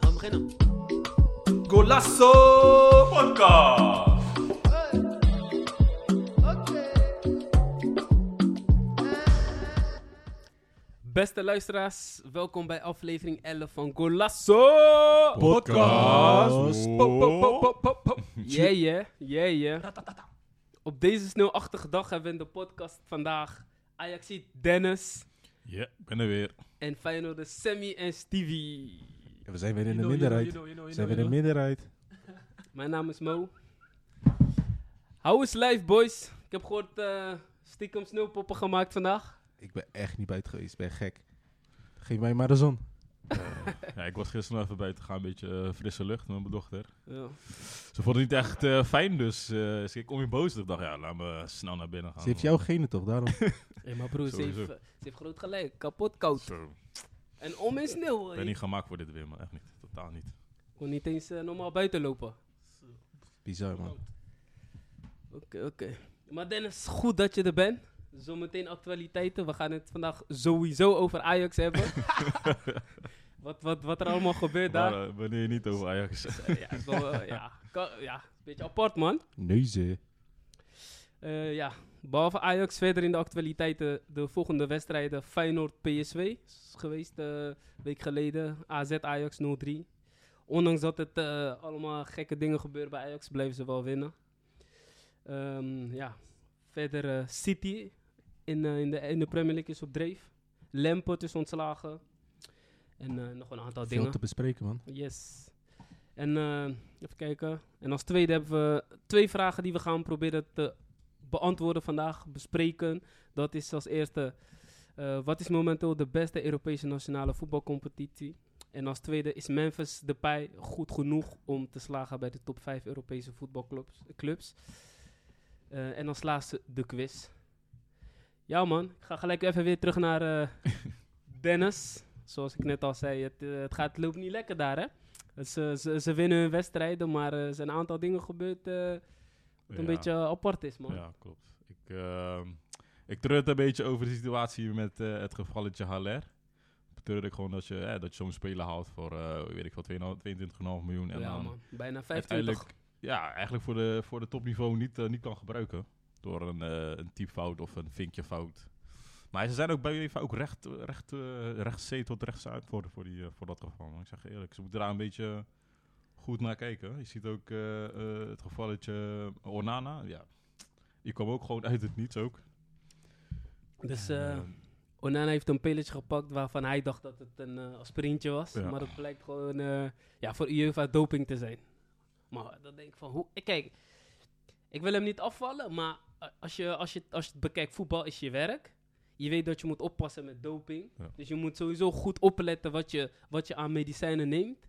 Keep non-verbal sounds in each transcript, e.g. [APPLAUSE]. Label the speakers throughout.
Speaker 1: gaan beginnen. Golasso Podcast. Beste luisteraars, welkom bij aflevering 11 van Golasso
Speaker 2: Podcast.
Speaker 1: Pop, pop, pop, pop, pop, pop. Yeah, yeah, yeah, yeah. Op deze sneeuwachtige dag hebben we in de podcast vandaag Ajaxie Dennis
Speaker 2: Ja, ben er weer.
Speaker 1: en Feyenoord Sammy en Stevie.
Speaker 3: Ja, We zijn weer in
Speaker 4: You
Speaker 3: de
Speaker 4: know, you know, you
Speaker 3: minderheid.
Speaker 4: know, you know, you
Speaker 3: We zijn
Speaker 4: know,
Speaker 3: weer in de
Speaker 4: you
Speaker 3: minderheid.
Speaker 1: Mijn naam is Mo. How is life, boys? Ik heb gehoord eh, stiekem sneeuwpoppen gemaakt vandaag.
Speaker 3: Ik ben echt niet buiten geweest, ik ben gek. Geef mij maar de zon.
Speaker 2: Eh, Ja, ik was gisteren nog even buiten gaan, een beetje eh, frisse lucht met mijn dochter.
Speaker 1: Ja.
Speaker 2: Ze vond het niet echt eh, fijn, dus eh, ze ik kom je boos. Ik dacht, ja, laat me snel naar binnen gaan.
Speaker 3: Ze heeft jouw genen toch, daarom.
Speaker 2: [LAUGHS]
Speaker 1: Hey, maar broer, ze heeft,
Speaker 2: Sowieso.
Speaker 1: eh, ze heeft groot gelijk. Kapot koud.
Speaker 2: Zo, ik
Speaker 1: En om in sneeuw.
Speaker 2: ben
Speaker 1: Ik
Speaker 2: niet gemaakt voor dit weer, man. Echt niet. Totaal niet.
Speaker 1: kon niet eens eh, normaal buiten lopen.
Speaker 3: Bizar, man.
Speaker 1: Oké, oké. Maar Dennis, goed dat je er bent. Zometeen actualiteiten. We gaan het vandaag sowieso over Ajax hebben. wat, wat, wat er allemaal gebeurt daar.
Speaker 2: Maar, eh, wanneer je niet over Ajax...
Speaker 1: Eh, ja, is wel, eh, ja, kan- ja, een beetje apart, man.
Speaker 3: Neuzen.
Speaker 1: Eh, ja, behalve Ajax verder in de actualiteiten de volgende wedstrijden. Feyenoord PSV is geweest eh, een week geleden. AZ Ajax 0-3. Ondanks dat het eh, allemaal gekke dingen gebeuren bij Ajax, blijven ze wel winnen. Ehm, ja, verder eh, City in, eh, in, de, in de Premier League is op dreef. Lampard is ontslagen. En eh, nog een aantal
Speaker 3: Veel
Speaker 1: dingen.
Speaker 3: te bespreken, man.
Speaker 1: Yes. En eh, even kijken. En als tweede hebben we twee vragen die we gaan proberen te beantwoorden vandaag, bespreken. Dat is als eerste, eh, wat is momenteel de beste Europese nationale voetbalcompetitie? En als tweede, is Memphis Depay goed genoeg om te slagen bij de top 5 Europese voetbalclubs? clubs? Eh, en als laatste, de quiz. Ja man, ik ga gelijk even weer terug naar eh, Dennis. Zoals ik net al zei, het, eh, het, gaat, het loopt niet lekker daar hè. Ze, ze, ze winnen hun wedstrijden, maar eh, er zijn een aantal dingen gebeurd eh, wat een
Speaker 2: Ja.
Speaker 1: beetje apart is man.
Speaker 2: Ja, klopt. Ik, ehm ik treurt een beetje over de situatie met eh, het gevalletje Haller. Ik treur ik gewoon dat je, eh, dat je zo'n speler haalt voor, eh, weet ik veel, 22,5 miljoen. En
Speaker 1: ja,
Speaker 2: dan
Speaker 1: man. Bijna 25.
Speaker 2: uiteindelijk ja, eigenlijk voor, de, voor de topniveau niet, eh, niet kan gebruiken. Door een, eh een typfout of een vinkje fout. Maar ze zijn ook bij UEFA ook recht, recht, eh, rechts C tot rechts uit voor, voor, die, eh, voor dat geval. Ik zeg je eerlijk, ze moeten daar een beetje goed naar kijken. Je ziet ook eh, eh, het gevalletje Ornana. Ja, die kwam ook gewoon uit het niets ook.
Speaker 1: Dus
Speaker 2: En,
Speaker 1: eh,
Speaker 2: eh,
Speaker 1: Onana heeft een pilletje gepakt waarvan hij dacht dat het een eh, aspirintje was.
Speaker 2: Ja.
Speaker 1: Maar dat blijkt gewoon eh, ja, voor UEFA doping te zijn. Maar dan denk ik van, hoe... eh, Kijk, ik wil hem niet afvallen, maar eh, als je, als je, als je het bekijkt, voetbal is je werk. Je weet dat je moet oppassen met doping.
Speaker 2: Ja.
Speaker 1: Dus je moet sowieso goed opletten wat je, wat je aan medicijnen neemt.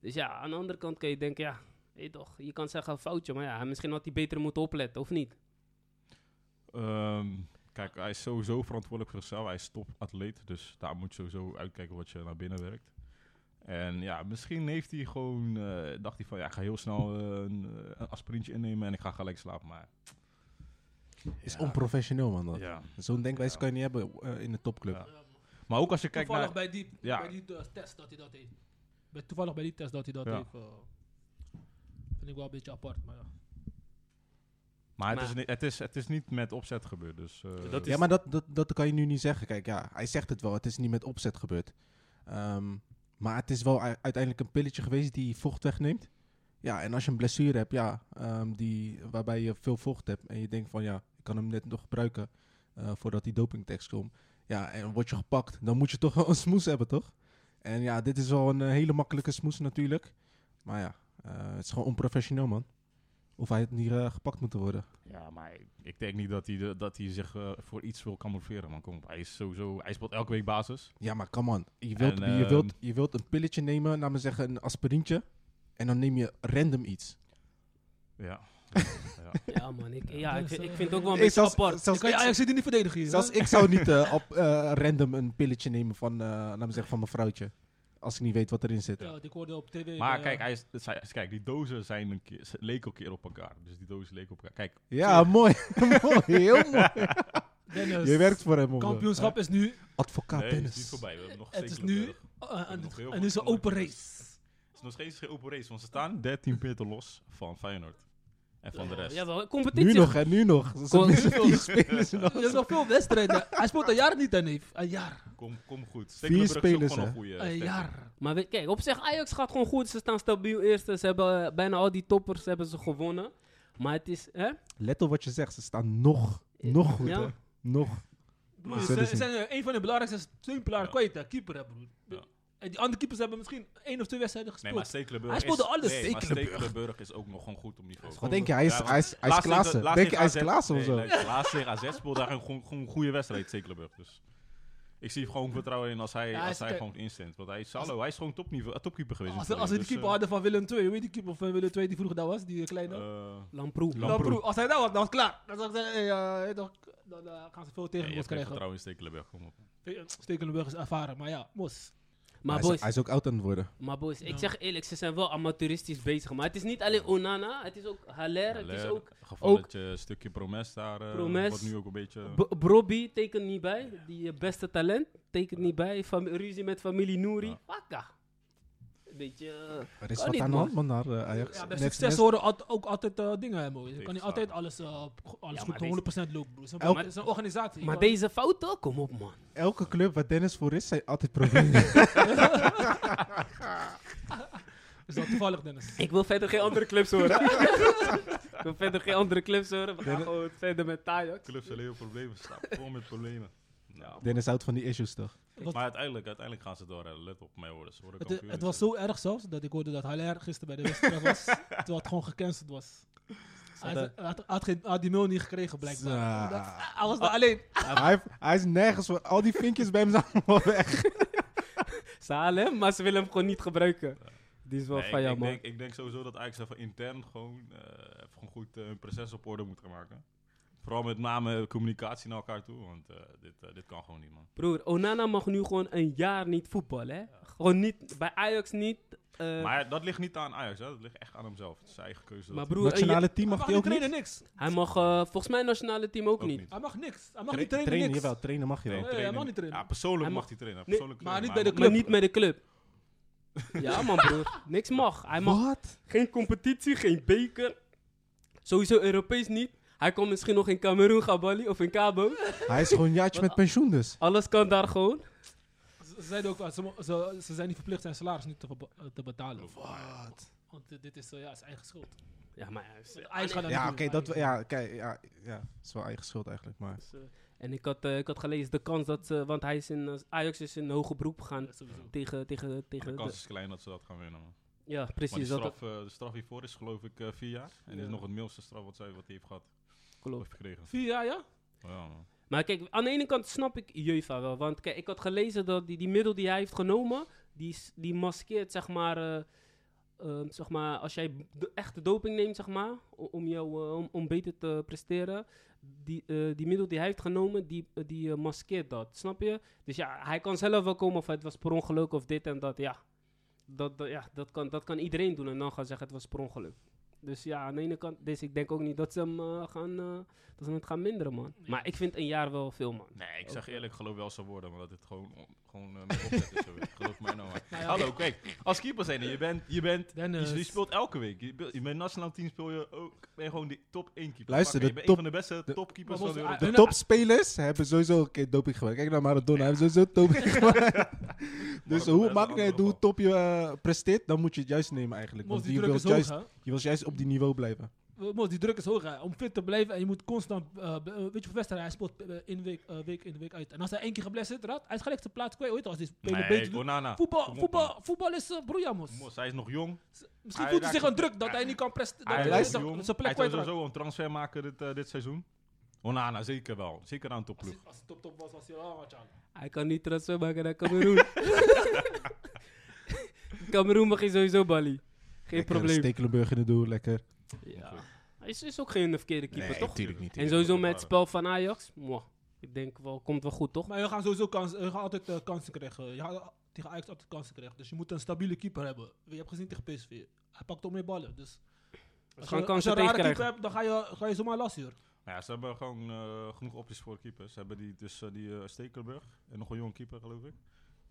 Speaker 1: Dus ja, aan de andere kant kan je denken, ja, weet toch, je kan zeggen een foutje. Maar ja, misschien had hij beter moeten opletten, of niet?
Speaker 2: Ehm, kijk, hij is sowieso verantwoordelijk voor zichzelf. Hij is topatleet, dus daar moet je sowieso uitkijken wat je naar binnen werkt. En ja, misschien heeft hij gewoon, eh, dacht hij van, ja, ik ga heel snel eh, een, eh, een aspirintje innemen en ik ga gelijk slapen. Maar
Speaker 3: Is
Speaker 2: Ja.
Speaker 3: onprofessioneel, man. Dat.
Speaker 2: ja.
Speaker 3: Zo'n denkwijze
Speaker 2: Ja.
Speaker 3: kan je niet hebben eh, in een topclub.
Speaker 2: Ja. Maar ook als je kijkt
Speaker 4: toevallig
Speaker 2: naar...
Speaker 4: bij die,
Speaker 2: Ja.
Speaker 4: bij die eh, test dat hij dat heeft. Bij, toevallig bij die test dat hij dat
Speaker 2: Ja.
Speaker 4: heeft. eh, vind ik wel een beetje apart, maar ja.
Speaker 2: Maar het is,
Speaker 1: Maar-
Speaker 2: ni- het, is, het is niet met opzet gebeurd, dus... eh,
Speaker 1: Dat is-
Speaker 3: Ja, maar dat, dat, dat kan je nu niet zeggen. Kijk, ja, hij zegt het wel. Het is niet met opzet gebeurd. Ehm, maar het is wel u- uiteindelijk een pilletje geweest die vocht wegneemt. Ja, en als je een blessure hebt, ja, ehm, die, waarbij je veel vocht hebt... en je denkt van, ja, ik kan hem net nog gebruiken eh, voordat die dopingtekst komt. Ja, en word je gepakt, dan moet je toch wel [LAUGHS] een smoes hebben, toch? En ja, dit is wel een eh, hele makkelijke smoes natuurlijk. Maar ja, eh, het is gewoon onprofessioneel, man. Of hij had niet eh, gepakt moeten worden.
Speaker 2: Ja, maar ik- ik denk niet dat hij, de- dat hij zich eh, voor iets wil camoufleren, man. Kom op, hij is sowieso... Hij speelt elke week basis.
Speaker 3: Ja, maar come on. Je wilt,
Speaker 2: En,
Speaker 3: je
Speaker 2: ehm,
Speaker 3: wilt, je wilt een pilletje nemen, laat me zeggen een aspirintje. En dan neem je random iets.
Speaker 2: Ja. [LAUGHS] ja.
Speaker 1: Ja man, ik, ja,
Speaker 4: Ja, dus,
Speaker 1: ik, vind-
Speaker 4: eh,
Speaker 1: ik vind het ook wel een
Speaker 3: Ik,
Speaker 1: beetje
Speaker 3: zelfs,
Speaker 1: apart.
Speaker 4: Dan
Speaker 3: zelfs,
Speaker 4: kan je
Speaker 3: ik,
Speaker 4: Ajax City niet verdedigen hier.
Speaker 3: [LAUGHS] zelfs ik zou niet eh, op, eh, random een pilletje nemen van, eh laat me zeggen, van mijn vrouwtje. Als ik niet weet wat erin zit.
Speaker 4: ja, want ik hoorde op tv.
Speaker 2: Maar
Speaker 4: eh,
Speaker 2: kijk, hij is, het zijn- kijk, die dozen zijn een keer, ze
Speaker 3: [LAUGHS]
Speaker 2: leken een keer op elkaar. Dus die dozen leken op elkaar. Kijk,
Speaker 3: Ja, mooi. mooi. Heel mooi.
Speaker 4: Dennis,
Speaker 3: Je werkt voor hem, hoor.
Speaker 4: kampioenschap is nu,
Speaker 3: Advocaat
Speaker 2: nee, het
Speaker 3: Dennis.
Speaker 2: is niet voorbij. We hebben nog
Speaker 4: het is
Speaker 2: steeds
Speaker 4: nu,
Speaker 2: Limburg.
Speaker 4: eh, en
Speaker 2: nog
Speaker 4: het-
Speaker 2: heel
Speaker 4: en het
Speaker 2: veel
Speaker 4: is een
Speaker 2: andere
Speaker 4: open race.
Speaker 2: wedstrijden.
Speaker 4: [LAUGHS]
Speaker 2: Het is nog steeds geen open race, want ze staan 13 punten los van Feyenoord. En van de rest.
Speaker 1: Ja, wel, competitie.
Speaker 3: Nu nog, hè? Nu nog. Ze
Speaker 1: Kom-
Speaker 3: missen vier spelers. nog.
Speaker 4: Er is nog veel wedstrijden. Hij speelt een jaar niet, hè, neef. Een jaar.
Speaker 2: Kom, kom goed. Stekelenburg is ook
Speaker 3: spelers,
Speaker 2: gewoon
Speaker 3: hè?
Speaker 2: een goede.
Speaker 4: Een
Speaker 2: sterker.
Speaker 4: jaar.
Speaker 1: Maar we- kijk, op zich, Ajax gaat gewoon goed. Ze staan stabiel eerste. Ze hebben eh, bijna al die toppers hebben ze gewonnen. Maar het is, hè?
Speaker 3: Let op wat je zegt. Ze staan nog, nog goed,
Speaker 1: Ja.
Speaker 3: hè? Nog.
Speaker 4: Broer,
Speaker 3: Maar
Speaker 4: ze
Speaker 3: zullen
Speaker 4: zijn,
Speaker 3: ze
Speaker 4: eh, een van de belangrijkste steunpilaren
Speaker 2: Ja.
Speaker 4: kwijt, hè. Keeper, hè, broer.
Speaker 2: Ja.
Speaker 4: En die andere keepers hebben misschien één of twee wedstrijden gespeeld.
Speaker 2: Nee, maar Stekelenburg
Speaker 4: Hij speelde
Speaker 2: is,
Speaker 4: alles.
Speaker 2: Nee, maar
Speaker 4: Stekelenburg.
Speaker 2: Stekelenburg is ook nog gewoon goed op niveau.
Speaker 3: Wat denk je? Hij is,
Speaker 2: Ja, want
Speaker 3: hij is, hij is
Speaker 2: laatst tegen-
Speaker 3: Klaassen.
Speaker 2: laatst
Speaker 3: Denk je hij is
Speaker 2: tegen AZ
Speaker 3: Klaassen of
Speaker 2: nee,
Speaker 3: zo?
Speaker 2: nee, laatst tegen AZ speelde hij gewoon, gewoon een goede wedstrijd, Stekelenburg. Dus ik zie gewoon vertrouwen in als hij,
Speaker 4: Ja, hij
Speaker 2: als
Speaker 4: is-
Speaker 2: hij gewoon instemt. Want hij is, hallo, hij is gewoon topniveau, eh, topkeeper geweest.
Speaker 4: Als,
Speaker 2: in het
Speaker 4: als we die
Speaker 2: verleden.
Speaker 4: keeper hadden van Willem II, weet je die keeper van Willem II die vroeger daar was, die
Speaker 2: Dus,
Speaker 4: kleine?
Speaker 2: eh,
Speaker 4: Dan
Speaker 2: eh,
Speaker 1: Lamproe.
Speaker 2: Lam- Lamproe.
Speaker 4: Nou, broer, als hij daar was, dan was het klaar. Dan, zou ik zeggen, hey, eh, hey, toch, dan eh, gaan ze veel
Speaker 2: nee,
Speaker 4: tegen ons
Speaker 2: je hebt geen
Speaker 4: krijgen.
Speaker 2: vertrouwen in Stekelenburg. Kom op.
Speaker 4: Stekelenburg is ervaren, maar ja, mos.
Speaker 1: Maar
Speaker 3: hij, is,
Speaker 1: boys,
Speaker 3: hij is ook oud aan het worden.
Speaker 1: maar boys, ik
Speaker 4: Ja.
Speaker 1: zeg eerlijk, ze zijn wel amateuristisch bezig. Maar het is niet alleen Onana, het is ook Haller, het is
Speaker 2: Haller,
Speaker 1: ook
Speaker 2: gevalletje, stukje promes daar. eh,
Speaker 1: Promes.
Speaker 2: Wat nu ook een beetje...
Speaker 1: B- Brobby tekent niet bij. Die eh, beste talent tekent niet bij. Fam- ruzie met familie Nouri.
Speaker 2: Ja.
Speaker 1: Wakka. Een beetje. eh,
Speaker 3: Er is
Speaker 1: Kan
Speaker 3: wat
Speaker 1: niet,
Speaker 3: aan de
Speaker 1: man.
Speaker 3: hand, man, daar, eh, Ajax.
Speaker 4: Ja, bij
Speaker 3: Net-
Speaker 4: succes
Speaker 3: net-
Speaker 4: horen alt- ook altijd eh, dingen hebben. hoor. Je kan niet altijd
Speaker 2: Tegenslagen.
Speaker 4: alles, eh, go- alles goed
Speaker 1: maar deze-
Speaker 4: 100% lopen. broer. Het is een-
Speaker 3: Elk-
Speaker 4: Het is een organisatie.
Speaker 1: maar
Speaker 4: Je kan-
Speaker 1: deze fouten, kom op man.
Speaker 3: Elke club waar Dennis voor is, zijn altijd problemen.
Speaker 4: Is dat toevallig, Dennis?
Speaker 1: Ik wil verder geen andere clubs
Speaker 3: [LAUGHS]
Speaker 1: horen. ik wil verder geen andere clubs horen. We gaan gewoon verder met Ajax.
Speaker 2: Clubs hebben heel veel problemen. Ze staan vol met problemen. Nou,
Speaker 3: Dennis houdt van die issues, toch?
Speaker 4: Wat-
Speaker 2: maar uiteindelijk, uiteindelijk gaan ze door. eh, Let op mijn woorden. Ze worden
Speaker 4: Het,
Speaker 2: kampioen.
Speaker 4: het was zo erg zelfs dat ik hoorde dat Haller gisteren bij de wedstrijd was, terwijl het gewoon gecanceld was. Hij had, hij had, had geen, hij had die mail niet gekregen, blijkbaar.
Speaker 3: Zo. Ah,
Speaker 4: Dat- hij was daar alleen.
Speaker 3: hij, heeft- hij is nergens voor. Al die vinkjes bij hem zijn allemaal weg.
Speaker 1: Ze halen hem, maar ze willen hem gewoon niet gebruiken. Die is wel
Speaker 2: Nee,
Speaker 1: van
Speaker 2: ik,
Speaker 1: jou
Speaker 2: ik
Speaker 1: man.
Speaker 2: Denk, ik denk sowieso dat Ajax even intern gewoon, eh, even gewoon goed eh, hun proces op orde moet gaan maken. Vooral met name communicatie naar elkaar toe, want eh, dit, eh, dit kan gewoon niet, man.
Speaker 1: Broer, Onana mag nu gewoon een jaar niet voetballen. Hè? Gewoon niet, bij Ajax niet. eh, maar,
Speaker 2: maar dat ligt niet aan Ajax, hè? dat ligt echt aan hemzelf. Het is zijn eigen keuze. dat-
Speaker 1: broer, een ja-
Speaker 3: Nationale team mag
Speaker 4: hij
Speaker 3: hij ook niet.
Speaker 4: trainen, niks.
Speaker 1: hij mag eh, volgens mij nationale team ook,
Speaker 2: ook
Speaker 1: niet. Ah,
Speaker 2: niet.
Speaker 4: Hij mag niks. Hij mag
Speaker 3: Tra-
Speaker 4: niet trainen,
Speaker 3: trainen,
Speaker 4: niks.
Speaker 3: jawel, trainen mag je
Speaker 2: Nee,
Speaker 3: wel.
Speaker 4: hij
Speaker 2: trainen-
Speaker 4: mag niet trainen.
Speaker 2: Ja, persoonlijk
Speaker 1: Hij
Speaker 2: mag
Speaker 1: mag-
Speaker 2: hij trainen.
Speaker 1: Nee,
Speaker 2: persoonlijk
Speaker 4: maar niet
Speaker 2: trainen,
Speaker 4: bij de
Speaker 1: Maar
Speaker 4: club.
Speaker 1: niet met de club. Ja man
Speaker 2: [LAUGHS]
Speaker 1: broer, niks mag. Hij mag
Speaker 3: Wat?
Speaker 1: geen competitie, geen beker. Sowieso Europees niet. Hij komt misschien nog in Cameroen, Gabali of in Cabo.
Speaker 3: Hij is gewoon een jaartje met pensioen dus.
Speaker 1: Alles kan daar gewoon.
Speaker 4: Ze, ze zeiden ook, eh, ze, mo- ze, ze zijn niet verplicht zijn salaris niet te, verba- eh, te betalen.
Speaker 3: Oh, Wat?
Speaker 4: Want eh, dit is eh, ja, zijn eigen schuld.
Speaker 1: Ja, maar eh, hij is-
Speaker 4: Ajax gaat dat
Speaker 3: Ja,
Speaker 4: niet
Speaker 3: oké,
Speaker 4: doen.
Speaker 3: dat ja, kijk, ja, ja, dat is wel eigen schuld eigenlijk, maar...
Speaker 1: Dus, eh, en ik had, eh, ik had gelezen de kans dat ze, want hij is in, eh, Ajax is in hoge beroep gegaan
Speaker 4: Ja, sowieso.
Speaker 1: tegen, tegen,
Speaker 2: Maar
Speaker 1: tegen.
Speaker 2: de kans
Speaker 1: de-
Speaker 2: is klein dat ze dat gaan winnen, man.
Speaker 1: ja,
Speaker 2: Maar die
Speaker 1: precies. Dat dat
Speaker 2: straf, eh, de straf hiervoor is geloof ik eh, vier jaar. En dit
Speaker 1: Ja.
Speaker 2: is nog het middelste straf wat, zij, wat hij heeft gehad.
Speaker 1: klopt.
Speaker 2: Heeft gekregen.
Speaker 4: Vier jaar, ja?
Speaker 2: Ja, man.
Speaker 1: Maar kijk, aan de ene kant snap ik Jeuva wel. Want kijk, ik had gelezen dat die, die middel die hij heeft genomen, die, s- die maskeert, zeg maar, eh, eh, zeg maar, als jij de echte doping neemt, zeg maar, o- om, jou, eh, om, om beter te presteren, die, eh, die middel die hij heeft genomen, die, eh, die eh, maskeert dat, snap je? Dus ja, hij kan zelf wel komen of het was per ongeluk of dit en dat, ja. Dat, dat- ja, dat, kan, dat kan iedereen doen en dan gaan zeggen het was per ongeluk. Dus ja, aan de ene kant, dus ik denk ook niet dat ze hem eh, gaan... eh, dat is het gaan minderen, man. Maar ik vind een jaar wel veel, man.
Speaker 2: Nee, ik
Speaker 1: Ook
Speaker 2: zeg
Speaker 1: wel.
Speaker 2: eerlijk, geloof wel zou worden, maar dat het gewoon, on- gewoon eh, met opzet is. zo weer. Geloof mij nou maar.
Speaker 4: Nou ja. Dus-
Speaker 2: Hallo, kijk, als keeper zijn je bent, je bent,
Speaker 4: Dennis.
Speaker 2: je, je speelt elke week. Je, speelt- in mijn nationaal team speel je ook, ben je gewoon de top 1 keeper.
Speaker 3: Luister,
Speaker 2: Pak, je
Speaker 3: de
Speaker 2: bent
Speaker 3: top-
Speaker 2: een van de beste
Speaker 3: de-
Speaker 2: topkeepers
Speaker 4: Maar
Speaker 2: van de
Speaker 4: volgens-
Speaker 2: wereld.
Speaker 3: De
Speaker 4: Hun-
Speaker 3: topspelers hebben sowieso een keer doping gebruikt. Kijk naar Maradona, hij heeft sowieso doping gebruikt. [LAUGHS] Dus
Speaker 2: Maradona
Speaker 3: hoe
Speaker 2: is een
Speaker 3: makkelijk het
Speaker 2: andere
Speaker 3: hoe
Speaker 2: geval.
Speaker 3: top je eh, presteert, dan moet je het juist nemen eigenlijk.
Speaker 4: Mos,
Speaker 3: Want
Speaker 4: die
Speaker 3: je
Speaker 4: druk
Speaker 3: wilt
Speaker 4: is hoog,
Speaker 3: juist,
Speaker 4: hè?
Speaker 3: je wilt juist op die niveau blijven.
Speaker 4: We- Mos, die druk is hoog. Hè. Om fit te blijven en je moet constant. eh, be- eh, weet je hoeveel wedstrijden hij speelt eh, in week, eh, week in week uit. En als hij één keer geblesseerd raakt, hij is gelijk zijn plaats kwijt. Ooit als hij spelen een
Speaker 2: Nee,
Speaker 4: beetje doet.
Speaker 2: Onana. Kom
Speaker 4: dus- Voetbal,
Speaker 2: op,
Speaker 4: voetbal, voetbal is uh, broeiamos.
Speaker 2: man. Mos, hij is nog jong.
Speaker 4: Misschien
Speaker 2: Hij
Speaker 4: voelt hij
Speaker 2: raakt-
Speaker 4: zich een druk dat hij niet kan presteren.
Speaker 2: Hij
Speaker 4: Dat hij
Speaker 2: is
Speaker 4: dat- dat
Speaker 2: jong.
Speaker 4: zijn
Speaker 2: Hij
Speaker 4: plek
Speaker 2: zou
Speaker 4: kwijt raakt.
Speaker 2: sowieso een transfer maken dit, eh, dit seizoen. Onana, zeker wel. Zeker aan een
Speaker 4: Als hij-
Speaker 2: topploeg.
Speaker 4: Als hij top top was, was hij wel wat aan.
Speaker 1: Hij kan niet transfer maken naar
Speaker 2: [LAUGHS]
Speaker 1: Cameroen. Cameroen mag je sowieso Bali. Geen
Speaker 3: Lekker,
Speaker 1: probleem.
Speaker 3: Stekelenburg in het doel, lekker.
Speaker 1: Ja. Hij is, is ook geen verkeerde keeper, toch?
Speaker 2: tuurlijk niet.
Speaker 1: En sowieso met het spel van Ajax. Mwah. Ik denk wel, komt wel goed, toch?
Speaker 4: Maar je gaat sowieso kans, je gaat altijd eh, kansen krijgen. Je gaat al- tegen Ajax altijd kansen krijgen. Dus je moet een stabiele keeper hebben. Je hebt gezien tegen PSV. Hij pakt ook meer ballen. Dus als
Speaker 1: gaan
Speaker 4: je-
Speaker 1: kansen
Speaker 4: als je een rare
Speaker 1: tegenkrijgen.
Speaker 4: keeper hebt, dan ga je, ga je zomaar last hier.
Speaker 2: Maar ja, ze hebben gewoon eh, genoeg opties voor keepers. Ze hebben die, dus eh, die eh, Stekelenburg en nog een jonge keeper, geloof ik.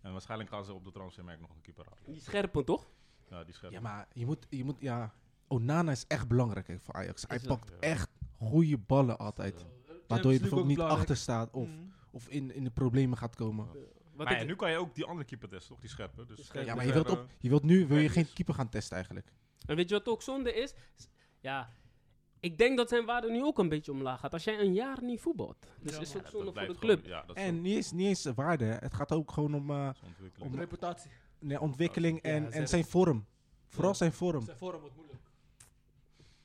Speaker 2: En waarschijnlijk gaan ze op de transfermarkt nog een keeper halen.
Speaker 1: Die scherpen, toch?
Speaker 2: Ja, die scherp.
Speaker 3: Ja, maar je moet, je moet, ja. Onana is echt belangrijk hè, voor Ajax. Hij
Speaker 1: Is dat,
Speaker 3: pakt
Speaker 2: ja.
Speaker 3: echt goede ballen altijd. Waardoor je bijvoorbeeld niet achter staat of,
Speaker 4: Mm.
Speaker 3: of in, in de problemen gaat komen.
Speaker 1: Wat
Speaker 2: maar
Speaker 1: ik-
Speaker 2: Mm. ja, nu kan je ook die andere keeper testen, toch? Die scherpe. Dus
Speaker 1: Scherpe.
Speaker 3: Ja,
Speaker 1: Dus
Speaker 3: maar
Speaker 2: ze
Speaker 3: je wilt,
Speaker 2: hebben-
Speaker 3: op, je wilt nu wil je
Speaker 2: Ja,
Speaker 3: geen
Speaker 2: dus-
Speaker 3: keeper gaan testen eigenlijk.
Speaker 1: En weet je wat ook zonde is? S- Ja, ik denk dat zijn waarde nu ook een beetje omlaag gaat. Als jij een jaar niet voetbalt. Dus
Speaker 4: Ja,
Speaker 1: is
Speaker 4: man.
Speaker 1: ook zonde voor de
Speaker 2: blijft
Speaker 1: club.
Speaker 2: gewoon- ja, dat is
Speaker 3: En
Speaker 2: ook
Speaker 3: niet eens, niet eens waarde. hè. Het gaat ook gewoon om eh,
Speaker 2: zo'n ontwikkeling.
Speaker 3: om-
Speaker 4: Reputatie.
Speaker 3: nee, ontwikkeling
Speaker 1: Ja,
Speaker 3: en,
Speaker 1: zeg
Speaker 3: en
Speaker 1: het.
Speaker 3: zijn vorm. Vooral
Speaker 4: Ja.
Speaker 3: zijn vorm.
Speaker 4: Zijn vorm wordt moeilijk.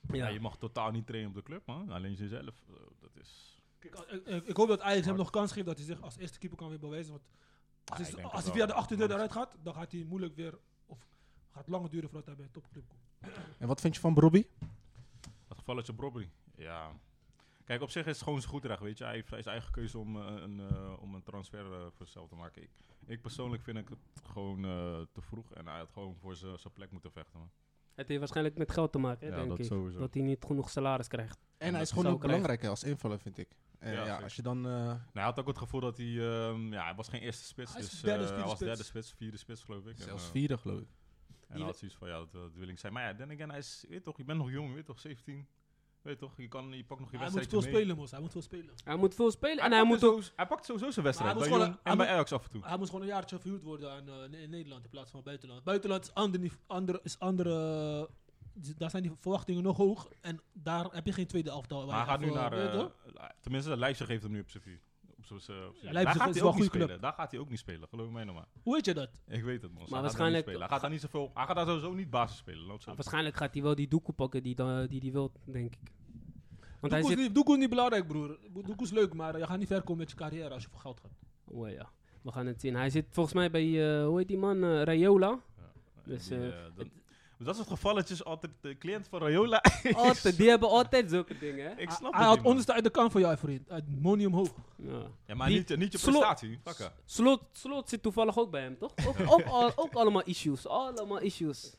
Speaker 2: ja.
Speaker 1: Ja,
Speaker 2: je mag totaal niet trainen op de club, man. Alleen jezelf. eh, dat is...
Speaker 4: Kijk, eh, eh, ik hoop dat Ajax hem nog kans geeft dat hij zich als eerste keeper kan weer bewijzen. Want als,
Speaker 2: Ja,
Speaker 4: hij-
Speaker 2: Ah, ik denk
Speaker 4: als
Speaker 2: het
Speaker 4: hij via de
Speaker 2: wel.
Speaker 4: achterdeur eruit gaat, dan gaat hij moeilijk weer. Of gaat langer duren voordat hij bij een topclub komt.
Speaker 3: En wat vind je van Robbie?
Speaker 2: Het gevalletje Brobby. Ja. Kijk, op zich is het gewoon zijn goed recht, weet je. Hij heeft hij is eigen keuze om, eh, een, eh, om een transfer eh, voor zichzelf te maken. Ik, ik persoonlijk vind ik het gewoon eh, te vroeg. En hij had gewoon voor zijn zijn plek moeten vechten, man.
Speaker 1: Het heeft waarschijnlijk met geld te maken, hè,
Speaker 2: ja,
Speaker 1: denk
Speaker 2: dat
Speaker 1: ik.
Speaker 2: sowieso.
Speaker 1: Dat hij niet genoeg salaris krijgt.
Speaker 3: En hij
Speaker 1: dat
Speaker 3: is gewoon
Speaker 1: zou
Speaker 3: ook
Speaker 1: krijgen.
Speaker 3: belangrijk hè, als invaller, vind ik. Eh,
Speaker 2: Ja,
Speaker 3: ja,
Speaker 2: zeker.
Speaker 3: als je dan... eh,
Speaker 2: Nou, hij had ook het gevoel dat hij... ehm, ja, hij was geen eerste spits.
Speaker 4: Hij is
Speaker 2: dus,
Speaker 4: derde,
Speaker 2: eh,
Speaker 4: vierde
Speaker 2: hij was
Speaker 4: spits.
Speaker 2: derde spits, vierde spits, geloof ik.
Speaker 3: zelfs
Speaker 2: en, eh,
Speaker 3: vierde, geloof ik.
Speaker 2: En hij had zoiets van, ja, dat, dat wil ik zijn. Maar ja, dan again, hij is... je Weet toch, je bent nog jong, je weet toch, 17. Weet toch, je, kan, je pakt nog je
Speaker 4: Hij moet
Speaker 2: wedstrijdje
Speaker 4: veel
Speaker 2: mee.
Speaker 4: spelen, Mos. Hij moet veel spelen.
Speaker 1: Hij moet veel spelen en hij
Speaker 2: pakt
Speaker 1: moet ook...
Speaker 2: sowieso- hij dus pakt sowieso zijn
Speaker 4: Maar hij
Speaker 2: wedstrijd.
Speaker 4: moet
Speaker 2: Bij
Speaker 4: gewoon-
Speaker 2: Jong
Speaker 4: hij
Speaker 2: en bij
Speaker 4: moet-
Speaker 2: Ajax af en toe.
Speaker 4: Hij moest gewoon een jaartje verhuurd worden aan, eh, in- in Nederland in plaats van buitenland. Buitenland is ander, nive- ander, is andere. eh, Daar zijn die verwachtingen nog hoog. En daar heb je geen tweede elftal. waar
Speaker 2: Maar hij
Speaker 4: je
Speaker 2: gaat nu
Speaker 4: even,
Speaker 2: naar.
Speaker 4: weet je
Speaker 2: eh,
Speaker 4: toch?
Speaker 2: Le- tenminste, Leipzig heeft hem nu op zijn vier. Op zijn- zijn- op
Speaker 4: Leipzig
Speaker 2: zijn- daar
Speaker 4: is
Speaker 2: gaat hij
Speaker 4: wel
Speaker 2: ook niet
Speaker 4: een goede
Speaker 2: spelen. Daar gaat hij ook niet spelen, geloof mij nou maar.
Speaker 4: Hoe weet je dat?
Speaker 2: Ik weet het, man. Maar
Speaker 1: waarschijnlijk-
Speaker 2: waarschijnlijk. Hij gaat daar niet zoveel. Hij gaat daar sowieso niet basis spelen. laat ik zo
Speaker 1: Waarschijnlijk gaat hij wel die doekoe pakken die dan- die, die wil, denk ik. Want hij
Speaker 4: Doekoe
Speaker 1: zit...
Speaker 4: is, niet- Doekoe is niet belangrijk, broer. Doekoe is leuk, maar je gaat niet ver komen met je carrière als je voor geld gaat.
Speaker 1: Oh ja, we gaan het zien. Hij zit volgens mij bij, eh, hoe heet die man? eh Rayola.
Speaker 2: zeggen.
Speaker 1: Dus,
Speaker 2: Die,
Speaker 1: eh,
Speaker 2: eh, dat- dat is het geval. Het is altijd de cliënt van [LAUGHS] Rayola.
Speaker 1: Altijd, die hebben altijd zulke dingen, hè?
Speaker 2: ik snap het.
Speaker 4: Hij had
Speaker 2: niet, man.
Speaker 4: onderste uit de kant voor jou, vriend. Uit Monium hoog.
Speaker 1: Ja.
Speaker 2: Ja, maar
Speaker 1: die-
Speaker 2: niet, eh, niet je
Speaker 1: Slot-
Speaker 2: prestatie. eh. Fucker.
Speaker 1: Slot, slot zit toevallig ook bij hem, toch? [LAUGHS] Ook, ook, al- ook allemaal issues, allemaal issues.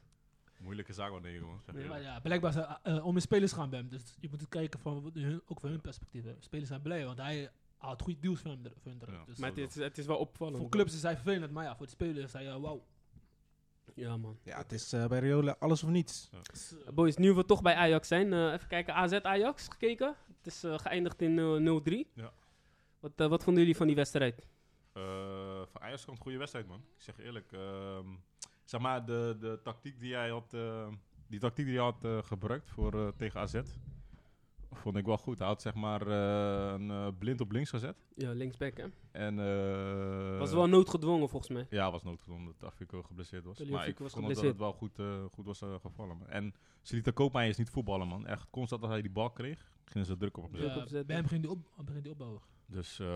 Speaker 2: Moeilijke zaak wel nee, jongen. Zeg
Speaker 1: Nee,
Speaker 2: je.
Speaker 4: Maar ja, blijkbaar zijn, eh, eh, om in spelers gaan bij hem. Dus je moet het kijken van, wat hun- ook van hun perspectief. hè. Spelers zijn blij, want hij haalt goed deals van hem. er- Van hun eruit.
Speaker 2: Ja.
Speaker 4: Dus
Speaker 1: Maar het is, het is wel opvallend.
Speaker 4: voor clubs is hij vervelend, maar ja, voor de spelers is hij eh, wauw.
Speaker 1: Ja, man.
Speaker 3: Ja, het is eh, bij Riola alles of niets.
Speaker 1: Boys, nu we toch bij Ajax zijn, eh, even kijken. AZ Ajax gekeken. Het is eh, geëindigd in eh, 0-3.
Speaker 2: Ja.
Speaker 1: Wat, eh, wat vonden jullie van die wedstrijd?
Speaker 2: Eh, van Ajax komt een goede wedstrijd, man. Ik zeg je eerlijk. ehm, zeg maar, de, de tactiek die jij had, eh, die tactiek die hij had eh, gebruikt voor, eh, tegen AZ, vond ik wel goed. Hij had zeg maar eh, een eh, blind op links gezet.
Speaker 1: Ja, linksback, hè?
Speaker 2: En, eh,
Speaker 1: Was wel noodgedwongen, volgens mij.
Speaker 2: Ja, was noodgedwongen omdat Afico geblesseerd was.
Speaker 1: Tagliafico
Speaker 2: Maar ik
Speaker 1: was
Speaker 2: vond dat het
Speaker 1: geblesseerd.
Speaker 2: wel goed, eh, goed was eh, gevallen. Man. En Silita Koopmeijer is niet voetballen, man. Echt constant als hij die bal kreeg, gingen ze druk op hem zetten.
Speaker 1: Druk opzetten.
Speaker 4: Ja, bij hem ging die, op, begint die opbouwen.
Speaker 2: Dus, eh,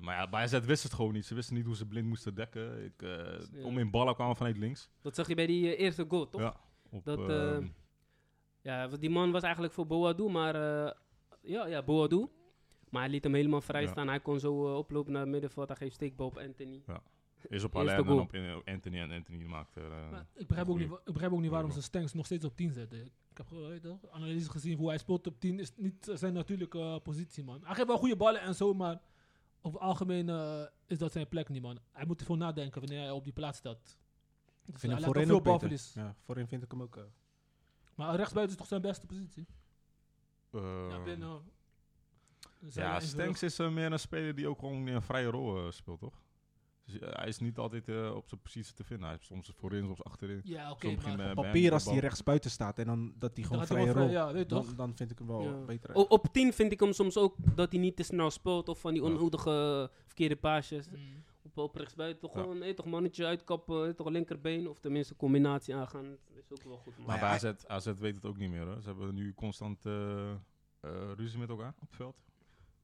Speaker 2: maar ja, bij AZ wist het gewoon niet. Ze wisten niet hoe ze blind moesten dekken. Ik, eh,
Speaker 1: Ja.
Speaker 2: Om in ballen kwamen vanuit links.
Speaker 1: Dat zag je bij die eh, eerste goal, toch?
Speaker 2: Ja. Op,
Speaker 1: Dat,
Speaker 2: ehm,
Speaker 1: eh, Ja, want die man was eigenlijk voor Boadu, maar... eh, ja, ja, Boadu. Maar hij liet hem helemaal vrij
Speaker 2: Ja.
Speaker 1: staan. Hij kon zo eh, oplopen naar het middenveld. Hij geeft steekbal op Anthony.
Speaker 2: is op
Speaker 1: eerste
Speaker 2: Alain en
Speaker 1: goal.
Speaker 2: op in- op Anthony en Anthony maakte... eh,
Speaker 4: Maar ik begrijp, ook
Speaker 2: goeie-
Speaker 4: niet, wa- ik begrijp ook niet waarom
Speaker 2: goeie
Speaker 4: ze Stanks nog steeds op 10 zetten. Ik heb gewoon, weet je wel, analyse gezien hoe hij speelt op 10. Is niet zijn natuurlijke eh, positie, man. Hij geeft wel goede ballen en zo, maar over het algemeen eh, is dat zijn plek niet, man. Hij moet ervoor nadenken wanneer hij op die plaats staat. Dus
Speaker 3: Ik
Speaker 4: hij
Speaker 3: vind hem
Speaker 4: laat wel
Speaker 3: voorin
Speaker 4: veel
Speaker 3: ook beter.
Speaker 4: balverlies.
Speaker 3: Ja, voorin vind ik hem ook... eh,
Speaker 4: Maar rechtsbuiten is toch zijn beste positie?
Speaker 2: eh,
Speaker 4: ja, binnen. eh, dus hij
Speaker 2: ja,
Speaker 4: is wel-
Speaker 2: Stanks is eh, meer een speler die ook gewoon een vrije rol eh, speelt, toch? Dus, eh, hij is niet altijd eh, op zijn positie te vinden. Hij is soms voorin, soms achterin.
Speaker 4: Ja, oké, maar...
Speaker 2: Soms begint bij- bij hem
Speaker 3: papier
Speaker 2: de
Speaker 3: als die
Speaker 2: bal.
Speaker 3: rechtsbuiten staat en dan dat die
Speaker 4: dan
Speaker 3: gewoon
Speaker 4: gaat hij wel
Speaker 3: vrije
Speaker 4: vrij-
Speaker 3: rol.
Speaker 4: Ja, weet je toch? Oh,
Speaker 3: Dan, dan vind ik hem wel
Speaker 1: Ja.
Speaker 3: beter.
Speaker 1: O- op 10 vind ik hem soms ook dat hij niet te snel speelt. Of van die
Speaker 2: Ja.
Speaker 1: onnodige eh, verkeerde paasjes.
Speaker 4: Mm.
Speaker 1: Op, op rechtsbuiten toch
Speaker 2: Ja.
Speaker 1: gewoon hey, toch mannetje uitkappen. hey, toch linkerbeen. Of tenminste een combinatie aangaan. Dat is ook wel goed. man.
Speaker 2: Maar
Speaker 3: Maar
Speaker 2: bij
Speaker 3: ja,
Speaker 2: AZ, AZ weet het ook niet meer. Hè. Ze hebben nu constant eh, eh, ruzie met elkaar op het veld.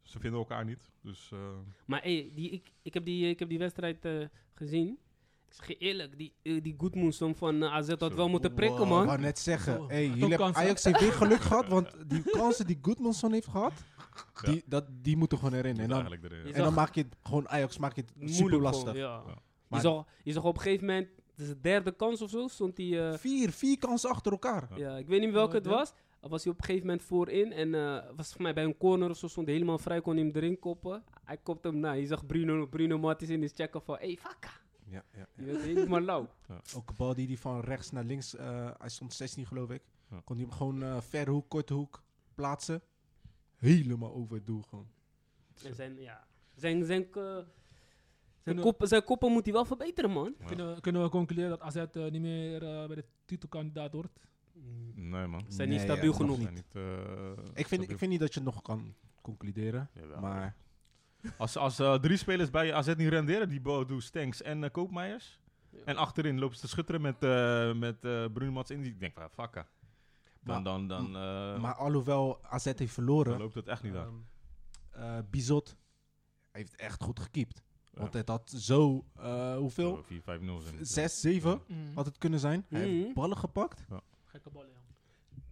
Speaker 2: Ze vinden elkaar niet. Dus eh,
Speaker 1: Maar hey, die, ik, ik, heb die, ik heb die wedstrijd eh, gezien. Ik zeg je eerlijk, die, eh, die Goodmanson van eh, AZ had
Speaker 2: Zo.
Speaker 1: wel moeten prikken,
Speaker 3: Ik
Speaker 1: man.
Speaker 3: wou net zeggen,
Speaker 4: Zo,
Speaker 3: hey,
Speaker 4: Oh. toch
Speaker 3: jullie hebben
Speaker 4: kansen.
Speaker 3: Ajax heeft weer geluk [LAUGHS] gehad, want die kansen die Goodmanson heeft gehad,
Speaker 2: Ja.
Speaker 3: die, dat, die moeten gewoon erin. En
Speaker 2: moet
Speaker 3: dan,
Speaker 2: eigenlijk erin.
Speaker 1: Je
Speaker 2: ja.
Speaker 3: en dan maak je het gewoon Ajax maak je het super
Speaker 1: Moeilijk
Speaker 3: lastig.
Speaker 1: gewoon, ja.
Speaker 2: Ja.
Speaker 1: Je,
Speaker 3: Maar-
Speaker 1: zag, je zag op een gegeven moment, het is de derde kans of zo, stond die... eh,
Speaker 3: Vier, vier kansen achter elkaar.
Speaker 1: ja, ik weet niet welke het
Speaker 4: Oh, ja.
Speaker 1: was. was hij op een gegeven moment voorin. En eh, was voor mij bij een corner of zo. Stond hij helemaal vrij, kon hij hem erin koppen. Hij kopt hem na. Je zag Bruno, Bruno Martins in his checken van... Hey, fuck.
Speaker 3: Ja, ja,
Speaker 1: Die werd helemaal lauw.
Speaker 3: [LAUGHS] Ook een bal die hij van rechts naar links, eh, hij stond 16 geloof ik.
Speaker 2: Ja.
Speaker 3: Kon hij hem gewoon eh verre hoek, korte hoek plaatsen. Helemaal over het doel gewoon.
Speaker 1: En zijn, ja... Zijn, zijn, eh, zijn,
Speaker 4: Kunnen-
Speaker 1: kop, zijn koppen moet hij wel verbeteren, man.
Speaker 2: Ja.
Speaker 4: Kunnen, we- kunnen we concluderen dat AZ eh, niet meer eh, bij de titelkandidaat hoort?
Speaker 2: Nee, man.
Speaker 1: Zijn niet
Speaker 3: Nee,
Speaker 1: stabiel
Speaker 3: ja,
Speaker 1: genoeg.
Speaker 2: Zijn Niet, eh,
Speaker 3: Ik vind, ik vind niet dat je het nog kan concluderen.
Speaker 2: Jawel.
Speaker 3: Maar
Speaker 2: Als, als eh, drie spelers bij AZ niet renderen, die Bodo, Stanks en eh, Koopmeijers.
Speaker 1: Ja.
Speaker 2: En achterin lopen ze te schutteren met, eh met eh Bruno Mats in. Ik denk van, fuck. eh. Dan,
Speaker 3: Maar-
Speaker 2: dan, dan, eh,
Speaker 3: Maar alhoewel AZ heeft
Speaker 2: dan
Speaker 3: verloren,
Speaker 2: loopt het echt niet aan.
Speaker 3: ehm, eh, Bizot heeft echt goed gekiept.
Speaker 2: Ja.
Speaker 3: Want het had zo, eh, hoeveel?
Speaker 2: 4, 5, 0. zijn.
Speaker 3: 6, 7 had het kunnen zijn. Hij
Speaker 1: Mhm.
Speaker 3: heeft ballen gepakt.
Speaker 4: Gekke ballen, ja.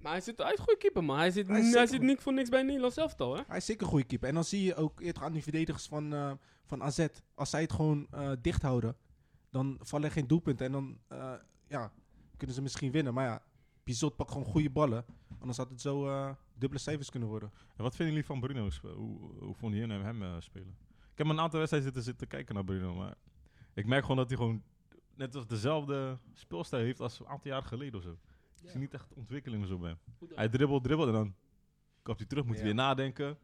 Speaker 1: Maar hij, zit, hij is een goede keeper, maar hij zit,
Speaker 3: Hij is
Speaker 1: hij
Speaker 3: zeker
Speaker 1: zit
Speaker 3: goed.
Speaker 1: niet voor niks bij het Nederlands elftal, hè?
Speaker 3: Hij is zeker een goede keeper. En dan zie je ook eerder aan die verdedigers van, eh, van AZ. Als zij het gewoon eh, dicht houden, dan vallen er geen doelpunten. En dan eh, ja, kunnen ze misschien winnen. Maar ja, Bizot pakt gewoon goede ballen. Anders had het zo eh, dubbele cijfers kunnen worden.
Speaker 2: eh. En wat vinden jullie van Bruno? spe- Hoe, hoe vonden jullie hem, hem eh, spelen? Ik heb een aantal wedstrijden zitten, zitten kijken naar Bruno, maar ik merk gewoon dat hij gewoon net als dezelfde speelstijl heeft als een aantal jaar geleden of zo. Ik zie niet echt ontwikkeling of zo bij hem.
Speaker 4: Goed,
Speaker 2: Hij dribbelt, dribbelt en dan kapt hij terug, moet hij
Speaker 3: Ja.
Speaker 2: weer nadenken.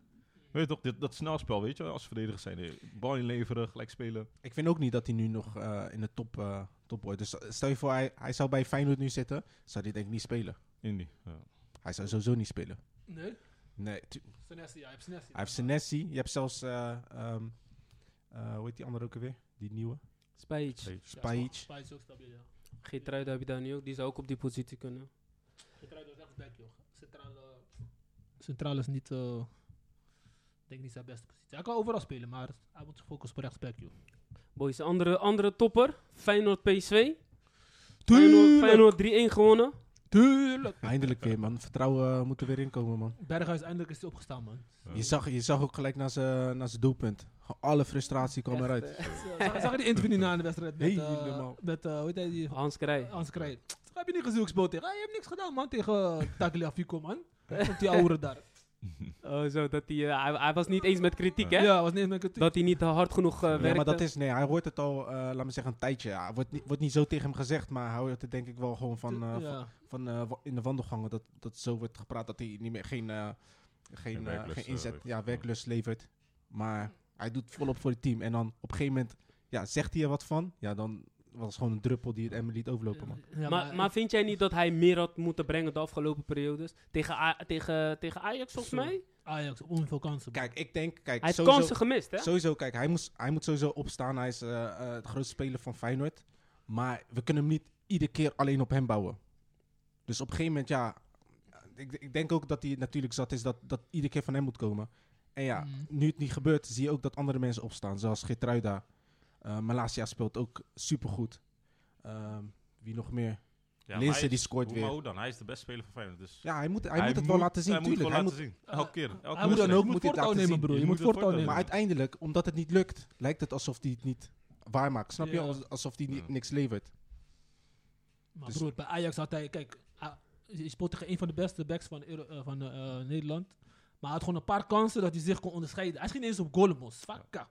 Speaker 2: Weet je toch, dit, dat snelspel, weet je wel, als verdedigers zijn. eh, Bal inleveren, gelijk spelen.
Speaker 3: Ik vind ook niet dat hij nu nog eh, in de top, eh top wordt. Dus stel je voor, hij, hij zou bij Feyenoord nu zitten. Zou hij denk ik niet spelen.
Speaker 2: Indie. Ja.
Speaker 3: Hij zou sowieso niet spelen.
Speaker 4: Nee,
Speaker 3: Nee,
Speaker 4: Senesi, ja, hij heeft Senesi.
Speaker 3: hij heeft Senesi. Je hebt zelfs, eh, ehm, eh, hoe heet die andere ook alweer? Die nieuwe.
Speaker 1: Spijt.
Speaker 2: Steeds.
Speaker 4: Ja,
Speaker 3: Spajic.
Speaker 4: Spajic is ook stabiel, ja.
Speaker 1: Geertruida heb je daar nu ook. Die zou ook op die positie kunnen.
Speaker 4: Getruid is rechtsback, joh. Centraal, eh, Centraal is niet, eh, ik denk niet zijn beste positie. Hij kan overal spelen, maar hij moet zich focussen op rechtsback, joh.
Speaker 1: Boys, andere, andere topper. Feyenoord PSV. Feyenoord,
Speaker 4: Tuurlijk.
Speaker 1: Feyenoord 3-1 gewonnen.
Speaker 4: Tuurlijk!
Speaker 3: Eindelijk weer, man. Vertrouwen eh, moet er weer inkomen, man.
Speaker 4: Berghuis, eindelijk is hij opgestaan, man.
Speaker 3: Je zag, je zag ook gelijk naar zijn naar zijn doelpunt. Gewoon Alle frustratie kwam
Speaker 1: Echt,
Speaker 3: eruit.
Speaker 1: eh,
Speaker 4: [LAUGHS] Zag zag je die interview niet na in de wedstrijd? Met, eh,
Speaker 3: Helemaal.
Speaker 4: met eh, hoe heet hij? Die,
Speaker 1: Hans Krij.
Speaker 4: Hans Krij. Heb je niet gezoeksboot tegen? Hij heeft niks gedaan, man, tegen uh, Tagliafico,
Speaker 3: [LAUGHS]
Speaker 4: man. Op die oude daar.
Speaker 1: Oh, zo, dat hij, eh, hij, hij was niet eens met kritiek, hè?
Speaker 4: Ja, was niet met kritiek.
Speaker 1: Dat hij niet eh, hard genoeg eh, werkte.
Speaker 3: Nee, maar dat is, nee, hij hoort het al, eh, laat me zeggen, een tijdje. Ja, wordt, niet, wordt niet zo tegen hem gezegd, maar hij hoort het denk ik wel gewoon van, eh, van,
Speaker 4: ja.
Speaker 3: van, eh, wa- in de wandelgangen. Dat, dat zo wordt gepraat dat hij niet meer geen, eh, geen,
Speaker 2: Geen
Speaker 3: eh,
Speaker 2: werklust,
Speaker 3: geen
Speaker 2: eh,
Speaker 3: inzet,
Speaker 2: levert.
Speaker 3: ja, werklust levert. Maar hij doet volop voor het team. En dan op een gegeven moment ja, zegt hij er wat van. Ja, dan was het gewoon een druppel die het Emmen liet overlopen, man.
Speaker 4: Ja,
Speaker 1: maar, maar vind jij niet dat hij meer had moeten brengen de afgelopen periodes? Tegen, A- tegen, tegen Ajax, volgens
Speaker 4: Zo.
Speaker 1: mij?
Speaker 4: Ajax, onveel kansen.
Speaker 3: Kijk, ik denk, kijk,
Speaker 1: Hij heeft
Speaker 3: sowieso-
Speaker 1: kansen gemist, hè?
Speaker 3: Sowieso, kijk, hij, moest, hij moet sowieso opstaan. Hij is eh, eh, de grootste speler van Feyenoord. Maar we kunnen hem niet iedere keer alleen op hem bouwen. Dus op een gegeven moment, ja... Ik, ik denk ook dat hij natuurlijk zat is dat, dat iedere keer van hem moet komen. En ja,
Speaker 4: Mhm.
Speaker 3: nu het niet gebeurt, zie je ook dat andere mensen opstaan. Zoals Gertruida. Eh Malasia speelt ook supergoed. Ehm, wie nog meer?
Speaker 2: Ja,
Speaker 3: Linssen,
Speaker 2: maar hij
Speaker 3: die
Speaker 2: is-
Speaker 3: scoort
Speaker 2: hoe-
Speaker 3: weer.
Speaker 2: Maar hoe dan? Hij is de beste speler van Feyenoord. Dus
Speaker 3: Ja, hij moet, hij moet het wel laten zien,
Speaker 2: hij moet het
Speaker 3: tuurlijk.
Speaker 2: wel
Speaker 3: Hij moet,
Speaker 2: laten zien.
Speaker 4: Eh,
Speaker 2: Elke keer. Elke
Speaker 4: hij moet
Speaker 3: dan
Speaker 2: wedstrijd.
Speaker 3: ook
Speaker 4: moet
Speaker 3: moet dit
Speaker 4: voortouw
Speaker 3: laten
Speaker 4: nemen,
Speaker 3: zien.
Speaker 4: broer.
Speaker 2: Je
Speaker 4: Je moet
Speaker 2: moet het
Speaker 4: voortouw nemen.
Speaker 3: Maar uiteindelijk, omdat het niet lukt, lijkt het alsof hij het niet waarmaakt. Snap je?
Speaker 4: Ja.
Speaker 3: Als- Alsof hij ni-
Speaker 2: Ja.
Speaker 3: niks levert.
Speaker 4: Maar
Speaker 3: Dus-
Speaker 4: broer, bij Ajax had hij, kijk, hij- hij speelt tegen een van de beste backs van, Euro- eh, van eh, eh, Nederland. Maar hij had gewoon een paar kansen dat hij zich kon onderscheiden. Hij is geen eens op Golemos. Fakka.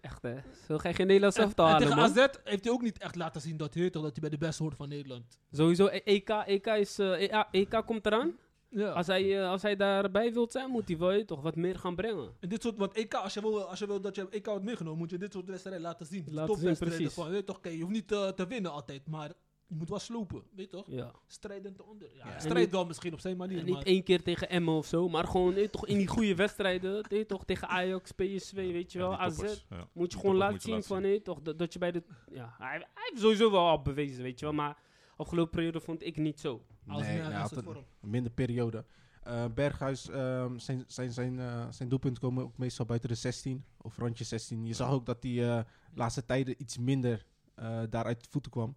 Speaker 1: Echt, hè? Zo ga je geen Nederlands
Speaker 4: En,
Speaker 1: elftal
Speaker 4: en
Speaker 1: halen,
Speaker 4: tegen
Speaker 1: man.
Speaker 4: AZ heeft hij ook niet echt laten zien dat, hij- dat hij bij de beste hoort van Nederland.
Speaker 1: Sowieso, E- EK, EK, is, eh, EA EK komt eraan.
Speaker 4: Ja.
Speaker 1: Als hij, eh, als hij daarbij wilt zijn, moet hij wel je, toch wat meer gaan brengen.
Speaker 4: en dit soort, want EK, als je wil, als je wil dat je EK wordt meegenomen, moet je dit soort wedstrijden laten zien.
Speaker 1: Laten zien,
Speaker 4: Topwedstrijden
Speaker 1: precies.
Speaker 4: Van, weet je, toch, kijk, je hoeft niet eh, te winnen altijd, maar je moet wel slopen. Weet je toch?
Speaker 1: Ja.
Speaker 4: Strijdend onder. Ja,
Speaker 1: Ja, en
Speaker 4: strijd
Speaker 1: niet-
Speaker 4: wel misschien op zijn manier.
Speaker 1: En niet
Speaker 4: maar-
Speaker 1: één keer tegen Emmen of zo, maar gewoon eh, toch in die goede wedstrijden. [LAUGHS] eh, toch tegen Ajax, PSV, weet je
Speaker 2: Ja,
Speaker 1: wel,
Speaker 2: die
Speaker 1: AZ.
Speaker 2: toppers, ja.
Speaker 1: Moet je
Speaker 2: Die
Speaker 1: gewoon
Speaker 2: toppers
Speaker 1: laten
Speaker 2: moet je
Speaker 1: zien
Speaker 2: laten
Speaker 1: van eh, toch, dat, dat je bij de. Ja, hij, hij heeft sowieso wel al bewezen, weet je wel, maar afgelopen periode vond ik niet zo.
Speaker 4: als
Speaker 3: nee,
Speaker 4: hij-
Speaker 3: hij
Speaker 4: als
Speaker 3: had
Speaker 4: het
Speaker 3: een-
Speaker 4: vorm.
Speaker 3: Een minder periode. Eh, Berghuis, ehm, zijn, zijn, zijn, eh, zijn doelpunten komen ook meestal buiten de 16 of randje 16. Je zag ook dat hij eh laatste tijden iets minder eh daaruit de voeten kwam.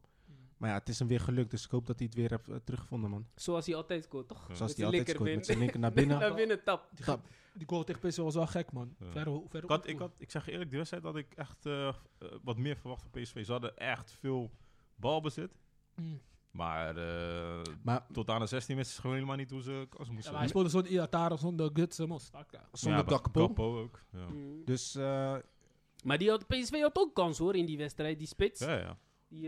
Speaker 3: Maar ja, het is hem weer gelukt, dus ik hoop dat hij het weer heeft eh, teruggevonden, man.
Speaker 1: Zoals hij altijd scoort, toch?
Speaker 2: Ja.
Speaker 3: Zoals
Speaker 1: die
Speaker 3: hij altijd
Speaker 1: linker
Speaker 3: scoort,
Speaker 1: bin.
Speaker 3: met zijn linker naar
Speaker 1: [LAUGHS]
Speaker 3: binnen.
Speaker 1: Naar binnen tap.
Speaker 4: Die, ge- die goal tegen PSV was wel gek, man.
Speaker 2: Ja.
Speaker 4: Verre- verre
Speaker 2: Ik, had, ik,
Speaker 4: opvoer.
Speaker 2: had, ik zeg je eerlijk, die wedstrijd had ik echt eh, eh, wat meer verwacht van PSV. Ze hadden echt veel balbezit.
Speaker 4: Mm.
Speaker 2: Maar eh,
Speaker 3: Maar
Speaker 2: tot aan de 16 wist ze gewoon helemaal niet hoe ze kansen
Speaker 4: Ja,
Speaker 2: moesten.
Speaker 4: maar hij speelde zonder Iatara, zonder Guts, eh, mos.
Speaker 3: zonder
Speaker 2: maar
Speaker 3: Gakpo.
Speaker 2: ook. Ja.
Speaker 1: Mm.
Speaker 3: Dus eh,
Speaker 1: Maar die had, PSV had ook kans hoor in die wedstrijd, die spits.
Speaker 2: Ja, ja.
Speaker 1: Die eh,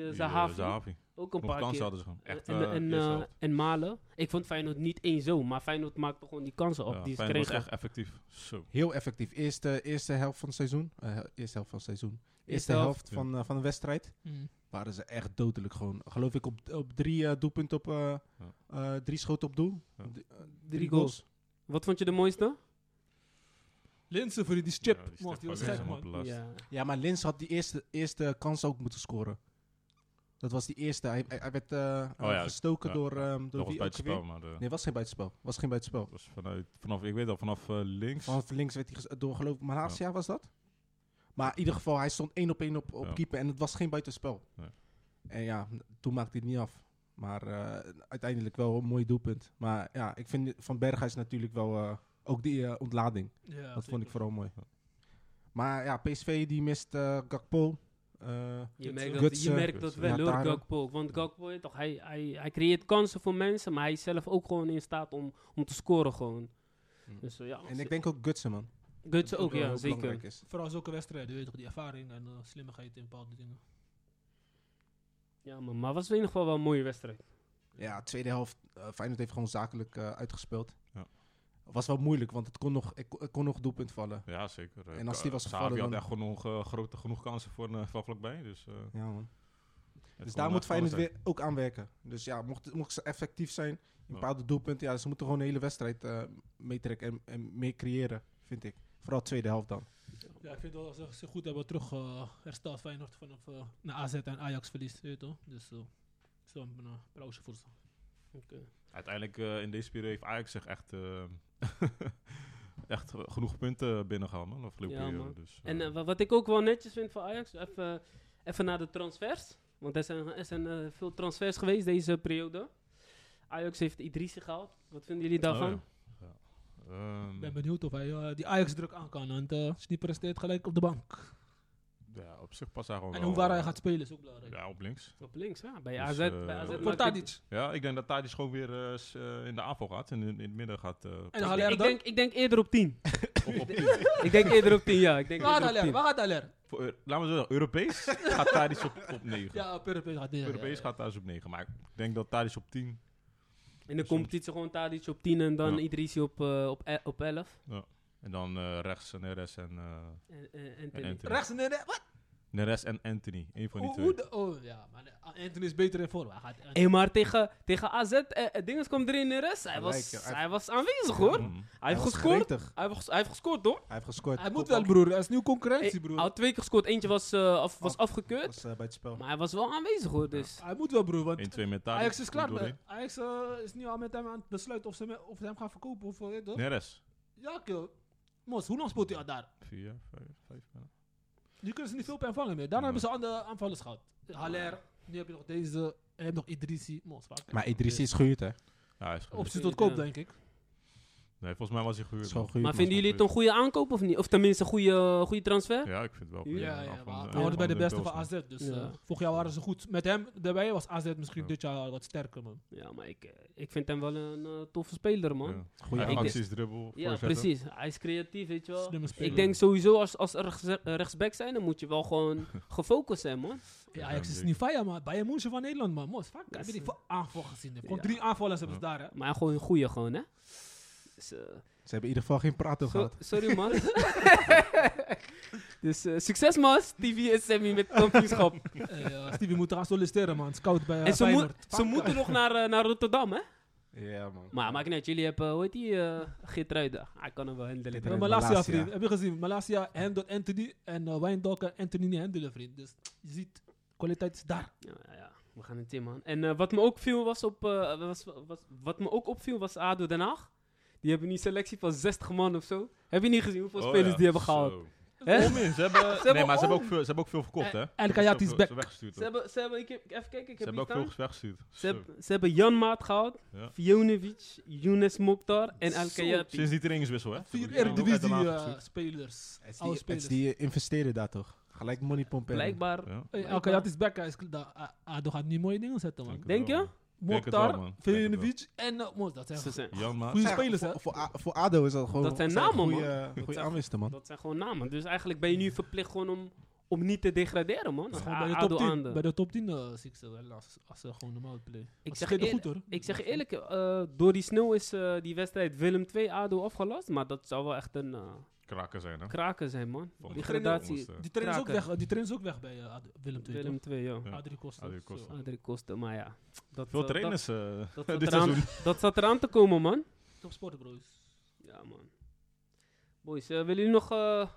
Speaker 2: Die, eh,
Speaker 1: Zahavi,
Speaker 2: Zahavi.
Speaker 1: ook een
Speaker 2: Nog
Speaker 1: paar
Speaker 2: kansen
Speaker 1: keer.
Speaker 2: hadden ze gewoon.
Speaker 1: Eh,
Speaker 2: Echt,
Speaker 1: en,
Speaker 2: eh,
Speaker 1: en,
Speaker 2: eerste
Speaker 1: eh,
Speaker 2: helft.
Speaker 1: en Malen. Ik vond Feyenoord niet één zo, maar Feyenoord maakte gewoon die kansen op
Speaker 2: Ja,
Speaker 1: die ze
Speaker 2: Feyenoord
Speaker 1: kregen.
Speaker 2: was echt effectief. Zo.
Speaker 3: heel effectief. Eerste, eerste helft van het seizoen. eh, eerste helft van het seizoen. Eerste,
Speaker 1: helft.
Speaker 3: helft van, eh, van de wedstrijd.
Speaker 4: Mm.
Speaker 3: Waren ze echt dodelijk gewoon. Geloof ik op, op drie eh, doelpunten op... eh,
Speaker 2: Ja.
Speaker 3: eh, drie schoten op doel.
Speaker 2: Ja.
Speaker 3: D- eh,
Speaker 1: Drie goals. Wat vond je de mooiste?
Speaker 4: Linsen voor die, die chip,
Speaker 2: Ja,
Speaker 4: mos,
Speaker 2: die
Speaker 4: die
Speaker 2: stip
Speaker 4: was
Speaker 2: was
Speaker 4: gek,
Speaker 2: helemaal
Speaker 4: man.
Speaker 2: belast.
Speaker 1: Ja.
Speaker 3: Ja, maar Lins had die eerste, eerste kans ook moeten scoren. Dat was die eerste. Hij, hij- hij werd eh,
Speaker 2: Oh ja,
Speaker 3: gestoken
Speaker 2: ja.
Speaker 3: door, ehm door
Speaker 2: Dat was
Speaker 3: wie ook
Speaker 2: buitenspel,
Speaker 3: weer?
Speaker 2: maar eh,
Speaker 3: Nee, was geen buitenspel. Was geen buitenspel.
Speaker 2: was vanuit, vanaf, ik weet al, vanaf eh, links.
Speaker 3: Vanaf links werd hij ges- doorgelopen. Maar Hasia was dat? Maar in ieder geval, hij stond één op één op, op
Speaker 2: Ja.
Speaker 3: keeper en het was geen buitenspel.
Speaker 2: Nee.
Speaker 3: En ja, n- toen maakte hij het niet af. Maar eh, uiteindelijk wel een mooi doelpunt. Maar ja, ik vind Van Berghuis natuurlijk wel eh, ook die eh, ontlading.
Speaker 4: Ja,
Speaker 3: dat vond ik
Speaker 4: zeker.
Speaker 3: vooral mooi.
Speaker 2: Ja.
Speaker 3: Maar ja, PSV die mist eh, Gakpo. Eh,
Speaker 1: Je
Speaker 4: Gutsen.
Speaker 1: merkt dat,
Speaker 3: Gutsen.
Speaker 1: je merkt dat
Speaker 2: Gutsen.
Speaker 1: wel hoor,
Speaker 3: Lautaro.
Speaker 1: Gakpo. Want Gakpo, je toch, hij, hij, hij creëert kansen voor mensen, maar hij is zelf ook gewoon in staat om, om te scoren gewoon.
Speaker 3: Hmm.
Speaker 1: Dus eh, ja,
Speaker 3: en ik denk ook Gutsen, man.
Speaker 1: Gutsen ook,
Speaker 3: wel
Speaker 1: ja,
Speaker 3: heel
Speaker 1: zeker.
Speaker 3: belangrijk is.
Speaker 4: Vooral zulke wedstrijden, weet je toch, die ervaring en eh, slimmigheid in bepaalde dingen.
Speaker 1: Ja, maar, maar was in ieder geval wel een mooie wedstrijd.
Speaker 3: Ja, tweede helft. eh, Feyenoord heeft gewoon zakelijk eh, uitgespeeld.
Speaker 2: Ja.
Speaker 3: Was wel moeilijk, want het kon nog, het kon- het kon nog doelpunt vallen.
Speaker 2: Ja, zeker. Eh,
Speaker 3: En als
Speaker 2: Ka-
Speaker 3: die was
Speaker 2: Xavi
Speaker 3: gevallen,
Speaker 2: had
Speaker 3: dan-
Speaker 2: echt gewoon nog eh, grote genoeg kansen voor een eh, van vlakbij. Dus, eh, het
Speaker 3: Ja, man. Dus
Speaker 2: kon
Speaker 3: daar
Speaker 2: echt
Speaker 3: moet Feyenoord
Speaker 2: alles
Speaker 3: weer ook aan werken. Dus ja, mocht, mocht ze effectief zijn in
Speaker 2: Ja.
Speaker 3: bepaalde doelpunten, ja, ze moeten gewoon de hele wedstrijd eh, meetrekken en, en mee creëren, vind ik. Vooral tweede helft dan.
Speaker 4: Ja, ik vind wel dat ze zich goed hebben terug eh, hersteld Feyenoord vanaf eh naar AZ en Ajax verlies, weet je toch? Dus eh, zo een eh, applausje voor ze.
Speaker 2: zijn. Uiteindelijk eh, in deze periode heeft Ajax zich echt, eh, [LAUGHS] echt eh, genoeg punten binnengehaald. man, de afgelopen
Speaker 1: Ja,
Speaker 2: periode.
Speaker 1: man.
Speaker 2: Dus, eh,
Speaker 1: En eh, wa- wat ik ook wel netjes vind van Ajax, even, even naar de transfers. Want er zijn, er zijn eh, veel transfers geweest deze periode. Ajax heeft Idrissi gehaald. Wat vinden jullie
Speaker 2: oh,
Speaker 1: daarvan?
Speaker 2: ja. Ja. Ehm,
Speaker 4: Ik ben benieuwd of hij eh, die Ajax-druk aan kan, want eh, als je niet presteert, gelijk op de bank.
Speaker 2: ja, op zich past hij gewoon
Speaker 4: En
Speaker 2: wel,
Speaker 4: hoe waar
Speaker 2: eh,
Speaker 4: hij gaat spelen is ook belangrijk.
Speaker 2: Ja, op links.
Speaker 1: Op links, ja. Bij
Speaker 2: Dus,
Speaker 1: AZ.
Speaker 2: eh,
Speaker 1: bij AZ
Speaker 2: Voor
Speaker 4: Voor
Speaker 1: maakt het-
Speaker 4: Tadic.
Speaker 2: Ja, ik denk dat Tadic gewoon weer eh, s- eh, in de aanval gaat. En in, in het midden gaat... eh,
Speaker 4: En
Speaker 1: Ik,
Speaker 4: Haller
Speaker 1: ik
Speaker 4: dan?
Speaker 1: denk, ik denk eerder op 10.
Speaker 2: op- op-
Speaker 1: [LAUGHS] ik denk eerder op 10, ja. Ik denk
Speaker 4: Waar gaat
Speaker 1: eerder
Speaker 4: Haller?
Speaker 1: op 10.
Speaker 4: Waar gaat Haller?
Speaker 2: Voor, eh, laten we zeggen,
Speaker 4: [LAUGHS]
Speaker 2: Europees gaat Tadic op, op 9.
Speaker 4: Ja, op Europees gaat hij.
Speaker 2: Europees gaat Tadic op 9. Maar ik denk dat Tadic op 10...
Speaker 1: In de competitie gewoon Tadic op 10 en dan
Speaker 2: Ja.
Speaker 1: Idrissi op, eh, op, e- op 11.
Speaker 2: En dan eh, rechts Neres en, eh,
Speaker 1: En, en, en
Speaker 2: en
Speaker 1: Anthony.
Speaker 2: Anthony.
Speaker 4: Rechts en nee, wat?
Speaker 2: Neres en Anthony. Eén van die
Speaker 4: Hoe-
Speaker 2: twee.
Speaker 4: hoe de- Oh ja, maar eh, Anthony is beter in vorm. Hij gaat
Speaker 1: Hé, maar tegen, tegen AZ, eh, eh, Dinges kwam erin in de rest. Hij was,
Speaker 3: Gelijk, ja.
Speaker 1: hij was aanwezig, hoor.
Speaker 2: Mm.
Speaker 1: Hij heeft
Speaker 3: was
Speaker 1: gescoord.
Speaker 3: gretig.
Speaker 1: Hij heeft, ges- hij heeft gescoord, hoor.
Speaker 3: Hij heeft gescoord.
Speaker 4: Hij moet wel,
Speaker 3: Kopbal.
Speaker 4: broer. Hij is nieuw concurrentie,
Speaker 1: Hij
Speaker 4: broer.
Speaker 1: had twee keer gescoord. Eentje was, eh, af, was
Speaker 3: Af-
Speaker 1: afgekeurd.
Speaker 3: was eh, bij het spel.
Speaker 1: Maar hij was wel aanwezig, hoor. Dus.
Speaker 4: Hij moet wel, broer. Want
Speaker 2: 1-2 met Tadic.
Speaker 4: Ajax is klaar.
Speaker 2: Goed
Speaker 4: met-
Speaker 2: doorheen.
Speaker 4: Ajax eh, is nu al met hem aan het besluiten of ze, me- of ze hem gaan verkopen. Of, weet je toch?
Speaker 2: Neres.
Speaker 4: Ja, kill. Mos, hoe lang speelt hij al daar?
Speaker 2: 4, 5, 5.
Speaker 4: Nu kunnen ze niet veel per vangen meer. Daarna
Speaker 2: Nee.
Speaker 4: hebben ze andere aanvallers gehad. Haller, nu heb je nog deze. En je hebt nog Idrissi. Mos, waar
Speaker 3: Maar Idrissi is gehuurd, hè?
Speaker 2: Ja, hij is goed.
Speaker 4: Optie tot koop, denk ik.
Speaker 2: Nee, volgens mij was hij
Speaker 3: Het is
Speaker 2: gehuurd.
Speaker 3: gewoon
Speaker 2: man.
Speaker 3: gehuurd.
Speaker 1: Maar vinden jullie het een goede aankoop of niet? Of tenminste een goede, eh, goede transfer?
Speaker 2: Ja, ik vind het wel
Speaker 1: Ja,
Speaker 2: goed.
Speaker 4: Ja,
Speaker 2: Af
Speaker 4: ja,
Speaker 2: van
Speaker 4: maar
Speaker 2: de-
Speaker 4: hij hoorde bij de beste van
Speaker 2: Bills, man.
Speaker 4: AZ. Dus
Speaker 1: Ja.
Speaker 4: eh, vorig jaar waren ze goed. Met hem daarbij was AZ misschien
Speaker 2: Ja.
Speaker 4: dit jaar wat sterker, man.
Speaker 1: Ja, maar ik, eh, ik vind hem wel een eh, toffe speler, man.
Speaker 2: Ja.
Speaker 3: goede
Speaker 2: Hij heeft
Speaker 1: Ik
Speaker 3: actie.
Speaker 1: denk-
Speaker 2: acties, dribbel,
Speaker 1: Ja,
Speaker 2: voorzetten.
Speaker 1: precies. Hij is creatief, weet je wel.
Speaker 4: Slimme speler.
Speaker 1: Ik denk sowieso als, als er rechts- eh, rechtsback zijn, dan moet je wel
Speaker 2: [LAUGHS]
Speaker 1: gewoon gefocust zijn, man.
Speaker 4: Ja, Ajax is niet fijn, maar Bayern München van Nederland, man. Mos, vaak heb je die
Speaker 1: Dus,
Speaker 4: aanval gezien. hè. Gewoon
Speaker 1: ja.
Speaker 4: drie aanvallers hebben ze daar, hè.
Speaker 1: Maar gewoon een goeie gewoon, hè? Dus, eh,
Speaker 3: Ze hebben in ieder geval geen prato
Speaker 1: so-
Speaker 3: gehad.
Speaker 1: sorry,
Speaker 2: [LAUGHS]
Speaker 1: man. dus eh, succes, Mas. TV en Sammy
Speaker 2: [LAUGHS]
Speaker 1: met kampioenschap.
Speaker 4: Eh, eh, Stevie moet gaan solliciteren, man. Scout bij eh,
Speaker 1: en ze, moet-
Speaker 4: Feyenoord.
Speaker 1: ze moeten nog naar, eh, naar Rotterdam, hè?
Speaker 3: Ja, man.
Speaker 1: Maar maakt niet uit, jullie hebben, hoe heet die, eh Geertruida. Hij kan hem wel handelen.
Speaker 4: Ja,
Speaker 3: Ja,
Speaker 4: Eh, Malasia,
Speaker 3: Malasia.
Speaker 4: vriend. Heb je gezien? Malasia handelt Anthony en uh, Wijndalk en Anthony niet handelen, vriend. Dus je ziet, kwaliteit is daar.
Speaker 1: Ja, ja, ja, we gaan het in, man. En eh, wat me ook viel was op, eh, was, was, wat me ook opviel was ADO Den Haag. Die hebben nu een selectie van 60 man of zo. Heb je niet gezien hoeveel
Speaker 2: Oh,
Speaker 1: spelers
Speaker 2: ja.
Speaker 1: die hebben gehaald?
Speaker 2: Zo.
Speaker 1: Hè?
Speaker 2: Om in, Ze hebben, nee,
Speaker 1: hebben
Speaker 2: maar ze hebben,
Speaker 1: om.
Speaker 2: ook veel, ze hebben ook veel verkocht, hè?
Speaker 4: en Kayati is
Speaker 2: Ze
Speaker 4: back.
Speaker 2: hebben weggestuurd.
Speaker 1: Ze
Speaker 2: ook.
Speaker 1: hebben, ze hebben, ik heb, even kijken, ik
Speaker 2: Ze
Speaker 1: heb
Speaker 2: hebben
Speaker 1: hier
Speaker 2: ook
Speaker 1: staan.
Speaker 2: veel weggestuurd.
Speaker 1: Ze,
Speaker 2: Zo.
Speaker 1: hebben- ze hebben Jan Maat gehaald,
Speaker 2: Ja.
Speaker 1: Vjonovic, Younes Mokhtar en El
Speaker 4: Zo.
Speaker 1: Kayati.
Speaker 2: Sinds die trainingswissel, hè?
Speaker 4: Vier
Speaker 2: Ja, ook uit de laag
Speaker 4: Eredivisie eh,
Speaker 2: gestuurd.
Speaker 4: spelers.
Speaker 3: Het
Speaker 4: Oude
Speaker 3: is die, het
Speaker 4: spelers.
Speaker 3: is die eh, investeren daar toch? Gelijk money pompen.
Speaker 1: Blijkbaar.
Speaker 2: Ja,
Speaker 4: Hey, Alcarat Eh, is back. Hij is klaar. Ah, Ado gaat nu mooie dingen zetten,
Speaker 2: denk
Speaker 4: man.
Speaker 2: het
Speaker 1: Denk
Speaker 2: wel,
Speaker 1: je?
Speaker 2: man. Denk het wel, man.
Speaker 4: Mokhtar,
Speaker 2: Denk het wel.
Speaker 4: Velinovic en eh, Moos. Dat zijn
Speaker 1: Ze zijn,
Speaker 2: Jan Maat.
Speaker 4: goede
Speaker 3: Ja,
Speaker 4: spelers, hè?
Speaker 3: voor, voor, A- voor ADO is dat gewoon...
Speaker 1: Dat zijn namen, man.
Speaker 3: Goede
Speaker 1: zijn-
Speaker 3: aanwisten, man.
Speaker 1: dat zijn gewoon namen. Dus eigenlijk ben je nu verplicht gewoon om, om niet te degraderen, man.
Speaker 4: Dat
Speaker 1: Als
Speaker 4: is gewoon bij de
Speaker 1: ADO
Speaker 4: top 10.
Speaker 1: Aande.
Speaker 4: Bij de top 10 eh, zie ik ze wel als, als ze gewoon normaal play.
Speaker 1: Ik
Speaker 4: Want
Speaker 1: zeg
Speaker 4: ze spelen
Speaker 1: eerlijk-
Speaker 4: goed hoor.
Speaker 1: Ik zeg je eerlijk, eh, door die sneeuw is eh, die wedstrijd Willem 2 ADO afgelast. Maar dat zou wel echt een eh
Speaker 2: Kraken zijn, hè?
Speaker 1: kraken zijn, man.
Speaker 2: Van
Speaker 1: Die
Speaker 2: de
Speaker 1: gradatie.
Speaker 2: onderste.
Speaker 4: Die trainer is ook
Speaker 1: kraken.
Speaker 4: weg, eh, die trainer is ook weg bij eh, Ad- Willem II.
Speaker 1: Willem 2, ja.
Speaker 2: Ja.
Speaker 4: toch? Adrie Costa.
Speaker 2: Adrie Costa.
Speaker 4: Zo.
Speaker 1: Andere kosten, maar ja. Dat,
Speaker 2: Veel
Speaker 1: eh,
Speaker 2: trainers [LAUGHS]
Speaker 1: dat,
Speaker 2: eh,
Speaker 1: dat,
Speaker 2: dit
Speaker 1: zat eraan,
Speaker 2: seizoen.
Speaker 1: dat zat eraan te komen, man.
Speaker 4: Eh, Top sporten, broers.
Speaker 1: Ja, man. Boys, eh, willen jullie nog eh,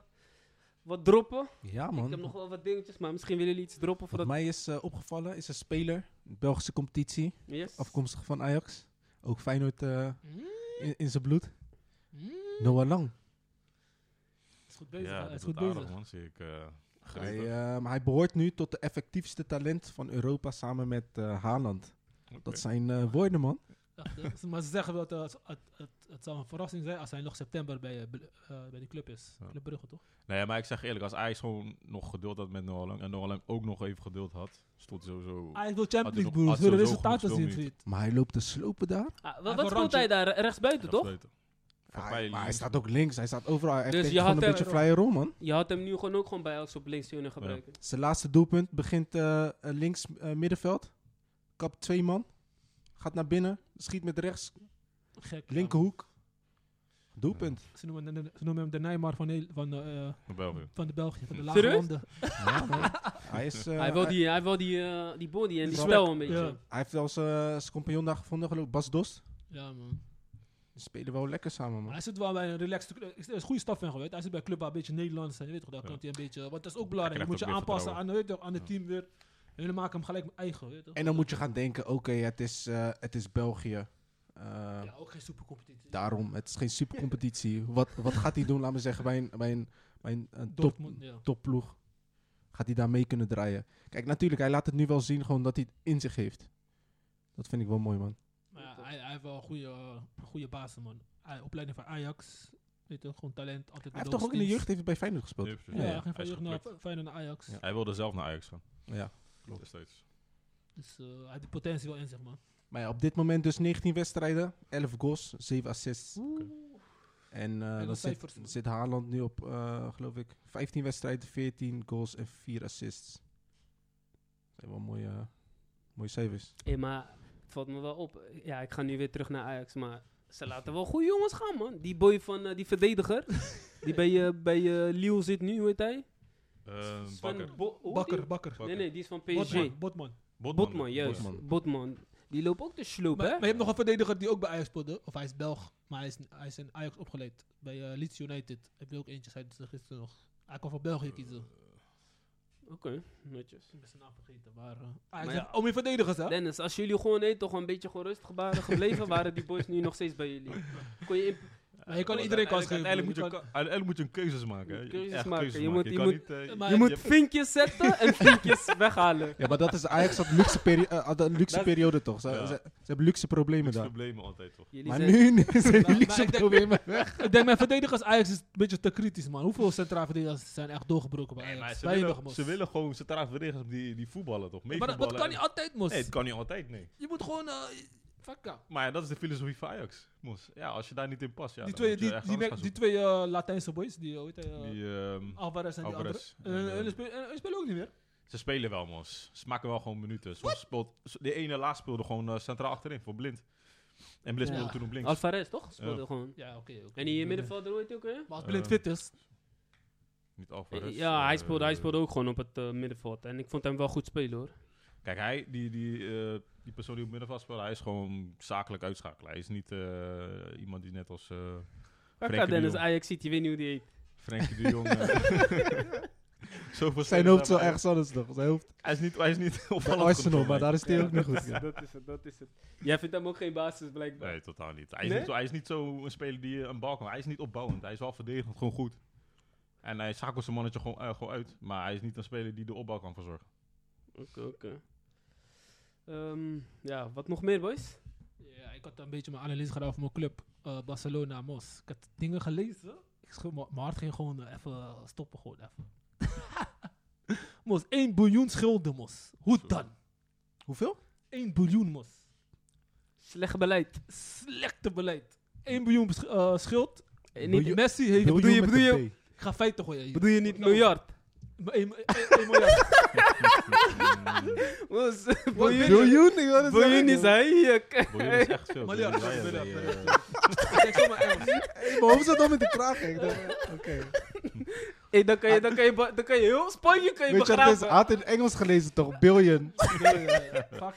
Speaker 1: wat droppen?
Speaker 3: Ja,
Speaker 1: Ik heb
Speaker 3: man.
Speaker 1: nog wel wat dingetjes, maar misschien willen jullie iets droppen voor
Speaker 3: Wat
Speaker 1: dat...
Speaker 3: mij is eh, opgevallen is een speler. Belgische competitie.
Speaker 1: Yes.
Speaker 3: Afkomstig van Ajax. Ook Feyenoord eh,
Speaker 1: Hmm.
Speaker 4: Mm,
Speaker 3: in, in zijn bloed.
Speaker 4: mm.
Speaker 3: Noah Lang.
Speaker 4: Is goed bezig.
Speaker 2: Ja,
Speaker 4: hè?
Speaker 2: dat
Speaker 4: Is
Speaker 2: is
Speaker 4: goed
Speaker 2: aardig,
Speaker 4: bezig.
Speaker 2: man. Zie ik. eh,
Speaker 3: Hij,
Speaker 2: gretig.
Speaker 3: eh, maar hij behoort nu tot de effectiefste talent van Europa samen met eh Haaland.
Speaker 2: Oké.
Speaker 3: Dat zijn eh, woorden, man.
Speaker 4: Ja, dat is- maar ze zeggen dat eh, het, het, het- het zou een verrassing zijn als hij nog september bij, eh, Bel- eh, bij die club is.
Speaker 2: Ja.
Speaker 4: Club Brugge, toch?
Speaker 2: Nee, maar ik zeg eerlijk, als Ajax gewoon nog geduld had met Noah Lang en Noah Lang ook nog even geduld had, stond hij sowieso...
Speaker 4: Hij wil Champions
Speaker 2: nog-
Speaker 4: League, broers.
Speaker 2: had
Speaker 4: Wil de
Speaker 2: sowieso
Speaker 4: resultaten
Speaker 2: goed
Speaker 4: zien,
Speaker 2: gespeeld
Speaker 4: vriend.
Speaker 3: Maar hij loopt te slopen daar.
Speaker 1: Ah, wa-
Speaker 4: Hij
Speaker 1: wat
Speaker 4: heeft een
Speaker 1: speelt hij
Speaker 4: randje.
Speaker 1: daar? Rechtsbuiten, toch?
Speaker 2: Absoluut.
Speaker 3: Ja,
Speaker 2: mij
Speaker 3: maar hij
Speaker 2: links.
Speaker 3: staat ook links. Hij staat overal. Hij
Speaker 1: Dus
Speaker 3: heeft
Speaker 1: je
Speaker 3: gewoon
Speaker 1: had
Speaker 3: een
Speaker 1: hem-
Speaker 3: beetje vrije rol, man.
Speaker 1: Je had hem nu gewoon ook gewoon bij als op links kunnen gebruiken.
Speaker 3: Zijn laatste doelpunt begint eh, eh, links eh, middenveld. Kap twee man. Gaat naar binnen. Schiet met rechts.
Speaker 4: Gek. ja.
Speaker 3: Linkerhoek. Doelpunt.
Speaker 4: Ze noemen, hem- ze noemen hem de Neymar van, heel- van, eh, eh,
Speaker 2: Naar België.
Speaker 4: van de België. Van de
Speaker 1: Serieus?
Speaker 4: lage landen.
Speaker 2: [LAUGHS]
Speaker 3: Ja, man.
Speaker 1: [LAUGHS]
Speaker 3: hij, is, eh,
Speaker 1: hij wil
Speaker 3: hij,
Speaker 1: die, hij wil die, eh, die body en die
Speaker 3: Die
Speaker 1: spel
Speaker 4: spek,
Speaker 1: een beetje.
Speaker 4: ja.
Speaker 3: hij heeft wel zijn eh, zijn compagnon daar gevonden, geloof ik. Bas Dost.
Speaker 4: Ja, man.
Speaker 3: Die spelen wel lekker samen,
Speaker 4: Maar
Speaker 3: man.
Speaker 4: hij zit wel bij een relaxed club. Er is goede staf van geweest. Hij zit bij een club waar een beetje Nederlands zijn. Weet je, toch, daar
Speaker 2: Ja.
Speaker 4: kan hij een beetje. Want dat is ook belangrijk. Je
Speaker 2: Hij
Speaker 4: moet
Speaker 2: krijgt
Speaker 4: je
Speaker 2: ook weer
Speaker 4: aanpassen aan,
Speaker 2: vertrouwen.
Speaker 4: weet je, toch, aan het
Speaker 2: Ja.
Speaker 4: team weer. En jullie maken hem gelijk eigen. Weet je, toch.
Speaker 3: En dan moet je gaan denken, oké, het, is, eh, het is België. Eh,
Speaker 4: ja, ook geen supercompetitie.
Speaker 3: Daarom, het is geen supercompetitie. wat, wat gaat hij doen, laat me zeggen, bij een, bij een, bij een, een eh, top,
Speaker 4: Dortmund, ja.
Speaker 3: topploeg? Gaat hij daar mee kunnen draaien? Kijk, natuurlijk, hij laat het nu wel zien gewoon dat hij het in zich heeft. Dat vind ik wel mooi, man.
Speaker 4: Maar ja, hij, hij heeft wel een goede, eh, goede basis, man. Hij, opleiding van Ajax. Weet je, gewoon talent. Altijd
Speaker 3: Hij heeft toch ook in de jeugd even bij Feyenoord gespeeld?
Speaker 2: Nee, precies.
Speaker 4: Ja,
Speaker 3: Ja,
Speaker 4: hij ging
Speaker 2: Hij
Speaker 4: van
Speaker 2: is
Speaker 4: jeugd naar
Speaker 2: geklukt.
Speaker 4: Feyenoord naar Ajax.
Speaker 3: Ja.
Speaker 2: Hij wilde zelf naar Ajax gaan.
Speaker 3: Ja.
Speaker 2: Klopt. Destijds.
Speaker 4: Dus eh, hij heeft de potentie wel in zich, man.
Speaker 3: Maar ja, op dit moment dus 19 wedstrijden, 11 goals, 7 assists. En eh,
Speaker 4: de
Speaker 3: dan zit,
Speaker 4: cijfers, man.
Speaker 3: zit Haaland nu op, eh, geloof ik, 15 wedstrijden, 14 goals en 4 assists. Dat zijn wel mooie, mooie cijfers.
Speaker 1: Hé, maar het valt me wel op. Ja, ik ga nu weer terug naar Ajax, maar ze laten wel goede jongens gaan, man. Die boy van, eh, die verdediger, die bij, eh, bij eh, Lille zit nu, hoe heet hij?
Speaker 2: Eh,
Speaker 1: Sven
Speaker 2: Bakker.
Speaker 1: Bo- hoe heet
Speaker 4: Bakker,
Speaker 1: die?
Speaker 4: bakker.
Speaker 1: Nee, nee, die is van PSG.
Speaker 4: Botman. Botman.
Speaker 1: Botman, juist.
Speaker 3: Botman.
Speaker 1: Botman. Die loopt ook te slopen,
Speaker 4: Maar,
Speaker 1: hè?
Speaker 4: maar je hebt nog een verdediger die ook bij Ajax speelde. Of hij is Belg, maar hij is, hij is in Ajax opgeleid. Bij eh, Leeds United heb je ook eentje, zei ze gisteren nog. Hij kan voor België kiezen.
Speaker 1: Oké, netjes.
Speaker 4: Ik ben zijn naam vergeten, maar... eh, Ajax
Speaker 1: Maar ja.
Speaker 4: heeft- Om je verdedigers, hè?
Speaker 1: Dennis, als jullie gewoon nee, toch een beetje gewoon rustig waren gebleven, waren die boys nu nog steeds bij jullie. Kon je in-
Speaker 4: Maar je kan iedereen kans geven.
Speaker 2: Oh, Uiteindelijk moet
Speaker 4: broer.
Speaker 2: je, ka- uiteindelijk moet je een keuzes maken. hè. Je moet
Speaker 1: Keuzes
Speaker 2: echt
Speaker 1: maken. Je
Speaker 2: Je,
Speaker 1: moet- je
Speaker 2: kan
Speaker 1: moet-
Speaker 2: niet... eh,
Speaker 4: Maar
Speaker 1: je
Speaker 4: je
Speaker 1: moet
Speaker 2: hebt-
Speaker 1: vinkjes zetten en
Speaker 4: [LAUGHS]
Speaker 1: vinkjes weghalen.
Speaker 3: Ja, maar dat is Ajax had luxe, peri- eh, had een luxe
Speaker 1: Dat-
Speaker 3: periode toch? Ze,
Speaker 2: Ja.
Speaker 3: ze, ze hebben luxe problemen daar.
Speaker 2: problemen altijd, toch?
Speaker 1: Jullie
Speaker 3: Maar
Speaker 1: zijn-
Speaker 3: nu, [LAUGHS] nu zijn
Speaker 4: maar
Speaker 3: die
Speaker 4: ik
Speaker 3: luxe
Speaker 4: denk-
Speaker 3: problemen weg.
Speaker 4: Ik denk, mijn verdedigers Ajax is een beetje te kritisch, man. Hoeveel centrale verdedigers zijn echt doorgebroken bij
Speaker 2: Nee, maar
Speaker 4: Ajax?
Speaker 2: ze,
Speaker 4: Weinig,
Speaker 2: willen,
Speaker 4: mos.
Speaker 2: ze willen gewoon centraal verdedigers die, die voetballen, toch?
Speaker 4: Maar dat- dat
Speaker 2: Meevoetballen
Speaker 4: kan
Speaker 2: en-
Speaker 4: niet altijd, mos.
Speaker 2: Nee, het kan niet altijd, nee.
Speaker 4: Je moet gewoon... eh, fuck up.
Speaker 2: Maar ja, dat is de filosofie van Ajax. Mos. Ja, als je daar niet in past, ja,
Speaker 4: die
Speaker 2: dan
Speaker 4: twee,
Speaker 2: moet je
Speaker 4: die,
Speaker 2: echt
Speaker 4: die,
Speaker 2: anders
Speaker 4: me-
Speaker 2: gaan
Speaker 4: die twee eh, Latijnse boys, die, hoe heet hij, eh,
Speaker 2: zoeken. Die, ehm,
Speaker 4: Alvarez en
Speaker 2: Alvarez.
Speaker 4: die andere. En,
Speaker 2: En,
Speaker 4: en,
Speaker 2: eh,
Speaker 4: die speel- en- en die spelen ook niet meer.
Speaker 2: Ze spelen wel, mos. Ze maken wel gewoon minuten. Soms speelt, de ene laatst speelde gewoon eh, centraal achterin voor blind. En blind
Speaker 4: Ja.
Speaker 2: speelde toen op links.
Speaker 1: Alvarez, toch? Speelde
Speaker 2: Ja.
Speaker 1: gewoon.
Speaker 4: Ja, oké. oké.
Speaker 1: En die in middenvelder, hoe heet hij ook weer?
Speaker 4: Maar als Blind
Speaker 2: Eh,
Speaker 4: fit is,
Speaker 2: Niet Alvarez.
Speaker 1: ja, hij
Speaker 2: eh,
Speaker 1: speelde, hij speelde ook gewoon op het eh, middenveld. En ik vond hem wel goed spelen hoor.
Speaker 2: Kijk, hij, die, die, eh, die persoon die op middenveld speelt, hij is gewoon zakelijk uitschakelen. Hij is niet eh, iemand die net als eh Frenkie
Speaker 1: Kaka
Speaker 2: de
Speaker 1: Dennis,
Speaker 2: Jong.
Speaker 1: Ajax City, weet niet hoe die
Speaker 2: [LAUGHS]
Speaker 1: heet.
Speaker 2: Frenkie de Jong... eh, Zoveel
Speaker 3: Zijn
Speaker 2: spelers
Speaker 3: hoofd is wel
Speaker 2: hebben.
Speaker 3: ergens anders nog. Zijn hoofd
Speaker 2: Hij is niet, hij is niet
Speaker 3: bij
Speaker 2: opvallend
Speaker 3: Arsenal,
Speaker 2: goed, man.
Speaker 3: maar daar is hij ook niet goed. ja.
Speaker 1: dat is het, dat is het. Jij vindt hem ook geen basis blijkbaar.
Speaker 2: Nee, totaal niet. Hij is,
Speaker 1: Nee?
Speaker 2: niet, zo, hij is niet zo een speler die eh, een bal kan. Hij is niet opbouwend. Hij is wel verdedigend, gewoon goed. En hij schakelt zijn mannetje gewoon, eh, gewoon uit. Maar hij is niet een speler die de opbouw kan verzorgen.
Speaker 1: Oké, oké. Ehm, ja, wat nog meer boys?
Speaker 4: Ja, ik had een beetje mijn analyse gedaan over mijn club, eh, Barcelona, Mos. Ik had dingen gelezen. Ik scho- mijn mijn hart ging gewoon eh, even stoppen, gewoon even. [LAUGHS] Mos, 1 biljoen schulden, mos. Hoe dan?
Speaker 3: Hoeveel?
Speaker 4: 1 biljoen, mos.
Speaker 1: Slecht beleid.
Speaker 4: Slechte beleid. 1 biljoen besch- eh, schuld.
Speaker 1: Eh, niet-
Speaker 3: Miljoen-
Speaker 4: Messi heeft...
Speaker 1: bedoel je- bedoel je-
Speaker 4: Ik ga feiten gooien hier.
Speaker 1: Bedoel je niet miljard?
Speaker 4: 1
Speaker 1: [LAUGHS]
Speaker 4: miljard.
Speaker 1: Mos,
Speaker 4: Biljoen?
Speaker 3: Miljoen? Ik wil het
Speaker 1: Biljoen is
Speaker 3: zeggen.
Speaker 1: hij.
Speaker 2: Miljoen is echt veel.
Speaker 4: Miljard.
Speaker 2: Miljoen is
Speaker 4: Miljard.
Speaker 2: echt
Speaker 4: Miljard.
Speaker 2: veel.
Speaker 4: Kijk, zeg maar Engels.
Speaker 3: Hey, maar Waarom zat dan met de kraag? hè? Ik dacht, Oké.
Speaker 1: Hey, dan, kan je, dan, kan je, ba- dan kan je heel Spanje kan je
Speaker 3: Weet je wat het is? Hij
Speaker 1: begraven.
Speaker 3: had in Engels gelezen toch? Billion.
Speaker 4: Fuck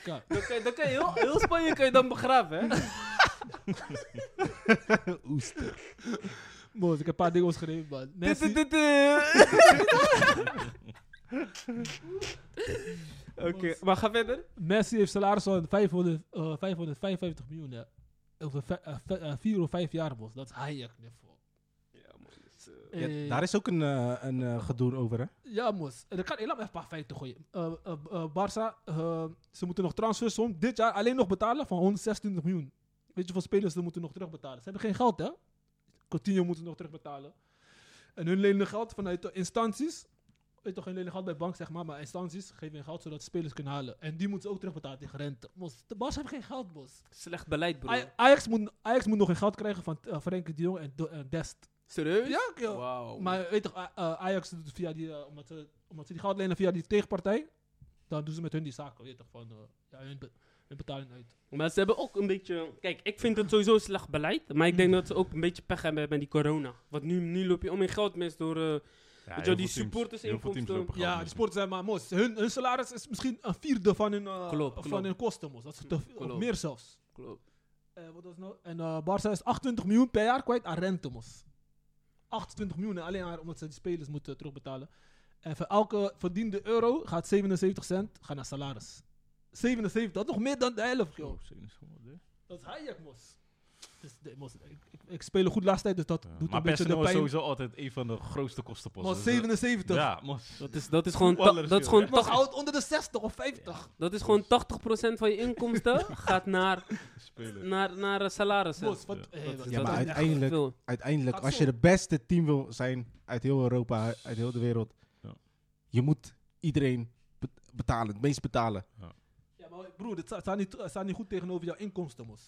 Speaker 4: up.
Speaker 1: Dan kan, je- dan kan je heel, heel Spanje kan je dan begraven, hè?
Speaker 4: Mos, ik heb een paar dingen geschreven, man.
Speaker 1: Dit,
Speaker 4: Messi,
Speaker 1: dit, dit, eh. [LAUGHS] Oké, maar ga verder.
Speaker 4: Messi heeft salaris van 500, eh, 555 miljoen. hè. Over eh, 4 of 5 jaar, mos. Dat is Hayek, niveau. Eh,
Speaker 3: daar is ook een, eh, een eh, gedoe over, hè?
Speaker 4: Ja, Mos. En dan kan Elam even een paar feiten gooien. Eh eh eh, Barça, eh, ze moeten nog transfersom dit jaar alleen nog betalen van 126 miljoen. Weet je hoeveel spelers ze moeten nog terugbetalen? Ze hebben geen geld, hè? Coutinho moeten nog terugbetalen. En hun lenen geld vanuit de instanties. Weet toch, hun lenen geld bij bank, zeg maar. Maar instanties geven hun geld zodat spelers kunnen halen. En die moeten ze ook terugbetalen tegen rente. Mos, de Barça hebben geen geld, Mos.
Speaker 1: Slecht beleid, bro.
Speaker 4: Aj- Ajax moet, Ajax moet nog een geld krijgen van eh, Frenkie de Jong en Do- en Dest.
Speaker 1: Serieus?
Speaker 4: Ja, joh.
Speaker 1: Wauw.
Speaker 4: Maar weet toch, A- eh, Ajax doet het via die, eh, omdat, ze, omdat ze die geld lenen via die tegenpartij, dan doen ze met hun die zaken, weet toch, van, eh, ja, hun, be- hun betaling uit.
Speaker 1: Maar ze hebben ook een beetje. Kijk, ik vind het sowieso slecht beleid. Maar ik denk dat ze ook een beetje pech hebben met die corona. Want nu, nu loop je om in geld mis door. eh,
Speaker 2: Ja,
Speaker 1: je,
Speaker 2: heel
Speaker 1: die
Speaker 2: veel teams-
Speaker 1: supportersinkomsten-
Speaker 2: heel veel teams
Speaker 4: ja,
Speaker 2: lopen gewoon eh.
Speaker 4: die
Speaker 2: mis.
Speaker 4: sporten zijn maar mos. Hun, hun salaris is misschien een vierde van hun, eh,
Speaker 1: Klopt,
Speaker 4: van
Speaker 1: klopt. Hm,
Speaker 4: hun kosten, mos. Dat is te veel, of
Speaker 1: Klopt.
Speaker 4: meer zelfs. Eh, wat was het nou? En eh Barça is 28 miljoen per jaar kwijt aan rente, mos. 28 miljoen alleen maar omdat ze die spelers moeten terugbetalen. En voor elke verdiende euro gaat 77 cent gaan naar salaris. 77, dat is nog meer dan de helft, joh.
Speaker 2: Oh, zenuw- wat, hè?
Speaker 4: Dat is Hayek, mos. Dus de, mos ik, ik, ik speel goed laatste tijd, dus dat
Speaker 2: Ja,
Speaker 4: doet
Speaker 2: maar
Speaker 4: een beetje de
Speaker 2: personeel
Speaker 4: pijn.
Speaker 2: is sowieso altijd een van de grootste kostenposten.
Speaker 4: mos,
Speaker 2: Dus, eh,
Speaker 4: 77.
Speaker 2: Ja, mos.
Speaker 1: Dat is, dat is gewoon, ta-
Speaker 2: Voetballers,
Speaker 1: dat is
Speaker 2: joh.
Speaker 1: gewoon,
Speaker 4: Mos
Speaker 1: tach-
Speaker 4: houdt onder de 60 of 50.
Speaker 1: dat is gewoon 80% van je inkomsten gaat naar,
Speaker 2: Spelen.
Speaker 1: naar, naar eh, salarissen.
Speaker 4: Mos, wat... eh, wat-
Speaker 1: Dat is-
Speaker 3: Ja,
Speaker 1: dat
Speaker 3: maar
Speaker 1: is echt
Speaker 3: uiteindelijk-
Speaker 1: veel.
Speaker 3: Uiteindelijk,
Speaker 4: Gaat
Speaker 3: als
Speaker 4: zo.
Speaker 3: je de beste team wil zijn uit heel Europa, uit heel de wereld,
Speaker 2: Ja.
Speaker 3: je moet iedereen be- betalen, het meest betalen.
Speaker 4: Ja, maar broer, dit sta- staat niet, eh, staat niet goed tegenover jouw inkomsten, mos.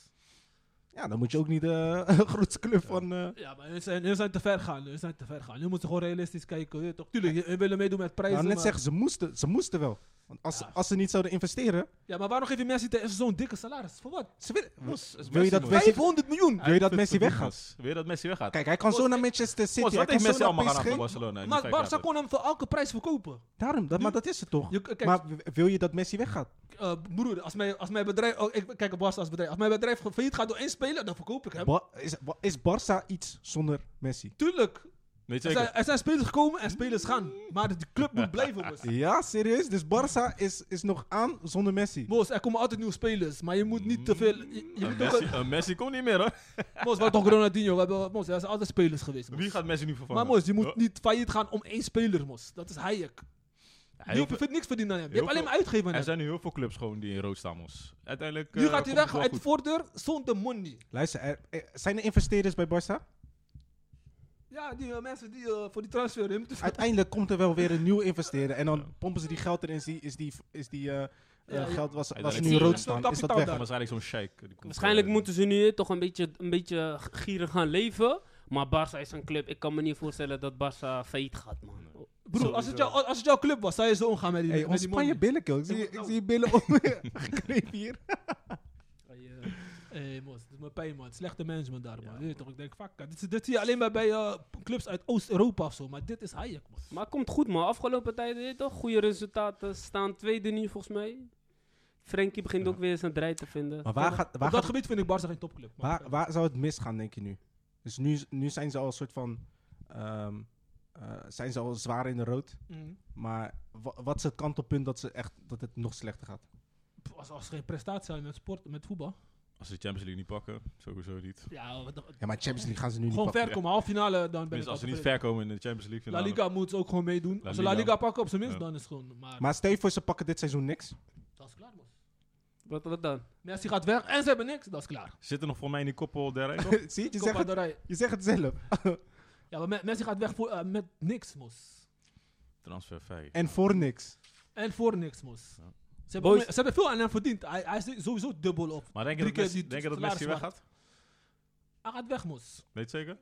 Speaker 3: Ja, dan moet je ook niet de grootste club van... eh,
Speaker 4: Ja, maar hun zijn, hun zijn te ver gaan. Hun zijn te ver gaan. Nu moeten ze gewoon realistisch kijken. weet je toch? Tuurlijk, hun willen meedoen met prijzen.
Speaker 3: nou, net
Speaker 4: maar-
Speaker 3: zeggen, ze moesten, ze moesten wel. Want als,
Speaker 4: Ja.
Speaker 3: als ze niet zouden investeren,
Speaker 4: Ja, maar waarom geef je Messi te- zo'n dikke salaris? Voor wat?
Speaker 3: ze willen-
Speaker 2: Mos, is
Speaker 3: wil je dat
Speaker 2: Messi,
Speaker 3: Messi-
Speaker 4: 500 miljoen!
Speaker 3: wil je dat
Speaker 2: Fit
Speaker 3: Messi
Speaker 2: verdienen,
Speaker 3: weggaat?
Speaker 2: mos. dus. Wil je dat Messi weggaat?
Speaker 3: Kijk, hij kan zo naar Manchester City,
Speaker 2: Mos,
Speaker 3: hij
Speaker 2: wat
Speaker 3: kan
Speaker 2: heeft
Speaker 3: zo
Speaker 2: Messi
Speaker 3: naar
Speaker 2: allemaal gedaan
Speaker 3: PSG.
Speaker 2: voor Barcelona? in die
Speaker 4: Maar
Speaker 2: vijf jaar dus.
Speaker 4: Barça kon hem voor elke prijs verkopen.
Speaker 3: Daarom, dat, maar dat is het toch?
Speaker 4: Je, kijk,
Speaker 3: maar w- wil je dat Messi weggaat?
Speaker 4: eh, broer, als mijn, als mijn bedrijf... Oh, ik kijk op Barça als bedrijf. Als mijn bedrijf ge- failliet gaat door één speler, dan verkoop ik hem.
Speaker 3: Ba- is, ba- is Barça iets zonder Messi?
Speaker 4: Tuurlijk.
Speaker 2: Weet je
Speaker 4: Er zijn,
Speaker 2: zeker?
Speaker 4: er zijn spelers gekomen en spelers gaan. Maar de club moet blijven,
Speaker 2: [LAUGHS]
Speaker 4: Mos.
Speaker 3: Ja, serieus? Dus Barça is, is nog aan zonder Messi.
Speaker 4: Mos, er komen altijd nieuwe spelers. Maar je moet niet te veel... Je, je
Speaker 2: Een
Speaker 4: moet
Speaker 2: Eh, Messi,
Speaker 4: ook...
Speaker 2: een Messi kon niet meer, hoor.
Speaker 4: Mos, we hadden toch Ronaldinho. We hebben, Mos, er zijn altijd spelers geweest, Mos.
Speaker 2: Wie gaat Messi nu vervangen? Oh,
Speaker 4: Maar Mos, je moet
Speaker 2: Ja,
Speaker 4: niet failliet gaan om één speler, Mos. Dat is Hayek.
Speaker 2: heel
Speaker 4: Je
Speaker 2: veel-
Speaker 4: hoeft niks verdiend aan hem. Je
Speaker 2: heel
Speaker 4: hebt alleen
Speaker 2: veel-
Speaker 4: maar uitgegeven aan
Speaker 2: Er
Speaker 4: hem.
Speaker 2: zijn nu heel veel clubs gewoon die in rood staan, mos. Uiteindelijk... eh,
Speaker 4: Nu gaat hij weg uit de
Speaker 2: voor.
Speaker 4: voordeur zonder money.
Speaker 3: Luister, er- er- zijn er investeerders bij Barça?
Speaker 4: Ja, die eh, mensen die eh, voor die transfer... die moeten-
Speaker 3: Uiteindelijk komt er wel weer een nieuw investeerder. En
Speaker 2: Ja.
Speaker 3: dan pompen ze die geld erin. Is die, is die, is die eh, eh,
Speaker 4: Ja, ja.
Speaker 3: geld was, was
Speaker 2: Uiteindelijk
Speaker 3: nu
Speaker 2: zie je
Speaker 3: rood
Speaker 2: dat
Speaker 3: staan, is dat
Speaker 4: kapitaal
Speaker 3: weg.
Speaker 4: daar.
Speaker 2: Waarschijnlijk zo'n sheik. die komt,
Speaker 1: Waarschijnlijk
Speaker 2: eh,
Speaker 1: moeten ze nu toch een beetje, een beetje gierig gaan leven. Maar Barça is een club. Ik kan me niet voorstellen dat Barça failliet gaat, man.
Speaker 4: Broer, als het, jou, als het jouw club was, zou je zo omgaan met die,
Speaker 3: Hey,
Speaker 4: met die
Speaker 3: ontspan je
Speaker 4: money.
Speaker 3: billen, kill. Ik zie, ik zie je billen om [LAUGHS] geknepen hier.
Speaker 4: Hé, hey, mos, Eh, dit is mijn pijn, man. Slechte management daar, man. Weet je toch? Ik denk, fuck, dit, is- dit zie je alleen maar bij eh, clubs uit Oost-Europa of zo. Maar dit is Hayek, man.
Speaker 1: Maar het komt goed, man. Afgelopen tijden, weet je toch? Goede resultaten. Staan tweede nu, volgens mij. Frenkie begint ook weer zijn draai te vinden.
Speaker 3: Maar waar, gaat, waar,
Speaker 4: Op dat
Speaker 3: gaat-
Speaker 4: gebied vind ik Barca geen topclub. man.
Speaker 3: waar, waar zou het misgaan, denk je nu? Dus nu, is- nu zijn ze al een soort van... ehm, eh, zijn ze al zwaar in de rood.
Speaker 4: Mm.
Speaker 3: Maar wa- wat is het kantelpunt dat, ze echt, dat het nog slechter gaat?
Speaker 4: Pff, Als, als er geen prestatie zijn met sport, met voetbal.
Speaker 2: Als ze de Champions League niet pakken, sowieso niet.
Speaker 4: Ja, wat, wat-
Speaker 3: Ja, maar Champions League gaan ze nu niet
Speaker 4: gewoon
Speaker 3: pakken.
Speaker 4: ver komen. Half finale, dan ben ik
Speaker 2: Tenminste, als ze
Speaker 4: al
Speaker 2: niet
Speaker 4: tevreden.
Speaker 2: ver komen in de Champions League
Speaker 4: La
Speaker 2: finale.
Speaker 4: Liga moet ze ook gewoon meedoen.
Speaker 2: La
Speaker 4: Als ze La
Speaker 2: Liga.
Speaker 4: Liga pakken, op zijn minst,
Speaker 2: Ja.
Speaker 4: dan is het gewoon... Maar,
Speaker 3: Maar stel je voor, ze pakken dit seizoen niks.
Speaker 4: dat is klaar, mos.
Speaker 1: Wat, wat dan?
Speaker 4: Messi gaat weg en ze hebben niks. Dat is klaar.
Speaker 2: Zitten nog voor mij in die koppel
Speaker 4: [LAUGHS]
Speaker 2: der Rijnhof?
Speaker 3: [LAUGHS] Zie je, je
Speaker 4: Copa
Speaker 3: zegt, het,
Speaker 4: del Rey.
Speaker 3: je zegt het zelf.
Speaker 4: Ja, maar Me- Messi gaat weg voor, eh, met niks, mos.
Speaker 2: Transfervrij.
Speaker 3: En voor niks.
Speaker 4: En voor niks, mos.
Speaker 2: Ja.
Speaker 4: Ze, hebben,
Speaker 1: Boys-
Speaker 4: ze hebben veel aan hem verdiend. Hij, hij is sowieso dubbel op.
Speaker 2: Maar denk je
Speaker 4: Drie keer
Speaker 2: dat Messi,
Speaker 4: die
Speaker 2: denk je dat
Speaker 4: salaris
Speaker 2: Messi
Speaker 4: waard.
Speaker 2: weggaat?
Speaker 4: Hij gaat weg, mos.
Speaker 2: Weet je zeker?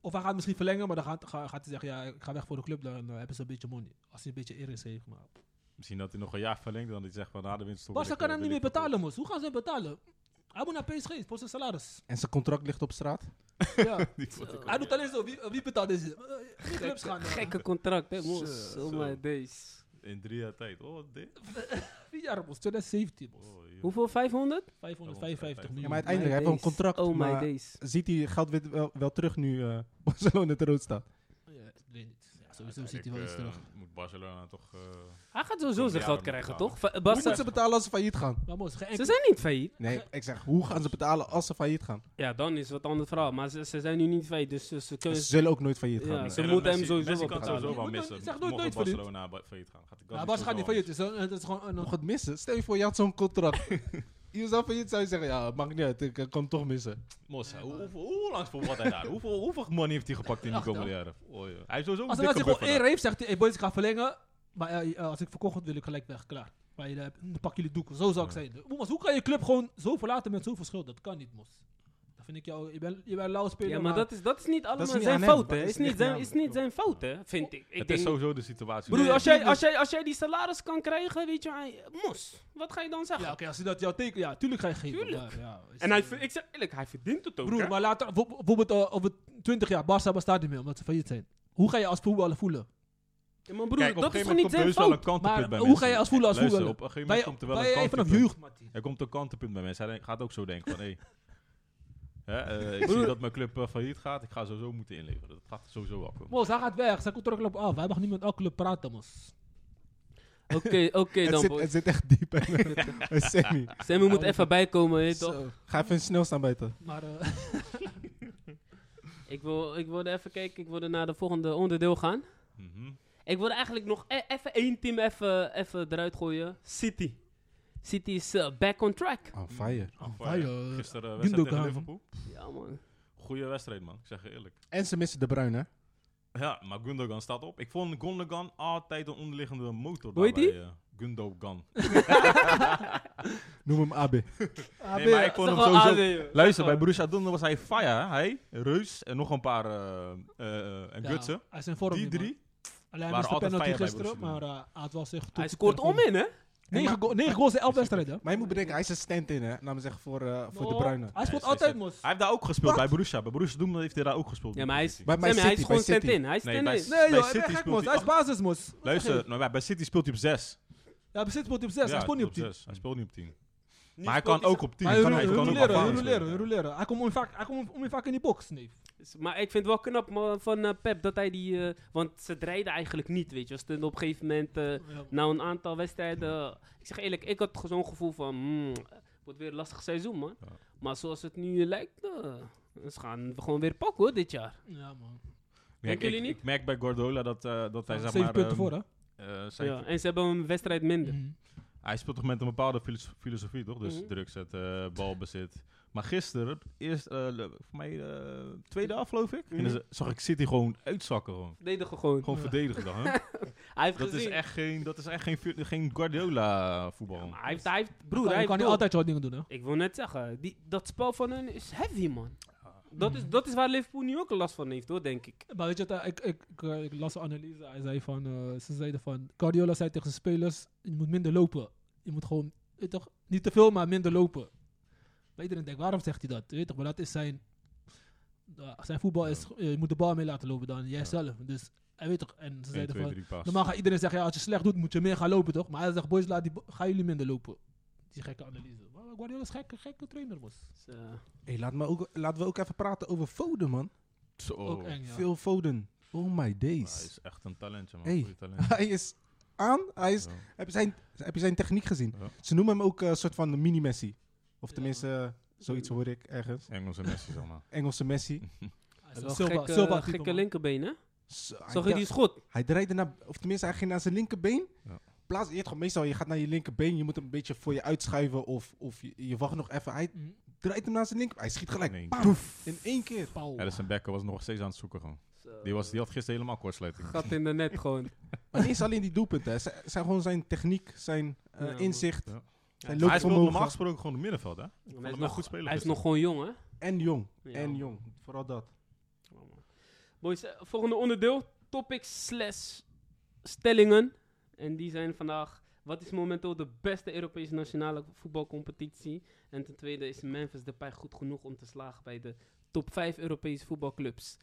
Speaker 4: Of hij gaat misschien verlengen, maar dan gaat, ga- gaat hij zeggen, ja, ik ga weg voor de club, dan eh, hebben ze een beetje money. Als hij een beetje eer heeft. Maar
Speaker 2: Misschien dat hij nog een jaar verlengt dan hij zegt van na de winst...
Speaker 4: Barca kan hem niet meer betalen, mos. Hoe gaan ze hem betalen? Hij moet naar PSG voor zijn salaris.
Speaker 3: [LAUGHS] En zijn contract ligt op straat.
Speaker 4: Ja.
Speaker 2: Niet wat ik
Speaker 4: Hij doet alleen zo, wie, wie betaalt deze? Eh, die clubs gaan. eh,
Speaker 1: Gekke contract, hè, mos.
Speaker 2: Zo,
Speaker 1: Oh
Speaker 2: zo.
Speaker 1: my days.
Speaker 2: In drie jaar tijd. Oh, dit.
Speaker 4: eh, Vier jaar, mos. 2017, mos.
Speaker 2: Oh, joh.
Speaker 1: Hoeveel? 500?
Speaker 4: 555
Speaker 2: Ja,
Speaker 4: miljoen.
Speaker 3: Ja, maar uiteindelijk, hij heeft wel een
Speaker 1: days.
Speaker 3: contract.
Speaker 1: Oh my
Speaker 3: maar
Speaker 1: days.
Speaker 3: ziet hij geld weer wel, wel terug nu eh, [LAUGHS] Barcelona te rood staat.
Speaker 4: Ja, ik weet niet. Ja, sowieso ziet hij wel iets terug.
Speaker 2: Uiteindelijk, eh, Moet Barcelona toch... eh,
Speaker 1: Hij gaat sowieso zijn
Speaker 2: Ja,
Speaker 1: geld
Speaker 2: dan
Speaker 1: krijgen,
Speaker 2: betalen.
Speaker 1: toch? Va-
Speaker 3: Hoe moeten
Speaker 1: Barca,
Speaker 3: ze betalen als ze failliet gaan?
Speaker 4: Maar mos, geen
Speaker 1: ze
Speaker 4: enkel...
Speaker 1: zijn niet failliet.
Speaker 3: Nee, ik zeg, hoe gaan ze betalen als ze failliet gaan?
Speaker 1: Ja, dan is het een ander verhaal. Maar ze, ze zijn nu niet failliet, dus ze, ze kunnen...
Speaker 3: Ze zullen ook nooit failliet
Speaker 1: Ja,
Speaker 3: gaan. dus.
Speaker 1: ze
Speaker 2: Ik denk
Speaker 1: moeten
Speaker 2: dat
Speaker 1: hem
Speaker 2: Messi-
Speaker 1: sowieso
Speaker 2: Messi
Speaker 1: wel
Speaker 2: kan
Speaker 1: betalen.
Speaker 2: sowieso wel
Speaker 4: Je moet-
Speaker 2: missen.
Speaker 4: zeg nooit-
Speaker 2: Mocht
Speaker 4: nooit verliet.
Speaker 2: Barcelona ba- failliet gaan. Gaat
Speaker 4: Ja, Barca gaat niet failliet. Het is een- het is gewoon een...
Speaker 3: Nog het missen? Stel je voor, je had zo'n [LAUGHS] contract. je zou failliet zou je zeggen, ja, maakt niet uit, ik eh, kan hem toch missen.
Speaker 2: Mos, hoe, hoe, hoe lang voor wat hij daar? Hoeveel, hoeveel money heeft hij gepakt in de
Speaker 4: Ach,
Speaker 2: komende
Speaker 4: ja.
Speaker 2: jaren? Oh, ja. Hij heeft sowieso een
Speaker 4: Als hij als hij
Speaker 2: dikke
Speaker 4: gewoon
Speaker 2: buffer
Speaker 4: één
Speaker 2: daar.
Speaker 4: heeft, zegt hij, hey boys, ik ga verlengen. Maar eh, eh, als ik verkocht word, wil ik gelijk weg. Klaar. Maar je, eh, dan pak jullie doeken. Zo zou ik
Speaker 2: Ja.
Speaker 4: zijn. Mos, hoe kan je club gewoon zo verlaten met zoveel schuld? Dat kan niet, Mos. Dat vind ik jou... Je bent, je bent een lauwe speler,
Speaker 1: Ja, maar dat is, dat is niet allemaal
Speaker 3: niet aan
Speaker 1: zijn
Speaker 3: hem.
Speaker 1: fout,
Speaker 3: Dat
Speaker 1: hè.
Speaker 3: is
Speaker 1: Is
Speaker 3: niet
Speaker 1: niet zijn,
Speaker 3: aan
Speaker 1: is
Speaker 3: hem.
Speaker 1: niet zijn fout, hè, vind ik. ik
Speaker 2: Het is
Speaker 1: denk,
Speaker 2: sowieso de situatie.
Speaker 1: broer,
Speaker 4: Nee,
Speaker 1: als jij,
Speaker 4: tuurlijk.
Speaker 1: als, jij, als jij die salaris kan krijgen, weet je, hij- mos. Wat ga je dan
Speaker 4: Ja,
Speaker 1: zeggen?
Speaker 4: oké, als hij dat jou teken... Ja, tuurlijk ga je geven.
Speaker 1: Tuurlijk.
Speaker 4: maar ja, is-
Speaker 1: En hij, ver- ik zeg eerlijk, hij verdient het ook, hè.
Speaker 4: Broer, maar later, bijvo- bijvoorbeeld eh, over 20 jaar, Barca bestaat niet meer omdat ze failliet zijn. Hoe ga je als voetballer voelen?
Speaker 1: Ja, maar broer,
Speaker 2: Kijk, op een
Speaker 1: dat is
Speaker 2: gegeven
Speaker 1: toch niet
Speaker 2: moment komt er
Speaker 1: zijn
Speaker 2: heus wel een
Speaker 1: fout?
Speaker 2: kantenpunt
Speaker 4: Maar
Speaker 2: bij
Speaker 4: hoe
Speaker 2: mensen.
Speaker 4: ga je als voetballer als
Speaker 2: Luister,
Speaker 4: voetballer?
Speaker 2: op een gegeven
Speaker 4: Wij
Speaker 2: moment komt er wel een
Speaker 4: wij vanaf
Speaker 2: kantenpunt.
Speaker 4: jeugd, Martin.
Speaker 2: Er komt een kantenpunt bij mensen. Hij denkt- gaat ook zo denken van,
Speaker 1: [LAUGHS]
Speaker 2: hé... Hè, eh, ik zie
Speaker 1: Broer.
Speaker 2: dat mijn club eh, failliet gaat. Ik ga sowieso moeten inleveren. Dat gaat sowieso wel komen.
Speaker 4: Mos, hij gaat weg. Zijn contract loopt af. Hij mag niet met elke club praten, Mos.
Speaker 1: Oké, [LAUGHS] oké
Speaker 3: het,
Speaker 1: dan,
Speaker 3: zit,
Speaker 1: boys.
Speaker 3: het zit echt diep bij
Speaker 1: [LAUGHS]
Speaker 3: bij Sammy.
Speaker 1: Sammy moet even bijkomen, weet je toch?
Speaker 3: Zo. Ga even snel staan buiten.
Speaker 4: Maar eh,
Speaker 1: Ik, wil, ik wilde even kijken, ik wilde naar de volgende onderdeel gaan.
Speaker 2: Mhm.
Speaker 1: Ik wilde eigenlijk nog e- even één team even, even eruit gooien. City. City is eh, back on track.
Speaker 3: Oh, fire.
Speaker 4: Oh,
Speaker 2: Fire.
Speaker 4: fire.
Speaker 2: Gisteren eh, wedstrijd tegen
Speaker 4: Gundogan.
Speaker 2: Liverpool.
Speaker 1: Ja, man.
Speaker 2: Goeie wedstrijd, man. Ik zeg je eerlijk.
Speaker 3: En ze missen De Bruyne. hè?
Speaker 2: Ja, maar Gundogan staat op. Ik vond Gundogan altijd een onderliggende motor.
Speaker 1: Hoe heet
Speaker 2: daarbij, eh, Gundogan.
Speaker 3: Noem hem AB.
Speaker 2: Nee, maar ik vond hem
Speaker 1: ah,
Speaker 2: sowieso... Luister, bij
Speaker 1: broer.
Speaker 2: Borussia Dortmund was hij fire. hè? Hij, Reus en nog een paar... eh, eh,
Speaker 4: [LAUGHS]
Speaker 2: en
Speaker 4: ja,
Speaker 2: Gutsen.
Speaker 4: Hij is in vorm.
Speaker 2: Die
Speaker 4: niet, man.
Speaker 2: drie.
Speaker 4: Alleen hij
Speaker 2: waren
Speaker 4: mist de
Speaker 2: altijd
Speaker 4: penalty
Speaker 2: fire bij
Speaker 4: gisteren,
Speaker 2: Borussia
Speaker 4: maar eh, hij had wel zich...
Speaker 1: Hij scoort om in, hè?
Speaker 4: 9 goals in 11 wedstrijden.
Speaker 3: Maar je moet bedenken, hij is een stand-in, hè? Laten we zeggen, voor, eh, voor De Bruyne.
Speaker 4: Hij scoort
Speaker 2: Hij is-
Speaker 4: altijd, Mos.
Speaker 2: Hij heeft daar ook gespeeld bij Borussia. Bij Borussia Dortmund heeft hij daar ook gespeeld.
Speaker 1: Ja, maar hij is,
Speaker 2: City.
Speaker 3: Bij- bij
Speaker 1: Sammy, hij is
Speaker 3: City,
Speaker 1: gewoon
Speaker 3: bij City.
Speaker 1: stand-in. Hij is
Speaker 2: Nee,
Speaker 1: stand-in.
Speaker 2: bij-
Speaker 4: Nee, joh,
Speaker 2: City
Speaker 4: hij bent gek,
Speaker 2: speelt
Speaker 4: Mos.
Speaker 2: hij
Speaker 4: Hij is basis, Mos.
Speaker 2: Luister, nou, bij- bij City speelt hij op 6.
Speaker 4: Ja, bezit wordt op 6. Hij scoort niet op 10.
Speaker 2: Hij speelt niet op 10.
Speaker 1: Nu
Speaker 2: Maar hij
Speaker 1: speelt
Speaker 2: kan ook op 10.
Speaker 4: Maar
Speaker 2: Hij
Speaker 4: hij
Speaker 2: kan ook op
Speaker 4: roleren, hij
Speaker 2: aanvallen
Speaker 4: roleren, hij
Speaker 2: spelen.
Speaker 4: roleren. Hij komt om je vaak- hij komt om je vaak in die box, nee.
Speaker 1: S- Maar ik vind het wel knap man, van eh, Pep dat hij die... eh, want ze dreiden eigenlijk niet, weet je. Als het op een gegeven moment... eh, na een aantal wedstrijden... eh, ik zeg eerlijk, ik had zo'n gevoel van... hmm, wordt weer een lastig seizoen, man.
Speaker 2: Ja.
Speaker 1: Maar zoals het nu eh, lijkt... eh, ze gaan we gewoon weer pakken, hoor, dit jaar.
Speaker 4: Ja, man.
Speaker 2: Kijk,
Speaker 1: Denken
Speaker 2: ik-
Speaker 1: jullie niet?
Speaker 2: Ik merk bij Guardiola dat, eh, dat hij zeg
Speaker 4: Zeven
Speaker 2: maar...
Speaker 4: punten
Speaker 2: ehm,
Speaker 4: voor, hè?
Speaker 2: eh, zeven-
Speaker 1: Ja, en ze hebben een wedstrijd minder.
Speaker 4: Mhm.
Speaker 2: Hij speelt toch met een bepaalde filos- filosofie, toch? Dus
Speaker 1: Mhm.
Speaker 2: druk zetten, balbezit. Maar gisteren, eerst, eh, le- voor mij eh, tweede af, geloof ik,
Speaker 1: Mhm.
Speaker 2: en dan z- zag ik City gewoon uitzakken. Gewoon,
Speaker 1: Verdedigen gewoon.
Speaker 2: gewoon
Speaker 4: Ja.
Speaker 2: verdedigen dan,
Speaker 4: [LAUGHS]
Speaker 2: hè?
Speaker 1: Hij heeft
Speaker 2: Dat is
Speaker 1: gezien.
Speaker 2: echt geen, dat is echt geen, vu- geen Guardiola
Speaker 1: Ja,
Speaker 2: voetbal.
Speaker 1: maar hij heeft, hij heeft, broer,
Speaker 4: Kan- je kan
Speaker 1: hij heeft
Speaker 4: niet
Speaker 1: door.
Speaker 4: altijd jouw dingen doen, hè?
Speaker 1: Ik wil net zeggen, die, dat spel van hun is heavy, man. Dat is, dat is waar Liverpool nu ook last van heeft, hoor, denk ik.
Speaker 4: Maar weet je, wat, eh, ik, ik, ik, eh, ik las een analyse. Hij zei van, eh, ze zeiden van, Guardiola zei tegen zijn spelers, je moet minder lopen. Je moet gewoon, weet je toch, niet te veel, maar minder lopen. Maar iedereen denkt, waarom zegt hij dat? Weet je toch, maar dat is zijn, ja, zijn voetbal is, eh, je moet de bal mee laten lopen dan jijzelf. Dus, hij weet toch, en ze
Speaker 2: 1,
Speaker 4: zeiden
Speaker 2: 2,
Speaker 4: van,
Speaker 2: 3 pas.
Speaker 4: normaal gaat iedereen zeggen, ja, als je slecht doet, moet je meer gaan lopen, toch? Maar hij zegt, boys, laat die, bo- gaan jullie minder lopen. Die gekke analyse. Maar Guardiola is een gekke, gekke trainer, was.
Speaker 1: Dus, eh,
Speaker 3: Hey, laat me ook, laten we ook even praten over Foden, man.
Speaker 2: Zo.
Speaker 4: Ook
Speaker 2: Maar
Speaker 4: eng, ja.
Speaker 3: Phil Foden. Oh my
Speaker 2: Hij
Speaker 3: days.
Speaker 2: is echt een talentje, man.
Speaker 3: Hey.
Speaker 2: Goeie talent.
Speaker 3: Hij is aan. Hij is,
Speaker 2: Ja.
Speaker 3: heb, je zijn, heb je zijn techniek gezien?
Speaker 2: Ja.
Speaker 3: Ze noemen hem ook eh, een soort van de mini-Messi. Of
Speaker 4: Ja.
Speaker 3: tenminste, eh, zoiets hoor ik ergens.
Speaker 2: Engelse Messi, zeg [LAUGHS] maar.
Speaker 3: Engelse Messi.
Speaker 4: Hij
Speaker 1: hij
Speaker 4: is
Speaker 1: is
Speaker 4: een
Speaker 1: wel
Speaker 4: Silva-
Speaker 1: gekke, eh,
Speaker 4: Silva-type,
Speaker 1: gekke
Speaker 4: man.
Speaker 1: linkerbeen,
Speaker 2: Ah,
Speaker 1: hè?
Speaker 3: Zo, hij
Speaker 1: Zag je
Speaker 3: da-
Speaker 1: die schot?
Speaker 3: Hij draaide naar, of tenminste, hij ging naar zijn linkerbeen.
Speaker 2: Ja.
Speaker 3: Plaats, je, weet gewoon, meestal, je gaat naar je linkerbeen, je moet hem een beetje voor je uitschuiven of, of je, je wacht nog even. Hij
Speaker 4: Mhm.
Speaker 3: draait hem naar zijn linker, hij schiet gelijk.
Speaker 2: Nee.
Speaker 3: Bam! in één keer.
Speaker 4: Pauw.
Speaker 2: Ja, dus zijn bekken was nog steeds aan het zoeken, gewoon.
Speaker 1: Zo. eh,
Speaker 2: Die, was, die had gisteren helemaal kortsluiting.
Speaker 1: gat in de net gewoon.
Speaker 3: Maar niet eens alleen die doelpunten. hè. Z- Zijn gewoon zijn techniek, zijn eh,
Speaker 1: Ja,
Speaker 3: inzicht,
Speaker 2: man. Ja.
Speaker 3: zijn
Speaker 2: Maar hij speelt
Speaker 3: loopvermogen.
Speaker 2: normaal gesproken gewoon op middenveld, hè? Ik vond
Speaker 1: Hij is,
Speaker 2: hem
Speaker 1: nog,
Speaker 2: echt goed spelen
Speaker 1: hij is
Speaker 2: gisteren.
Speaker 1: nog gewoon jong, hè?
Speaker 3: En jong.
Speaker 1: Ja,
Speaker 3: En
Speaker 1: man.
Speaker 3: jong. Vooral dat.
Speaker 1: Oh, man. Boys, eh, volgende onderdeel. Topics slash stellingen. En die zijn vandaag... Wat is momenteel de beste Europese nationale voetbalcompetitie? En ten tweede is Memphis Depay goed genoeg om te slagen bij de top 5 Europese voetbalclubs.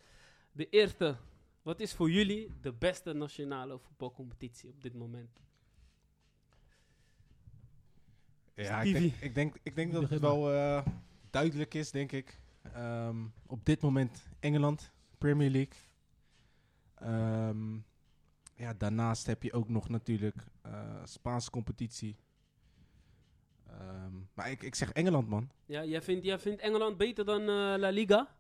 Speaker 1: De eerste. Wat is voor jullie de beste nationale voetbalcompetitie op dit moment?
Speaker 3: Ja, ik denk,
Speaker 1: Stevie.
Speaker 3: ik, denk, ik denk dat
Speaker 4: Begin
Speaker 3: het wel eh, duidelijk is, denk ik. Ehm, op dit moment Engeland, Premier League. Ehm, ja, daarnaast heb je ook nog natuurlijk eh, Spaanse competitie. Ehm, maar ik, ik zeg Engeland, man.
Speaker 1: Ja, jij vindt, jij vindt Engeland beter dan eh, La Liga?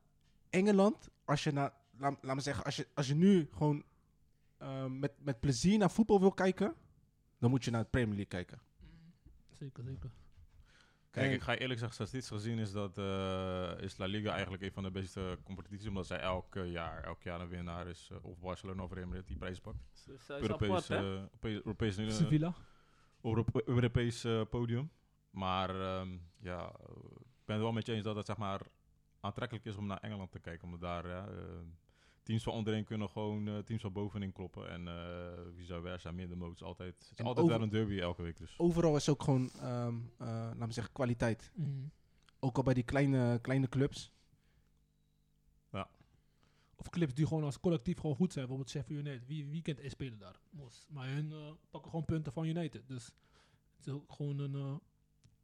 Speaker 3: Engeland, als je naar, laat, laat me zeggen, als je, als je nu gewoon ehm, met, met plezier naar voetbal wil kijken, dan moet je naar de Premier League kijken.
Speaker 4: Zeker, zeker.
Speaker 2: Kijk,
Speaker 3: En-
Speaker 2: ik ga je eerlijk zeggen, statistisch gezien is, dat, eh, is La Liga eigenlijk een van de beste competities. Omdat zij elk eh, jaar, elk jaar een winnaar is. eh, of Barcelona of Real Madrid die prijs pakt.
Speaker 1: Ze- ze- is apart,
Speaker 2: Europees,
Speaker 1: hè?
Speaker 2: eh, Europees, Europees, eh,
Speaker 4: Sevilla.
Speaker 2: Europe- Europees eh, podium. Maar ehm, ja, eh, ik ben het wel met je eens dat het zeg maar, aantrekkelijk is om naar Engeland te kijken. Omdat daar ja, eh, teams van onderin kunnen gewoon eh, teams van bovenin kloppen. En eh vice versa, middenmoot is altijd, het is
Speaker 3: En
Speaker 2: altijd wel
Speaker 3: over-
Speaker 2: een derby elke week. Dus.
Speaker 3: Overal is ook gewoon, ehm eh, laat me zeggen, kwaliteit.
Speaker 4: Mm.
Speaker 3: Ook al bij die kleine, kleine clubs.
Speaker 4: Of clips die gewoon als collectief gewoon goed zijn. Bijvoorbeeld Sheffield United. Wie, wie kent en spelen daar? Mos. Maar hun eh, pakken gewoon punten van United. Dus het is ook gewoon een, eh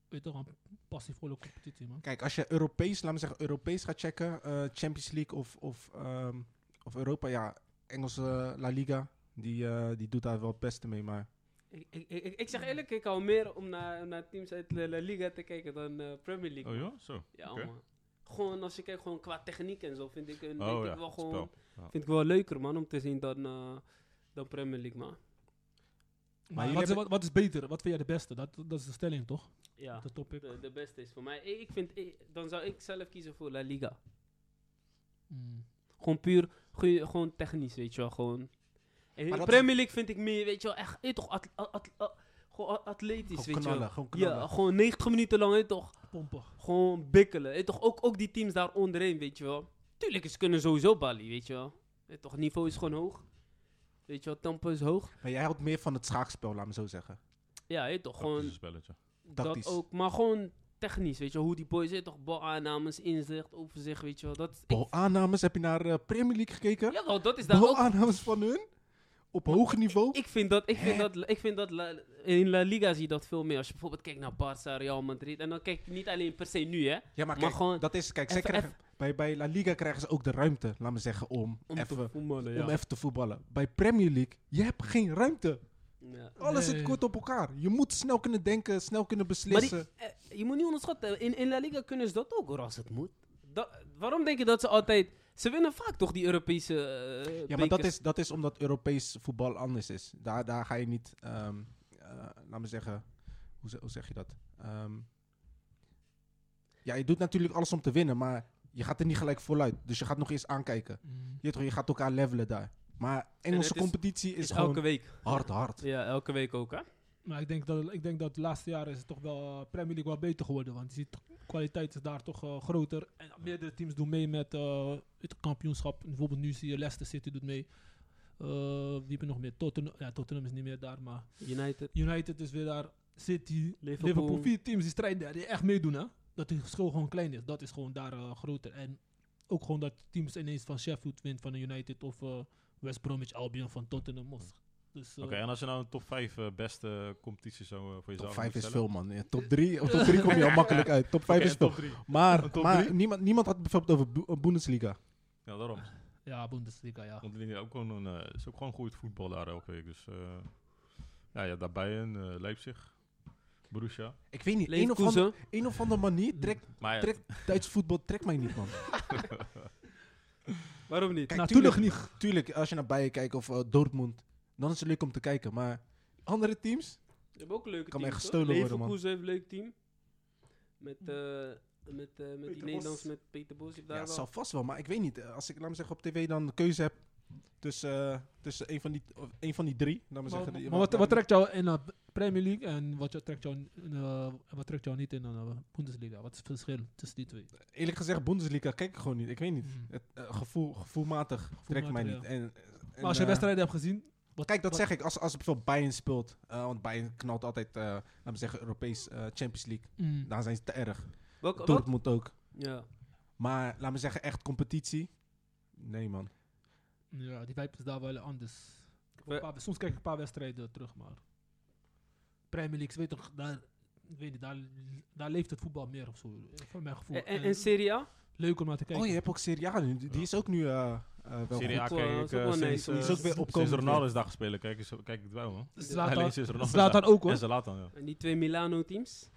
Speaker 4: weet je, toch, een passievolle competitie, man.
Speaker 3: Kijk, als je Europees, laat me zeggen, Europees gaat checken. eh, Champions League of, of, ehm, of Europa. Ja, Engelse eh, La Liga. Die, eh, die doet daar wel het beste mee. Maar
Speaker 1: Ik, ik, ik, ik zeg eerlijk, ik hou meer om naar, om naar teams uit de La Liga te kijken dan eh, Premier League.
Speaker 2: Oh ja, zo.
Speaker 1: Ja,
Speaker 2: Oké.
Speaker 1: man. Gewoon als je kijkt gewoon qua techniek en zo, vind ik, een
Speaker 2: Oh
Speaker 1: denk
Speaker 2: ja,
Speaker 1: ik wel
Speaker 2: het
Speaker 1: gewoon,
Speaker 2: spel. Ja.
Speaker 1: vind ik wel leuker, man, om te zien dan, eh, dan Premier League, man.
Speaker 4: Maar
Speaker 3: jullie
Speaker 4: wat, is,
Speaker 3: hebben-
Speaker 4: wat, wat is beter? Wat vind jij de beste? Dat, dat is de stelling, toch?
Speaker 1: Ja,
Speaker 4: De topic.
Speaker 1: de, de beste is voor mij. Ik ik vind, ik- dan zou ik zelf kiezen voor La Liga.
Speaker 4: Mm.
Speaker 1: Gewoon puur, goeie- gewoon technisch, weet je wel, gewoon. En
Speaker 3: Maar dat-
Speaker 1: Premier League vind ik meer, weet je wel, echt, eh, toch, at, at- at- at- gewoon a- atletisch,
Speaker 3: gewoon
Speaker 1: weet je
Speaker 3: knallen,
Speaker 1: wel.
Speaker 3: gewoon knallen.
Speaker 1: Ja, gewoon 90 minuten lang, eh, toch.
Speaker 4: Pompen.
Speaker 1: Gewoon bikkelen. Hé, toch ook, ook die teams daar onderheen, weet je wel. Tuurlijk, ze kunnen sowieso Bali, weet je wel. Hé, toch, niveau is gewoon hoog. Weet je wel, tempo is hoog.
Speaker 3: Maar jij houdt meer van het schaakspel, laat me zo zeggen.
Speaker 1: Ja, hé, toch,
Speaker 2: Dat is
Speaker 1: gewoon
Speaker 2: een spelletje.
Speaker 3: Tactisch.
Speaker 1: dat ook. Maar gewoon technisch, weet je wel. Hoe die boys, hé, toch, balaannames, inzicht, overzicht, weet je wel. Dat, ik-
Speaker 3: Bal aannames, heb je naar eh, Premier League gekeken?
Speaker 1: jawel, dat is daar
Speaker 3: Bal
Speaker 1: ook.
Speaker 3: aannames van hun? Op hoog niveau?
Speaker 1: Ik vind dat, ik vind dat, ik vind dat La- in La Liga zie je dat veel meer. Als je bijvoorbeeld kijkt naar Barça, Real Madrid. En dan kijk je niet alleen per se nu, hè.
Speaker 3: ja, maar
Speaker 1: maar
Speaker 3: kijk,
Speaker 1: gewoon
Speaker 3: dat is... Kijk, zij
Speaker 1: even-
Speaker 3: krijgen, bij, bij La Liga krijgen ze ook de ruimte, laat me zeggen, om,
Speaker 1: Om te
Speaker 3: even,
Speaker 1: voetballen,
Speaker 3: om
Speaker 1: ja.
Speaker 3: even te voetballen. Bij Premier League, je hebt geen ruimte.
Speaker 1: ja.
Speaker 3: Alles
Speaker 4: Nee.
Speaker 3: zit kort op elkaar. Je moet snel kunnen denken, snel kunnen
Speaker 1: Maar die-
Speaker 3: beslissen.
Speaker 1: eh, je moet niet onderschatten, in, in La Liga kunnen ze dat ook hoor, als het moet. Da- waarom denk je dat ze altijd... Ze winnen vaak toch die Europese eh,
Speaker 3: ja, maar dat
Speaker 1: bekers?
Speaker 3: is, dat is omdat Europees voetbal anders is. Daar, daar ga je niet, ehm, eh, laat me zeggen, hoe, ze- hoe zeg je dat? Ehm, ja, je doet natuurlijk alles om te winnen, maar je gaat er niet gelijk voluit. Dus je gaat nog eens aankijken.
Speaker 4: Mhm.
Speaker 3: Je, weet toch, je gaat elkaar levelen daar. Maar Engelse
Speaker 1: het is-
Speaker 3: competitie is,
Speaker 1: Is
Speaker 3: gewoon
Speaker 1: elke week.
Speaker 3: hard, hard.
Speaker 1: Ja, elke week ook hè.
Speaker 4: Maar ik denk dat, ik denk dat de laatste jaren is het toch wel eh, Premier League wel beter geworden. Want je ziet toch- kwaliteit is daar toch eh, groter. En meerdere teams doen mee met eh, het kampioenschap. Bijvoorbeeld nu zie je Leicester City doet mee. Eh, wie hebben nog meer? Tottenham. Ja, Tottenham is niet meer daar, maar
Speaker 1: United.
Speaker 4: United is weer daar. City,
Speaker 1: Liverpool.
Speaker 4: Liverpool. Vier teams die strijden daar, die echt meedoen hè. Dat die verschil gewoon klein is. Dat is gewoon daar eh, groter. En ook gewoon dat teams ineens van Sheffield wint van de United of eh, West Bromwich Albion van Tottenham. Dus, eh,
Speaker 2: Oké, en als je nou een top 5 beste competitie zou eh, voor jezelf
Speaker 3: Top 5
Speaker 2: moeten
Speaker 3: is
Speaker 2: stellen?
Speaker 3: veel, man. Ja, top
Speaker 1: [LAUGHS]
Speaker 3: 3 top drie kom je al makkelijk uit. Top 5
Speaker 2: Oké,
Speaker 3: is
Speaker 2: en top
Speaker 3: veel.
Speaker 2: drie.
Speaker 3: Maar,
Speaker 2: Top
Speaker 3: maar
Speaker 2: drie?
Speaker 3: niemand, niemand had het bijvoorbeeld over Bu- eh, Bundesliga.
Speaker 2: Ja, daarom.
Speaker 4: ja, Bundesliga, ja.
Speaker 2: Want het is ook gewoon een, eh, is ook gewoon goed voetbal daar elke week. Dus eh ja, ja, daarbij een eh, Leipzig, Borussia.
Speaker 3: Ik weet niet, een of, andere,
Speaker 1: Leverkusen.
Speaker 3: een of andere manier trekt
Speaker 2: Maar ja,
Speaker 3: Trek, Duits voetbal trekt mij niet, man.
Speaker 1: Waarom niet?
Speaker 3: Kijk,
Speaker 4: Natuurlijk
Speaker 3: Nou, tuurlijk, niet. Tuurlijk, als je naar Bayern kijkt of eh, Dortmund, dan is het leuk om te kijken. Maar andere teams,
Speaker 1: Je hebt ook een leuke
Speaker 3: Kan
Speaker 1: teams,
Speaker 3: mij
Speaker 1: hoor.
Speaker 3: gestolen worden, man.
Speaker 1: Leverkusen heeft een leuk team. Met, eh, met, eh, met die Nederlands, met Peter Bos. je hebt Daar
Speaker 3: ja,
Speaker 1: wel.
Speaker 3: zal vast wel. Maar ik weet niet, eh, als ik, laat me zeggen, op tv dan de keuze heb, Tussen, eh, tussen een, van die, of een van die drie. Laat maar
Speaker 4: Maar,
Speaker 3: zeggen, die-
Speaker 4: maar wat, wat trekt jou in de Premier League en wat jou- trekt jou, in, eh, wat trekt jou niet in de Bundesliga? Wat is het verschil tussen die twee?
Speaker 3: Eerlijk gezegd, Bundesliga kijk ik gewoon niet. Ik weet niet.
Speaker 4: Mhm.
Speaker 3: Het, eh, gevoel, gevoelmatig, trekt mij
Speaker 4: ja.
Speaker 3: niet. En, en,
Speaker 4: maar als je
Speaker 3: eh,
Speaker 4: wedstrijden hebt gezien, wat,
Speaker 3: Kijk, dat
Speaker 4: wat-
Speaker 3: zeg ik. Als, als er bijvoorbeeld Bayern speelt. eh, want Bayern knalt altijd, eh laten we zeggen, Europees eh, Champions League.
Speaker 4: Mm.
Speaker 3: Daar zijn ze te erg.
Speaker 1: Welk, welk-
Speaker 3: Dortmund ook.
Speaker 1: Ja.
Speaker 3: Maar laat me zeggen, echt competitie. Nee, man. Nou.
Speaker 4: Ja, die vibe is daar wel anders.
Speaker 1: We-
Speaker 4: Een paar- soms kijk ik een paar wedstrijden terug, maar Premier League, weet toch, daar, ik weet niet, daar, daar leeft het voetbal meer of zo, eh, voor mijn gevoel.
Speaker 1: En, en,
Speaker 4: En
Speaker 1: en Serie A?
Speaker 4: leuk om naar te kijken.
Speaker 3: Oh, je hebt ook Serie A nu. Die, die
Speaker 2: Ja.
Speaker 3: is ook nu eh, eh, wel
Speaker 2: Serie A
Speaker 1: goed, eh,
Speaker 2: kijk
Speaker 1: is
Speaker 2: ik
Speaker 1: ook
Speaker 2: eh,
Speaker 1: wel
Speaker 2: sinds
Speaker 1: nice.
Speaker 2: eh,
Speaker 1: Is
Speaker 3: ook weer
Speaker 2: sinds
Speaker 3: opkomend
Speaker 2: Ronaldo is daar gespeeld. Kijk, eens- kijk ik het wel, man. Alleen
Speaker 4: Zlatan,
Speaker 2: sinds dus Ronaldo is
Speaker 4: Zlatan
Speaker 2: daar-
Speaker 4: ook
Speaker 2: En
Speaker 4: hoor.
Speaker 2: Zlatan, ja.
Speaker 1: En die twee Milano-teams?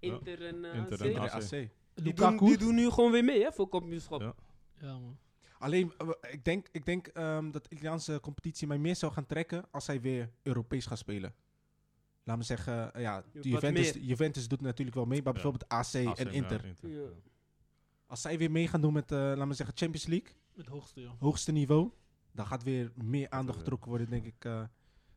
Speaker 1: Inter en eh,
Speaker 2: Inter
Speaker 1: AC?
Speaker 2: en
Speaker 3: Serie
Speaker 2: AC.
Speaker 3: AC.
Speaker 1: Die doen,
Speaker 4: Lukaku.
Speaker 1: die doen nu gewoon weer mee, hè, voor kampioenschap.
Speaker 2: Ja.
Speaker 4: Ja, man.
Speaker 3: Alleen, eh, ik denk, ik denk ehm, dat de Italiaanse competitie mij meer zou gaan trekken als hij weer Europees gaat spelen. Laat me zeggen, eh, ja,
Speaker 1: Wat
Speaker 3: de Juventus,
Speaker 1: meer.
Speaker 3: Juventus doet natuurlijk wel mee, maar
Speaker 2: Ja.
Speaker 3: bijvoorbeeld AC,
Speaker 2: AC,
Speaker 3: en
Speaker 2: ja,
Speaker 3: Inter.
Speaker 1: Ja.
Speaker 3: Als zij weer mee gaan doen met, eh laat me zeggen, Champions League,
Speaker 4: Het hoogste, ja.
Speaker 3: hoogste niveau, dan gaat weer meer aandacht
Speaker 2: weer.
Speaker 3: getrokken worden, denk ik, eh,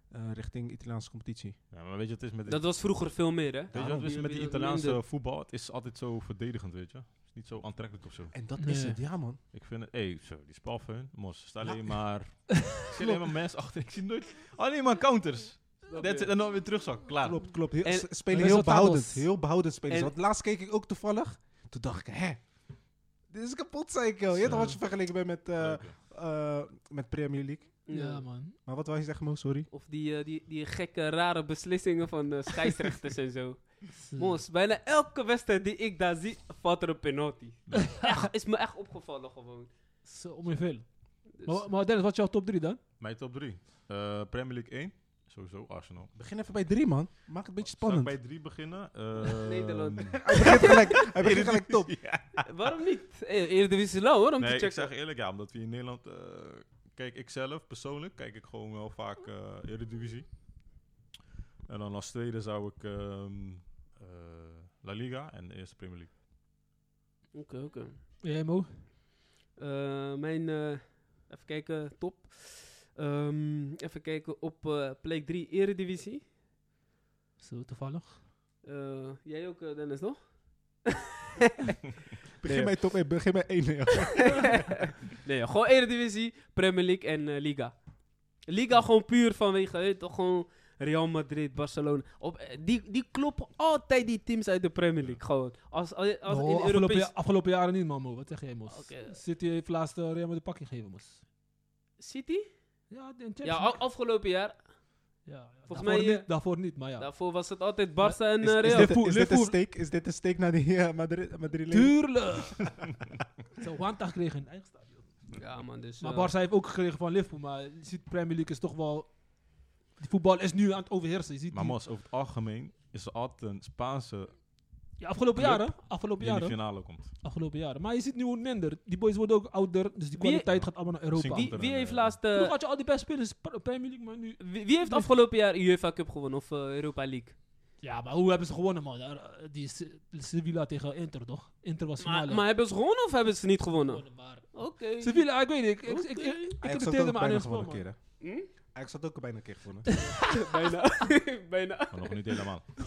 Speaker 3: eh, richting Italiaanse competitie.
Speaker 2: Ja, maar weet je, het is met
Speaker 1: Dat was vroeger veel meer, hè?
Speaker 2: Weet je
Speaker 3: Daarom.
Speaker 2: wat het is met die
Speaker 1: Minder-
Speaker 2: Italiaanse
Speaker 1: minder.
Speaker 2: voetbal? Het is altijd zo verdedigend, weet je. Het is niet zo aantrekkelijk of zo.
Speaker 3: En dat
Speaker 4: Nee.
Speaker 3: is het, ja man.
Speaker 2: Ik vind het... Hé, zo, die spalfeun. Mos, sta
Speaker 3: Ja.
Speaker 2: alleen maar... ik zie alleen maar mensen achter. Ik zie nooit... Alleen maar counters. That's it. En dan weer terugzak. Klaar.
Speaker 3: Klopt, klopt. Heel,
Speaker 1: En-
Speaker 3: ze spelen heel
Speaker 4: Resultados.
Speaker 3: behoudend. Heel behoudend spelen ze.
Speaker 1: En-
Speaker 3: Want laatst keek ik ook toevallig, toen dacht ik, hè, dit is kapot, zei ik al. Je hebt
Speaker 4: Zo.
Speaker 3: wat je vergeleken bent met... eh,
Speaker 2: Leuk, ja.
Speaker 3: eh, met Premier League.
Speaker 4: Ja, man.
Speaker 3: Maar wat wou je zeggen, Mo? Sorry.
Speaker 1: Of die, eh, die, die gekke, rare beslissingen van eh, scheidsrechters en zo.
Speaker 4: [LAUGHS] Hmm.
Speaker 1: Mos, bijna elke wedstrijd die ik daar zie, valt er een
Speaker 4: [LAUGHS]
Speaker 1: penalty. Echt, is me echt opgevallen gewoon.
Speaker 4: Zo, Om je veel.
Speaker 1: Dus-
Speaker 4: Maar, maar Dennis, wat is jouw top 3 dan?
Speaker 2: Mijn top 3. Premier League 1. Sowieso Arsenal.
Speaker 3: Begin even bij drie, man. Maak het een beetje
Speaker 2: Zal ik
Speaker 3: spannend.
Speaker 2: bij 3
Speaker 3: [LAUGHS]
Speaker 2: beginnen? Eh,
Speaker 1: Nederland.
Speaker 3: Hij begint gelijk,
Speaker 2: [LAUGHS]
Speaker 3: hij begint gelijk top.
Speaker 1: waarom niet? Eh, Eredivisie is lauw hoor, om te
Speaker 2: Nee,
Speaker 1: checken.
Speaker 2: ik zeg eerlijk, ja, omdat we in Nederland... eh, kijk, ik zelf persoonlijk kijk ik gewoon wel vaak eh Eredivisie. En dan als tweede zou ik ehm, eh, La Liga en de eerste Premier League.
Speaker 1: Oké, oké.
Speaker 4: Jij, Mo?
Speaker 1: Eh, mijn, eh, even kijken, top. Ehm, even kijken op eh, plek 3 Eredivisie.
Speaker 4: Zo, toevallig.
Speaker 1: Eh, jij ook, eh, Dennis, nog?
Speaker 3: Begin
Speaker 1: Nee.
Speaker 3: bij top 1. Begin bij 1. Ja.
Speaker 1: nee, gewoon Eredivisie, Premier League en eh, Liga. Liga gewoon puur vanwege, weet je toch, gewoon Real Madrid, Barcelona. Op, eh, die, die kloppen altijd die teams uit de Premier League, gewoon. Als, als, als
Speaker 4: Nou,
Speaker 1: in
Speaker 4: afgelopen,
Speaker 1: Europees...
Speaker 4: ja- afgelopen jaren niet, man, Mo. Wat zeg jij, Mos?
Speaker 1: Oké.
Speaker 4: City heeft laatst eh, Real met de pakje gegeven, Mos.
Speaker 1: City?
Speaker 4: Ja, de
Speaker 1: Ja,
Speaker 4: Champions
Speaker 1: af- afgelopen jaar.
Speaker 4: Ja, ja.
Speaker 1: Volgens
Speaker 4: daarvoor,
Speaker 1: mij, eh,
Speaker 4: niet, daarvoor niet, maar ja.
Speaker 1: Daarvoor was het altijd Barca en
Speaker 3: Is,
Speaker 1: eh,
Speaker 3: is
Speaker 1: Real.
Speaker 3: dit,
Speaker 4: Liverpool-
Speaker 3: is dit een
Speaker 4: Liverpool-
Speaker 3: steek? Is dit een steek naar die eh, Madrid,
Speaker 1: [LAUGHS]
Speaker 3: Madrid
Speaker 4: Tuurlijk! Zo, Wanta kreeg in eigen stadion.
Speaker 1: Ja, man, dus...
Speaker 4: Maar
Speaker 1: eh,
Speaker 4: Barca heeft ook gekregen van Liverpool, maar je ziet Premier League is toch wel... Die voetbal is nu aan het overheersen. Je ziet
Speaker 2: Maar
Speaker 4: die-
Speaker 2: Mas, over het algemeen is er altijd een Spaanse
Speaker 4: ja, afgelopen
Speaker 2: Club.
Speaker 4: jaren, afgelopen
Speaker 2: die in de
Speaker 4: jaren,
Speaker 2: finale komt.
Speaker 4: afgelopen jaren. Maar je ziet nu hoe het minder. Die boys worden ook ouder, dus die
Speaker 1: Wie-
Speaker 4: kwaliteit gaat allemaal naar Europa.
Speaker 2: Zie-
Speaker 1: Wie, wie heeft laatst... eh,
Speaker 4: Vroeger had je al die beste spelers, Pr- Premier League, maar nu...
Speaker 1: wie, wie heeft afgelopen jaar UEFA Cup gewonnen of eh, Europa League?
Speaker 4: Ja, maar hoe hebben ze gewonnen, man? Daar, eh, Die Se- Sevilla tegen Inter, toch? Inter was
Speaker 1: Maar,
Speaker 4: finale.
Speaker 1: maar hebben ze gewonnen of hebben ze niet gewonnen?
Speaker 4: Gewonnen, maar-
Speaker 1: Oké.
Speaker 4: Sevilla, ik weet niet. Ik, ik, ik, ik,
Speaker 1: Oké.
Speaker 4: ik
Speaker 3: Ajax had
Speaker 4: irriteerde
Speaker 3: ook
Speaker 4: me aan
Speaker 3: bijna
Speaker 4: hun
Speaker 3: gewonnen
Speaker 4: spel, man.
Speaker 3: keren.
Speaker 1: Hm?
Speaker 3: Ajax had ook bijna een keer gewonnen.
Speaker 1: [LAUGHS] bijna. [LAUGHS] bijna.
Speaker 2: Maar nog niet
Speaker 3: [LAUGHS]
Speaker 2: helemaal. Zo,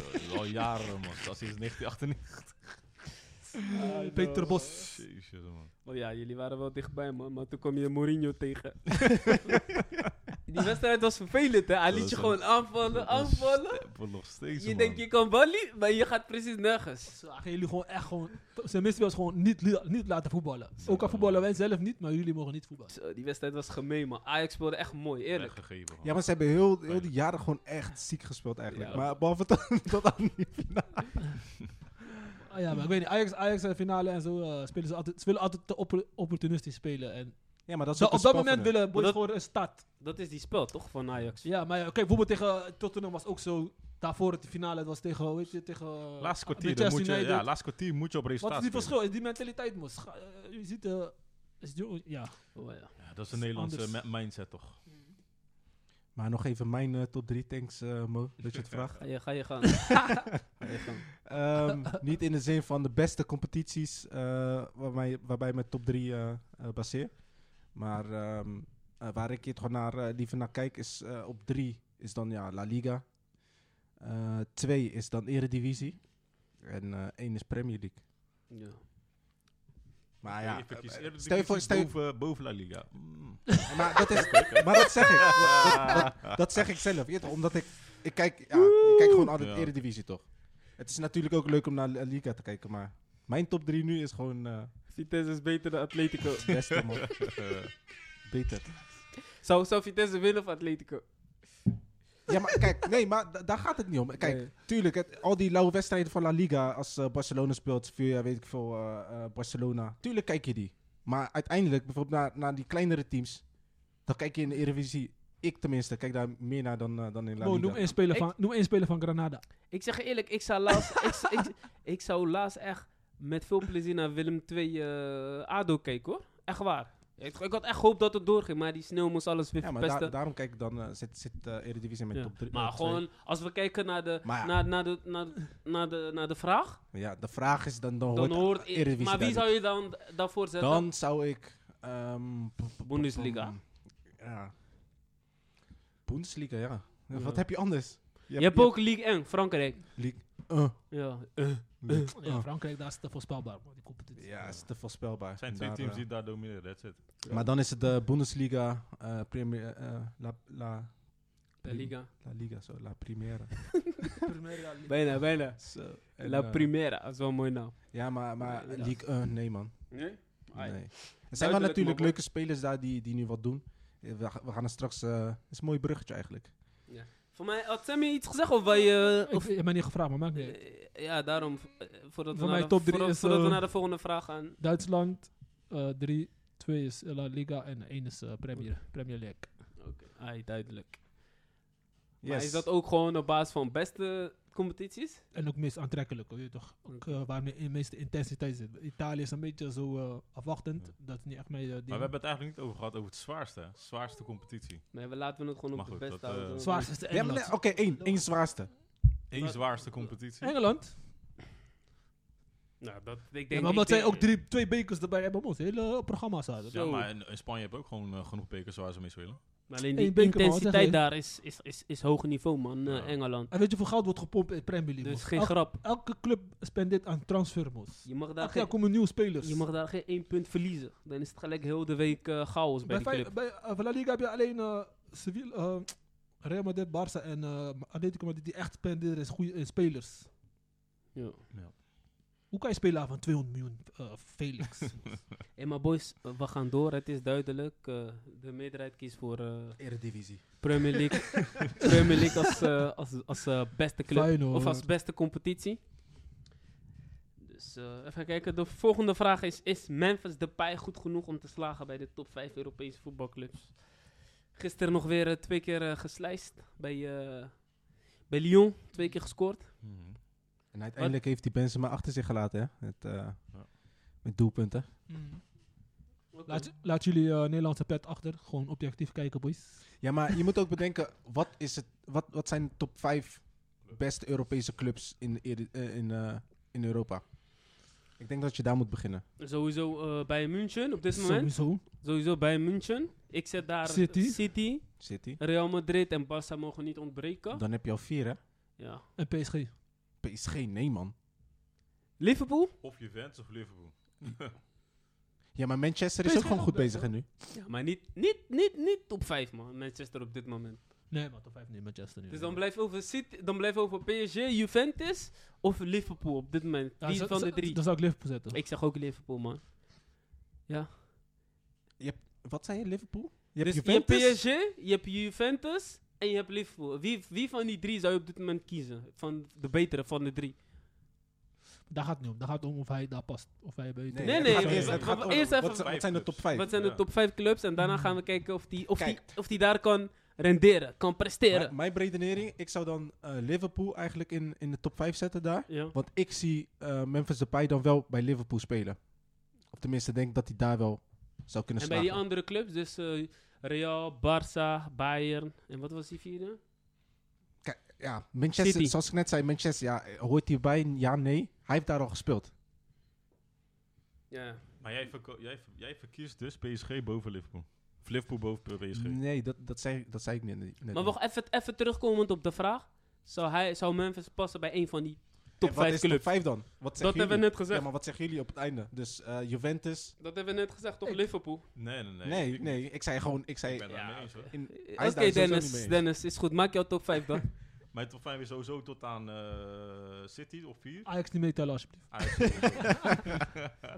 Speaker 2: dat is al jaren, man. Dat is 1998.
Speaker 4: Peter Bos.
Speaker 2: Jezus, man.
Speaker 1: Oh ja, jullie waren wel dichtbij, man. Maar toen kwam je Mourinho
Speaker 2: [LAUGHS]
Speaker 1: tegen. Die wedstrijd was vervelend, hè. Hij
Speaker 2: Dat
Speaker 1: liet
Speaker 2: is
Speaker 1: je
Speaker 2: een-
Speaker 1: gewoon aanvallen,
Speaker 2: Dat is
Speaker 1: aanvallen.
Speaker 2: stempel nog steeds,
Speaker 1: Je
Speaker 2: man.
Speaker 1: denkt, je kan wel lie- maar je gaat precies nergens.
Speaker 4: Zo, gaan jullie gewoon echt gewoon... Zijn misspelers gewoon niet, li- niet laten voetballen. Ook al voetballen wij zelf niet, maar jullie mogen niet voetballen.
Speaker 1: Zo, die wedstrijd was gemeen, man. Ajax speelde echt mooi, eerlijk.
Speaker 2: Weggegeven, man.
Speaker 3: Ja, maar ze hebben heel, heel die jaren gewoon echt ziek gespeeld eigenlijk.
Speaker 1: Ja.
Speaker 3: Maar behalve tot, [LAUGHS] tot aan die finale.
Speaker 4: Ah, ja, maar ik weet niet. Ajax, Ajax eh, finale en zo eh, spelen ze altijd... Ze willen altijd te oppor- opportunistisch spelen. En
Speaker 3: Ja, maar dat is
Speaker 4: Zo,
Speaker 3: ook
Speaker 4: Nou, op
Speaker 3: een
Speaker 4: dat moment
Speaker 3: spelverhaal.
Speaker 4: willen boys
Speaker 1: dat-
Speaker 4: gewoon een start.
Speaker 1: Dat is die spel, toch, van Ajax?
Speaker 4: Ja, maar ja, kijk, bijvoorbeeld tegen Tottenham was ook zo... Daarvoor het finale, dat was tegen... Hoe heet je, tegen...
Speaker 2: Laatste
Speaker 4: eh,
Speaker 2: kwartier, dan
Speaker 4: Manchester
Speaker 2: moet je, ja,
Speaker 4: United.
Speaker 2: laatste kwartier moet je op
Speaker 4: Wat
Speaker 2: resultaat
Speaker 4: is die
Speaker 2: spelen.
Speaker 4: verschil? Is die mentaliteit, mos? Ga- eh, Je ziet... eh, is die- ja.
Speaker 1: Oh, ja.
Speaker 2: Ja, dat is een Nederlandse
Speaker 4: Anders.
Speaker 2: ma- mindset, toch?
Speaker 3: Ah, Maar nog even mijn eh, top 3 tanks, Mo. Dat je het
Speaker 4: [LAUGHS]
Speaker 3: vraagt.
Speaker 1: Ga je, ga je
Speaker 2: [LAUGHS]
Speaker 1: gaan. ga je gaan.
Speaker 3: Ehm, niet in de zin van de beste competities eh, waarbij, waarbij mijn top 3 eh, baseer. Maar ehm, eh, waar ik het gewoon naar, eh, liever naar kijk is eh, op drie is dan ja, La Liga. Eh, twee is dan Eredivisie. En eh, één is Premier League.
Speaker 1: Ja.
Speaker 3: Maar ja,
Speaker 2: ik verkies
Speaker 3: eh,
Speaker 2: eerder
Speaker 3: stel je voor,
Speaker 2: Eredivisie
Speaker 3: stel je-
Speaker 2: boven, boven La Liga. Mm.
Speaker 3: maar, dat is, maar dat zeg ik. Dat, dat- dat zeg ik zelf. Je, weet toch, omdat ik, ik kijk, ja, ik kijk gewoon altijd
Speaker 2: Ja.
Speaker 3: Eredivisie toch. Het is natuurlijk ook leuk om naar La Liga te kijken, maar mijn top 3 nu is gewoon eh
Speaker 1: Vitesse is beter dan Atletico.
Speaker 3: beste man. Beter.
Speaker 1: zou, zou Vitesse winnen van Atletico?
Speaker 3: Ja, maar kijk, nee, maar da- daar gaat het niet om. Kijk,
Speaker 1: Nee.
Speaker 3: tuurlijk, het- al die lauwe wedstrijden van La Liga, als eh, Barcelona speelt, Sevilla, weet ik veel, eh, eh, Barcelona. Tuurlijk kijk je die. Maar uiteindelijk, bijvoorbeeld naar, naar die kleinere teams, dan kijk je in de Eredivisie, ik tenminste, kijk daar meer naar dan, eh, dan in La
Speaker 4: Mo,
Speaker 3: Liga.
Speaker 4: noem één speler
Speaker 1: Ik-
Speaker 4: van, noem één speler van Granada.
Speaker 1: Ik zeg je eerlijk, ik zou laatst, ik, zou- ik, ik zou laatst echt met veel plezier naar Willem 2 eh ADO kijken hoor. Echt waar. Ik, ik had echt gehoopt dat het doorging, maar die sneeuw moest alles weer
Speaker 3: ja, maar
Speaker 1: verpesten.
Speaker 3: daar- daarom kijk ik dan, eh, zit, zit eh, Eredivisie met
Speaker 1: Ja.
Speaker 3: top eh, 3.
Speaker 1: Maar gewoon, als we kijken naar de,
Speaker 3: Maar ja.
Speaker 1: naar, naar de, naar, naar de, naar de vraag,
Speaker 3: Ja, de vraag is dan, dan,
Speaker 1: dan
Speaker 3: hoort
Speaker 1: hoort... ik.
Speaker 3: Eredivisie
Speaker 1: maar wie
Speaker 3: daar
Speaker 1: zou je dan daarvoor zetten?
Speaker 3: Dan zou ik... ehm, p- p- p-
Speaker 1: Bundesliga.
Speaker 3: Ja. Bundesliga, ja.
Speaker 1: Ja.
Speaker 3: Wat heb je anders?
Speaker 1: je hebt ook Ligue 1, Frankrijk.
Speaker 3: League. Eh,
Speaker 1: Ja.
Speaker 3: league.
Speaker 4: Ja,
Speaker 3: Eh.
Speaker 4: Frankrijk, daar is te voorspelbaar, man, die competitie.
Speaker 3: Ja, is te voorspelbaar.
Speaker 2: Het zijn twee
Speaker 3: Daar,
Speaker 2: teams
Speaker 3: eh,
Speaker 2: die daar domineren, that's it.
Speaker 3: Maar dan is het de Bundesliga, eh Premier, eh, la, la,
Speaker 1: La
Speaker 3: Hm.
Speaker 1: Liga.
Speaker 3: la Liga, zo, La Primera.
Speaker 1: Bijna, bijna.
Speaker 3: Zo, en,
Speaker 1: La
Speaker 3: eh,
Speaker 1: Primera, dat is wel een mooi naam.
Speaker 3: Ja, maar, maar
Speaker 1: La Liga.
Speaker 3: League, eh, nee man.
Speaker 1: Nee? Ai.
Speaker 3: Nee. Er zijn wel
Speaker 1: maar
Speaker 3: natuurlijk
Speaker 1: hoor.
Speaker 3: leuke spelers daar die, die nu wat doen. Eh, We, ga- we gaan er straks, eh, het is een mooi bruggetje eigenlijk.
Speaker 1: Voor mij, had Sammy iets gezegd of wij... eh,
Speaker 4: Ik
Speaker 1: of,
Speaker 4: heb mij niet gevraagd, maar maakt niet uit.
Speaker 1: Eh, ja, daarom, eh, voordat, we
Speaker 4: Voor
Speaker 1: naar,
Speaker 4: mij
Speaker 1: de,
Speaker 4: top drie
Speaker 1: voordat,
Speaker 4: is,
Speaker 1: voordat we
Speaker 4: eh,
Speaker 1: naar de volgende vraag gaan.
Speaker 4: Duitsland, 3, 2 is La Liga en 1 is eh, Premier, Premier League.
Speaker 1: Ai, duidelijk. Maar
Speaker 3: Yes.
Speaker 1: is dat ook gewoon op basis van beste competities?
Speaker 4: En ook meest aantrekkelijk, weet je toch? Ook eh, waarmee de meeste intensiteit zit. Italië is een beetje zo eh, afwachtend.
Speaker 2: Ja.
Speaker 4: Dat is niet echt mijn eh, ding.
Speaker 2: Maar we hebben het eigenlijk niet over gehad, over het zwaarste. hè. Zwaarste competitie.
Speaker 1: Nee, we laten we het gewoon
Speaker 2: Maar
Speaker 1: op de
Speaker 2: goed,
Speaker 1: beste
Speaker 2: dat, eh,
Speaker 1: houden.
Speaker 4: Zwaarste
Speaker 2: [LAUGHS]
Speaker 4: is de
Speaker 3: Ja, maar
Speaker 4: Engeland.
Speaker 3: nee, Oké, één. Één zwaarste.
Speaker 2: Eén
Speaker 1: Maar-
Speaker 2: zwaarste competitie.
Speaker 4: Engeland?
Speaker 1: Nou, dat, ik denk...
Speaker 4: Ja, maar
Speaker 1: ik
Speaker 4: omdat
Speaker 1: denk-
Speaker 4: zij ook drie, twee bekers erbij hebben. Ons hele programma zaten.
Speaker 2: Ja,
Speaker 1: Zo.
Speaker 2: maar in, in Spanje heb je ook gewoon eh, genoeg bekers waar ze mee spelen.
Speaker 1: Maar Alleen
Speaker 4: Eén
Speaker 1: die
Speaker 4: beker, man, wat zeg
Speaker 1: intensiteit
Speaker 4: je?
Speaker 1: daar is, is, is, is hoger niveau, man. eh,
Speaker 2: Ja.
Speaker 1: Engeland.
Speaker 4: En weet je hoeveel geld wordt gepompt in Premier League?
Speaker 1: Dus
Speaker 4: man?
Speaker 1: geen
Speaker 4: Elk-
Speaker 1: grap.
Speaker 4: Elke club spendeert aan transfermoes.
Speaker 1: Je mag, daar
Speaker 4: Elk jaar
Speaker 1: geen,
Speaker 4: komen nieuwe spelers.
Speaker 1: je mag daar geen één punt verliezen. Dan is het gelijk heel de week eh, chaos bij,
Speaker 4: Bij, bij,
Speaker 1: die club.
Speaker 4: bij eh, van La Liga heb je alleen eh Sevilla, eh, Real Madrid, Barça en eh, Atletico Madrid die echt spenderen is goede eh, spelers.
Speaker 1: Ja.
Speaker 4: Hoe kan je spelen van 200 miljoen, eh,
Speaker 1: [LAUGHS]
Speaker 4: Felix?
Speaker 1: Hey, maar boys, eh, we gaan door. Het is duidelijk. eh, de meerderheid kiest voor eh,
Speaker 3: Eredivisie.
Speaker 1: Premier League,
Speaker 4: [LAUGHS]
Speaker 1: Premier League als, eh, als, als eh, beste club.
Speaker 4: Feyenoord.
Speaker 1: Of als beste competitie. Dus eh, even kijken. De volgende vraag is: Is Memphis Depay goed genoeg om te slagen bij de top 5 Europese voetbalclubs? Gisteren nog weer eh, twee keer eh, geslijst bij, eh, bij Lyon. Twee keer gescoord.
Speaker 3: Mhm. En uiteindelijk heeft die Benzema achter zich gelaten, hè? Het, eh, Met doelpunten.
Speaker 4: Mm. Laat, laat jullie eh, Nederlandse pet achter. Gewoon objectief kijken, boys.
Speaker 3: Ja, maar je moet ook bedenken, wat, is het, wat, wat zijn de top 5 beste Europese clubs in, de Ere- eh, in, eh, in Europa? Ik denk dat je daar moet beginnen.
Speaker 1: Sowieso eh bij München op dit moment.
Speaker 4: Sowieso.
Speaker 1: Sowieso bij München. Ik zet daar
Speaker 4: City.
Speaker 1: City,
Speaker 3: City.
Speaker 1: Real Madrid en Barça mogen niet ontbreken.
Speaker 3: Dan heb je al vier, hè?
Speaker 1: Ja.
Speaker 4: En PSG.
Speaker 3: PSG, nee man.
Speaker 1: Liverpool?
Speaker 2: Of Juventus of Liverpool.
Speaker 3: Ja, maar Manchester is
Speaker 4: PSG
Speaker 3: ook gewoon
Speaker 4: ook
Speaker 3: goed
Speaker 4: best,
Speaker 3: bezig hè, nu.
Speaker 1: Ja, maar niet, niet, niet, niet top 5, man. Manchester op dit moment.
Speaker 4: Nee, maar top 5 niet, Manchester nu.
Speaker 1: Dus dan blijft over, City, dan blijft over PSG, Juventus of Liverpool op dit moment.
Speaker 4: Ja,
Speaker 1: Wie
Speaker 4: zou-
Speaker 1: van de
Speaker 4: zou-
Speaker 1: drie?
Speaker 4: Dan zou ik Liverpool zetten.
Speaker 1: Ik zeg ook Liverpool, man.
Speaker 3: Wat zei je, Liverpool? Je hebt
Speaker 1: dus
Speaker 3: Juventus?
Speaker 1: je hebt PSG, je hebt Juventus en je hebt Liverpool. Wie, wie van die drie zou je op dit moment kiezen? Van de betere van de drie.
Speaker 4: Daar gaat het niet om. Daar gaat het om of hij daar past. Of hij bij
Speaker 1: Nee,
Speaker 3: het
Speaker 1: nee,
Speaker 3: gaat
Speaker 1: nee,
Speaker 3: eerst-
Speaker 1: nee.
Speaker 3: het gaat
Speaker 1: Maar
Speaker 3: om-
Speaker 1: eerst
Speaker 3: wat
Speaker 1: even-
Speaker 3: zijn- Wat zijn de top 5?
Speaker 1: Wat zijn de
Speaker 2: Ja.
Speaker 1: top vijf clubs? En daarna
Speaker 4: Mm.
Speaker 1: gaan we kijken of die, of, die,
Speaker 3: Kijk.
Speaker 1: of die daar kan renderen, kan presteren.
Speaker 3: Mijn, mijn redenering, ik zou dan eh, Liverpool eigenlijk in, in de top 5 zetten daar.
Speaker 1: ja.
Speaker 3: Want ik zie eh Memphis Depay dan wel bij Liverpool spelen. Of tenminste, denk ik dat hij daar wel zou kunnen
Speaker 1: En bij die
Speaker 3: slagen.
Speaker 1: andere clubs, dus eh, Real, Barça, Bayern. En wat was die vierde?
Speaker 3: Ja, Manchester,
Speaker 1: City.
Speaker 3: zoals ik net zei, Manchester, ja, hoort hij bij? Ja, nee. Hij heeft daar al gespeeld.
Speaker 1: Ja.
Speaker 2: Maar jij, verko- jij, ver- jij verkiest dus PSG boven Liverpool. Of Liverpool boven PSG.
Speaker 3: Nee, dat, dat, zei, dat zei ik net, net
Speaker 1: Maar
Speaker 3: niet.
Speaker 1: nog even, even terugkomend op de vraag. Zou, hij, zou Memphis passen bij een van die top
Speaker 3: En wat
Speaker 1: 5
Speaker 3: is top
Speaker 1: clubs?
Speaker 3: vijf dan? Wat
Speaker 1: Dat
Speaker 3: zeggen
Speaker 1: hebben we
Speaker 3: jullie?
Speaker 1: net gezegd.
Speaker 3: Ja, maar wat zeggen jullie op het einde? Dus eh, Juventus.
Speaker 1: Dat hebben we net gezegd, toch?
Speaker 3: Ik-
Speaker 1: Liverpool.
Speaker 2: Nee, nee, nee.
Speaker 3: Nee, nee,
Speaker 2: Ik-
Speaker 3: ik, zei gewoon. Ik zei.
Speaker 2: Ik ben daar
Speaker 1: Ja,
Speaker 2: mee eens, hoor.
Speaker 3: in-
Speaker 1: Eh,
Speaker 3: daar
Speaker 1: Oké,
Speaker 3: sowieso niet mee
Speaker 1: Dennis,
Speaker 3: eens.
Speaker 1: Dennis, is goed. Maak jouw top 5
Speaker 3: [LAUGHS]
Speaker 1: dan.
Speaker 2: Mijn top 5 is sowieso tot aan eh, City of 4.
Speaker 4: Ajax niet meetellen alsjeblieft.
Speaker 2: [LAUGHS] Ajax sowieso.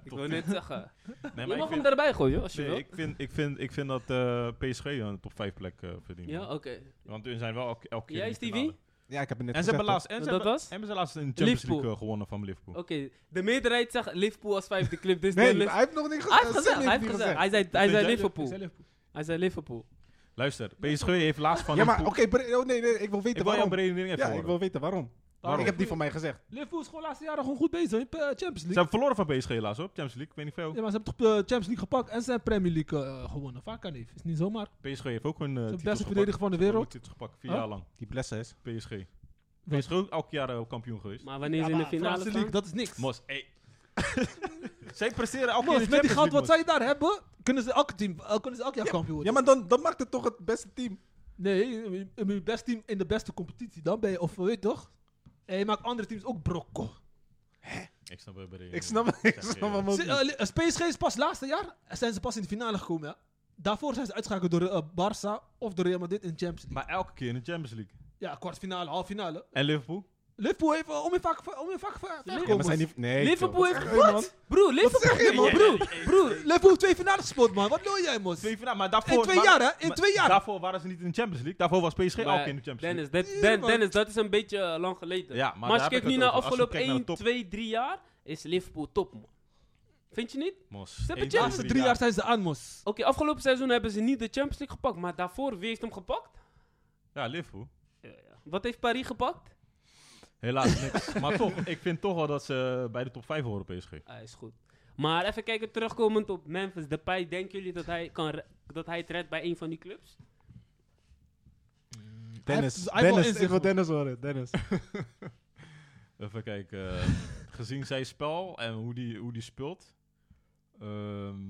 Speaker 1: ik
Speaker 2: Top
Speaker 1: wil net zeggen.
Speaker 2: Nee,
Speaker 1: je
Speaker 2: maar
Speaker 1: mag
Speaker 2: ik
Speaker 1: hem
Speaker 2: vind,
Speaker 1: erbij gooien, als je
Speaker 2: nee,
Speaker 1: wil.
Speaker 2: ik, vind, ik, vind, ik vind dat eh, PSG een top 5 plek eh, verdient.
Speaker 1: ja, oké.
Speaker 2: Want hun zijn wel elke, elke keer.
Speaker 1: Jij,
Speaker 2: in de
Speaker 1: Stevie?
Speaker 2: finale.
Speaker 3: Ja, ik heb het net
Speaker 2: En ze
Speaker 3: gezegd.
Speaker 2: hebben laatst, en
Speaker 1: Dat
Speaker 2: ze hebben,
Speaker 1: was?
Speaker 2: en ze laatst een Champions
Speaker 1: Liverpool.
Speaker 2: League eh, gewonnen van Liverpool.
Speaker 1: Oké, de meerderheid zegt Liverpool als vijfde club. Dus
Speaker 3: Nee,
Speaker 1: Dennis...
Speaker 3: hij heeft nog niks
Speaker 1: Hij heeft
Speaker 3: gezegd.
Speaker 1: gezegd, hij heeft gezegd. Hij zei, hij
Speaker 2: Wat
Speaker 1: zei
Speaker 2: vind jij?
Speaker 4: Ik
Speaker 1: Liverpool.
Speaker 4: zei Liverpool.
Speaker 1: Hij zei Liverpool.
Speaker 2: Luister, PSG heeft laatst van
Speaker 3: Ja, maar
Speaker 2: Liverpool-
Speaker 3: oké, bre- oh, nee, nee, ik
Speaker 2: Ik
Speaker 3: wil weten
Speaker 2: wil jouw
Speaker 3: waarom.
Speaker 2: beredening even
Speaker 3: ja, ik
Speaker 2: horen.
Speaker 3: wil weten waarom.
Speaker 2: Waarom?
Speaker 3: Ik heb die van mij gezegd.
Speaker 4: Liverpool is gewoon de laatste jaren gewoon goed bezig in eh, Champions
Speaker 2: Ze
Speaker 4: League.
Speaker 2: hebben verloren van PSG helaas hoor, Champions League, ik weet niet veel.
Speaker 4: Ja, maar ze hebben toch de Champions League gepakt en ze hebben Premier League eh, gewonnen. Vaak kan niet. Is niet zomaar.
Speaker 2: PSG heeft ook een
Speaker 4: Ze hebben
Speaker 2: eh
Speaker 4: de
Speaker 2: titels
Speaker 4: beste
Speaker 2: gepakt.
Speaker 4: verdediger van de
Speaker 2: Wereld.
Speaker 4: wereld.
Speaker 2: Titels gepakt, vier
Speaker 4: Huh?
Speaker 2: jaar lang,
Speaker 3: Die blessen is.
Speaker 2: PSG.
Speaker 4: Wat?
Speaker 2: PSG ook elk jaar eh, kampioen geweest.
Speaker 1: Maar wanneer ze in de finale
Speaker 4: Franse League,
Speaker 1: staan?
Speaker 4: dat is niks.
Speaker 2: Mos, ey. [LAUGHS] Zij presteren elke
Speaker 4: Mos,
Speaker 2: keer in de
Speaker 4: met die
Speaker 2: Champions
Speaker 4: geld wat zij
Speaker 2: League,
Speaker 4: daar hebben, kunnen ze elk team, eh, kunnen ze elk jaar kampioen worden.
Speaker 3: Ja, maar dan, dan maakt het toch het beste team.
Speaker 4: Nee, in je best team in de beste competitie, dan ben je, of weet je toch? En je maakt andere teams ook brokko.
Speaker 2: Mos. Ik snap wel berekening.
Speaker 3: Ik snap, ik snap hem ook
Speaker 4: Ze-
Speaker 3: niet.
Speaker 4: eh, li- eh, PSG is pas laatste jaar, eh, zijn ze pas in de finale gekomen. Ja. Daarvoor zijn ze uitgeschakeld door eh, Barça of door Real Madrid in de Champions League.
Speaker 2: Maar elke keer in de Champions League.
Speaker 4: ja, kwartfinale, halve finale.
Speaker 2: En Liverpool?
Speaker 4: Liverpool heeft eh, om je vaak om je vaak ver- ver-
Speaker 3: Ja, maar zijn die, nee,
Speaker 1: Liverpool
Speaker 3: joh, wat
Speaker 1: heeft
Speaker 3: zeg je, man?
Speaker 1: wat? Broer, Liverpool.
Speaker 4: Nee, man, broer, broer, Liverpool heeft twee finales gespeeld, man. Wat wil jij, Mos?
Speaker 2: Twee finale, maar daarvoor...
Speaker 4: In twee
Speaker 2: waren-
Speaker 4: jaar, hè? In
Speaker 2: maar
Speaker 4: twee jaar.
Speaker 2: Daarvoor waren ze niet in de Champions League. Daarvoor was PSG elke keer in de Champions League.
Speaker 1: Dennis, dat,
Speaker 4: Ja,
Speaker 1: Den-
Speaker 4: man.
Speaker 1: Dennis, dat is een beetje eh, lang geleden.
Speaker 2: Ja, maar
Speaker 1: maar
Speaker 2: daar
Speaker 1: als je
Speaker 2: heb ik
Speaker 1: kijkt
Speaker 2: het
Speaker 1: nu naar
Speaker 2: over. Als je
Speaker 1: afgelopen
Speaker 2: kijkt naar de
Speaker 1: 1, 2,
Speaker 2: top.
Speaker 1: 3 jaar, is Liverpool top, man. Vind je niet? Oké,
Speaker 2: Mos,
Speaker 1: hebben
Speaker 2: één,
Speaker 4: De
Speaker 1: Champions
Speaker 2: twee,
Speaker 4: laatste
Speaker 2: drie
Speaker 4: drie jaar zijn ze aan, Mos.
Speaker 1: afgelopen seizoen hebben ze niet de Champions League gepakt, maar daarvoor, wie heeft hem gepakt?
Speaker 2: Ja, Liverpool.
Speaker 1: Wat heeft Paris gepakt?
Speaker 2: Helaas niks. [LAUGHS] maar toch, ik vind toch wel dat ze bij de top 5 horen, PSG.
Speaker 1: Ah, is goed. Maar even kijken, terugkomend op Memphis Depay. Denken jullie dat hij, kan re- dat hij het redt bij een van die clubs?
Speaker 3: Dennis,
Speaker 4: Hij heeft- hij heeft wel
Speaker 3: Dennis,
Speaker 4: inzicht,
Speaker 3: ik wil
Speaker 4: man.
Speaker 3: Dennis horen. Dennis.
Speaker 2: Even kijken. eh, gezien zijn spel en hoe die, hoe die speelt, ehm,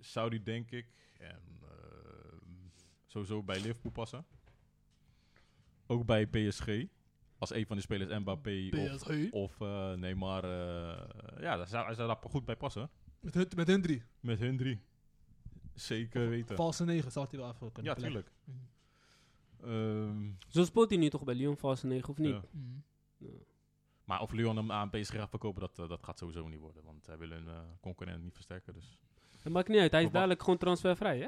Speaker 2: zou die denk ik en, ehm, sowieso bij Liverpool passen. Ook bij PSG. Als een van de spelers Mbappé of,
Speaker 4: PSG.
Speaker 2: of eh, Neymar. eh, ja, daar zou, hij zou daar goed bij passen.
Speaker 4: Met hun, met hun drie.
Speaker 2: Met hun drie. Zeker weten.
Speaker 4: Valse negen zal hij wel even kunnen
Speaker 2: Ja,
Speaker 4: plek.
Speaker 2: tuurlijk.
Speaker 4: Mhm.
Speaker 2: Ehm,
Speaker 1: Zo speelt hij nu toch bij Lyon valse 9 of niet?
Speaker 2: ja.
Speaker 4: Mm.
Speaker 2: Maar of Lyon hem aan PSG gaat verkopen, dat, eh, dat gaat sowieso niet worden. Want hij wil hun eh, concurrent niet versterken. Dus.
Speaker 1: Dat maakt niet uit. Hij is
Speaker 2: Maar
Speaker 1: dadelijk gewoon transfervrij, hè?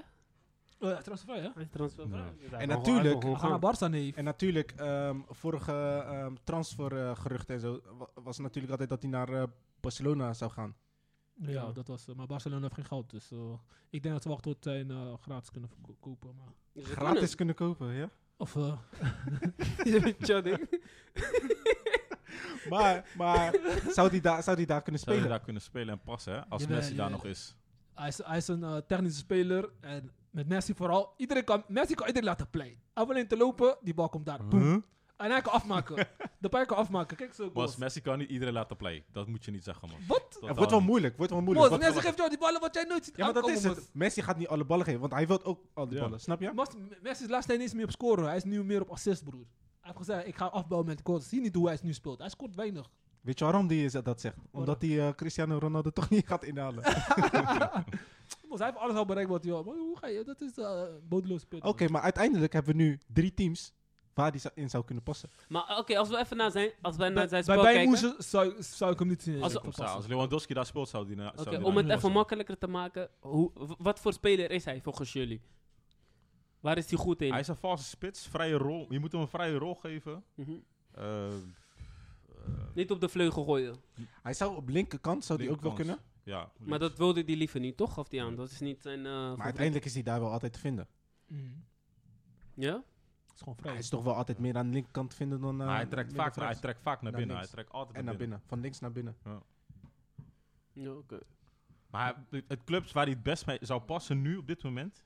Speaker 4: Oh ja, transfervrij, hè?
Speaker 1: Hij is transfervrij.
Speaker 2: Nee.
Speaker 1: Dus hij
Speaker 3: En
Speaker 1: mag
Speaker 3: natuurlijk-
Speaker 1: gewoon- hij mag
Speaker 4: We gaan naar
Speaker 1: gewoon gaan.
Speaker 4: Barça, nee.
Speaker 3: En natuurlijk, ehm, vorige ehm, transfergerucht en zo wa- was natuurlijk altijd dat hij naar eh, Barcelona zou gaan.
Speaker 4: Ja,
Speaker 1: Ja.
Speaker 4: dat was. eh, maar Barcelona heeft geen geld, dus eh, ik denk dat ze wachten tot zij een eh, gratis kunnen verko- kopen. Maar,
Speaker 1: Dus we
Speaker 3: Gratis kunnen kopen, ja.
Speaker 4: of eh,
Speaker 1: kunnen- Tja, ding.
Speaker 3: Maar,
Speaker 1: [LAUGHS]
Speaker 3: maar zou hij daar, zou die daar kunnen
Speaker 2: Zou je
Speaker 3: spelen?
Speaker 2: daar kunnen spelen en passen, hè? Als
Speaker 4: Jawel,
Speaker 2: Messi daar
Speaker 4: jawel.
Speaker 2: nog is.
Speaker 4: hij, is, hij is een eh, technische speler en met Messi vooral. Iedereen kan, Messi kan iedereen laten play. Hij hoeft alleen te lopen, die bal komt daar. Boom. En hij kan [LAUGHS] afmaken. De pij kan afmaken. Kijk zo.
Speaker 2: Mas,
Speaker 4: goals.
Speaker 2: Messi kan niet iedereen laten play. Dat moet je niet zeggen, man.
Speaker 4: Wat?
Speaker 3: Het wordt wel moeilijk, wordt wel moeilijk.
Speaker 4: Mos,
Speaker 3: Want-
Speaker 4: Messi geeft jou die ballen wat jij nooit ziet.
Speaker 3: ja, maar dat is
Speaker 4: aankomen,
Speaker 3: het. Messi gaat niet alle ballen geven, want hij wil ook al die
Speaker 2: Ja.
Speaker 3: ballen, snap je?
Speaker 4: Mos. Mas- Messi is laatst tijd niet eens meer op scoren. Hij is nu meer op assist, broer. Hij heeft gezegd: ik ga afbouwen met goals. Zie niet hoe hij het nu speelt. Hij scoort weinig.
Speaker 3: Weet je waarom die eh, dat zegt? Omdat hij eh, Cristiano Ronaldo toch niet gaat inhalen.
Speaker 4: [LAUGHS]
Speaker 3: Oké,
Speaker 4: Mos, hij heeft alles al bereikt wat hij wil. Maar hoe ga je? Dat is eh bodeloos spelen. man.
Speaker 3: maar uiteindelijk hebben we nu drie teams waar die zou- in zou kunnen passen.
Speaker 1: Maar eh, oké, als we even naar zijn, als wij naar
Speaker 4: Bij,
Speaker 1: zijn
Speaker 4: bij
Speaker 1: spel kijken...
Speaker 4: Bijmoezen zou, zou ik hem niet zien.
Speaker 1: Als-
Speaker 4: eh,
Speaker 2: Kom,
Speaker 4: verpassen.
Speaker 2: Als Lewandowski daar speelt, zou die na- zou
Speaker 1: Oké,
Speaker 2: die
Speaker 1: om
Speaker 2: daar
Speaker 1: het
Speaker 2: niet
Speaker 1: even
Speaker 2: passen.
Speaker 1: makkelijker te maken. Hoe, w- wat voor speler is hij volgens jullie? Waar is hij goed in?
Speaker 2: Hij is een valse spits, vrije rol. Je moet hem een vrije rol geven.
Speaker 1: Mhm.
Speaker 2: Eh, eh,
Speaker 1: Niet op de vleugel gooien.
Speaker 3: Hij zou op linkerkant zou die ook wel
Speaker 2: linkerkant.
Speaker 3: kunnen.
Speaker 2: Ja.
Speaker 1: Maar dat wilde hij liever niet, toch? Gaf hij aan. Dat is niet zijn... eh,
Speaker 3: Maar
Speaker 1: favoriet.
Speaker 3: uiteindelijk is hij daar wel altijd te vinden.
Speaker 4: Mm.
Speaker 1: Ja?
Speaker 4: Het is gewoon
Speaker 3: Hij
Speaker 4: vrij.
Speaker 3: is toch wel altijd meer aan de linkerkant te vinden dan. eh,
Speaker 2: Maar hij trekt, vaak,
Speaker 3: middenveld.
Speaker 2: naar- hij trekt vaak naar
Speaker 3: Naar
Speaker 2: binnen.
Speaker 3: links.
Speaker 2: Hij trekt altijd
Speaker 3: En naar binnen. Van links naar binnen.
Speaker 1: Ja, oké.
Speaker 2: Maar hij- het [LAUGHS] clubs waar hij het best mee zou passen nu, op dit moment...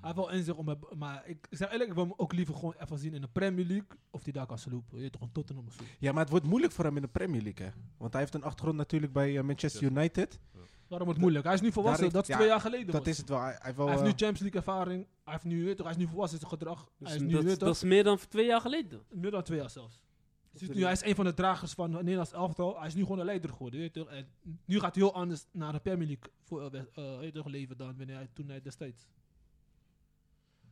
Speaker 4: Hij heeft wel inzicht om... het- Maar ik ik zeg eerlijk, ik wil hem ook liever gewoon even zien in de Premier League. Of hij daar kan slopen. Je weet toch, een Tottenham of zo.
Speaker 3: Ja, maar het wordt moeilijk voor hem in de Premier League. Hè? Want hij heeft een achtergrond natuurlijk bij eh, Manchester United.
Speaker 4: Daarom wordt het moeilijk. Hij is nu volwassen.
Speaker 3: heeft-
Speaker 4: dat is
Speaker 3: ja,
Speaker 4: twee jaar geleden.
Speaker 3: Dat
Speaker 4: man.
Speaker 3: is het wel. Hij, hij heeft wel
Speaker 4: hij heeft nu
Speaker 3: eh,
Speaker 4: Champions League ervaring. Hij, heeft nu, weet toch, hij is nu volwassen in zijn gedrag.
Speaker 1: Dus
Speaker 4: hij is nu,
Speaker 1: dat,
Speaker 4: weet
Speaker 1: dat
Speaker 4: toch,
Speaker 1: is meer dan twee jaar geleden.
Speaker 4: meer dan twee jaar zelfs. Dus
Speaker 3: Of
Speaker 4: nu,
Speaker 3: drie.
Speaker 4: hij is een van de dragers van het Nederlands elftal. Hij is nu gewoon een leider geworden. Weet je toch? En nu gaat hij heel anders naar de Premier League voor, eh, wed- eh, weet je toch, leven dan wanneer hij, toen hij destijds.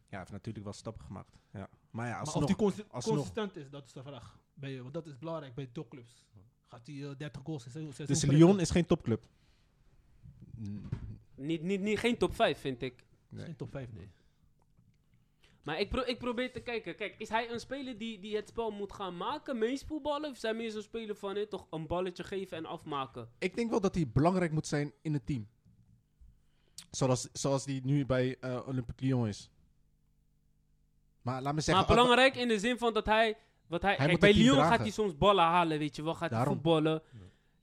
Speaker 3: ja, hij heeft natuurlijk wel stappen gemaakt. Ja. Maar ja,
Speaker 4: maar
Speaker 3: alsnog,
Speaker 4: of hij consi-
Speaker 3: alsnog.
Speaker 4: consistent is, dat is de vraag. Bij, je, want dat is belangrijk bij topclubs. Gaat hij eh, 30 goals in zes- seizoen
Speaker 3: dus
Speaker 4: prikken?
Speaker 3: Lyon is geen topclub. Mm,
Speaker 1: Niet, niet, niet, geen top 5, vind ik.
Speaker 4: Is geen top 5, nee.
Speaker 1: Maar ik, pro- ik probeer te kijken. Kijk, is hij een speler die, die het spel moet gaan maken, meesvoetballen? Of zijn meer zo'n speler van, hè, toch een balletje geven en afmaken?
Speaker 3: Ik denk wel dat hij belangrijk moet zijn in het team. Zoals, zoals die nu bij eh, Olympique Lyon is. Maar laat me zeggen...
Speaker 1: maar belangrijk in de zin van dat hij... Wat hij, kijk,
Speaker 3: moet
Speaker 1: bij
Speaker 3: het team
Speaker 1: Lyon gaat
Speaker 3: dragen.
Speaker 1: hij soms ballen halen, weet je wel. Gaat hij
Speaker 3: Daarom.
Speaker 1: voetballen.
Speaker 3: ah,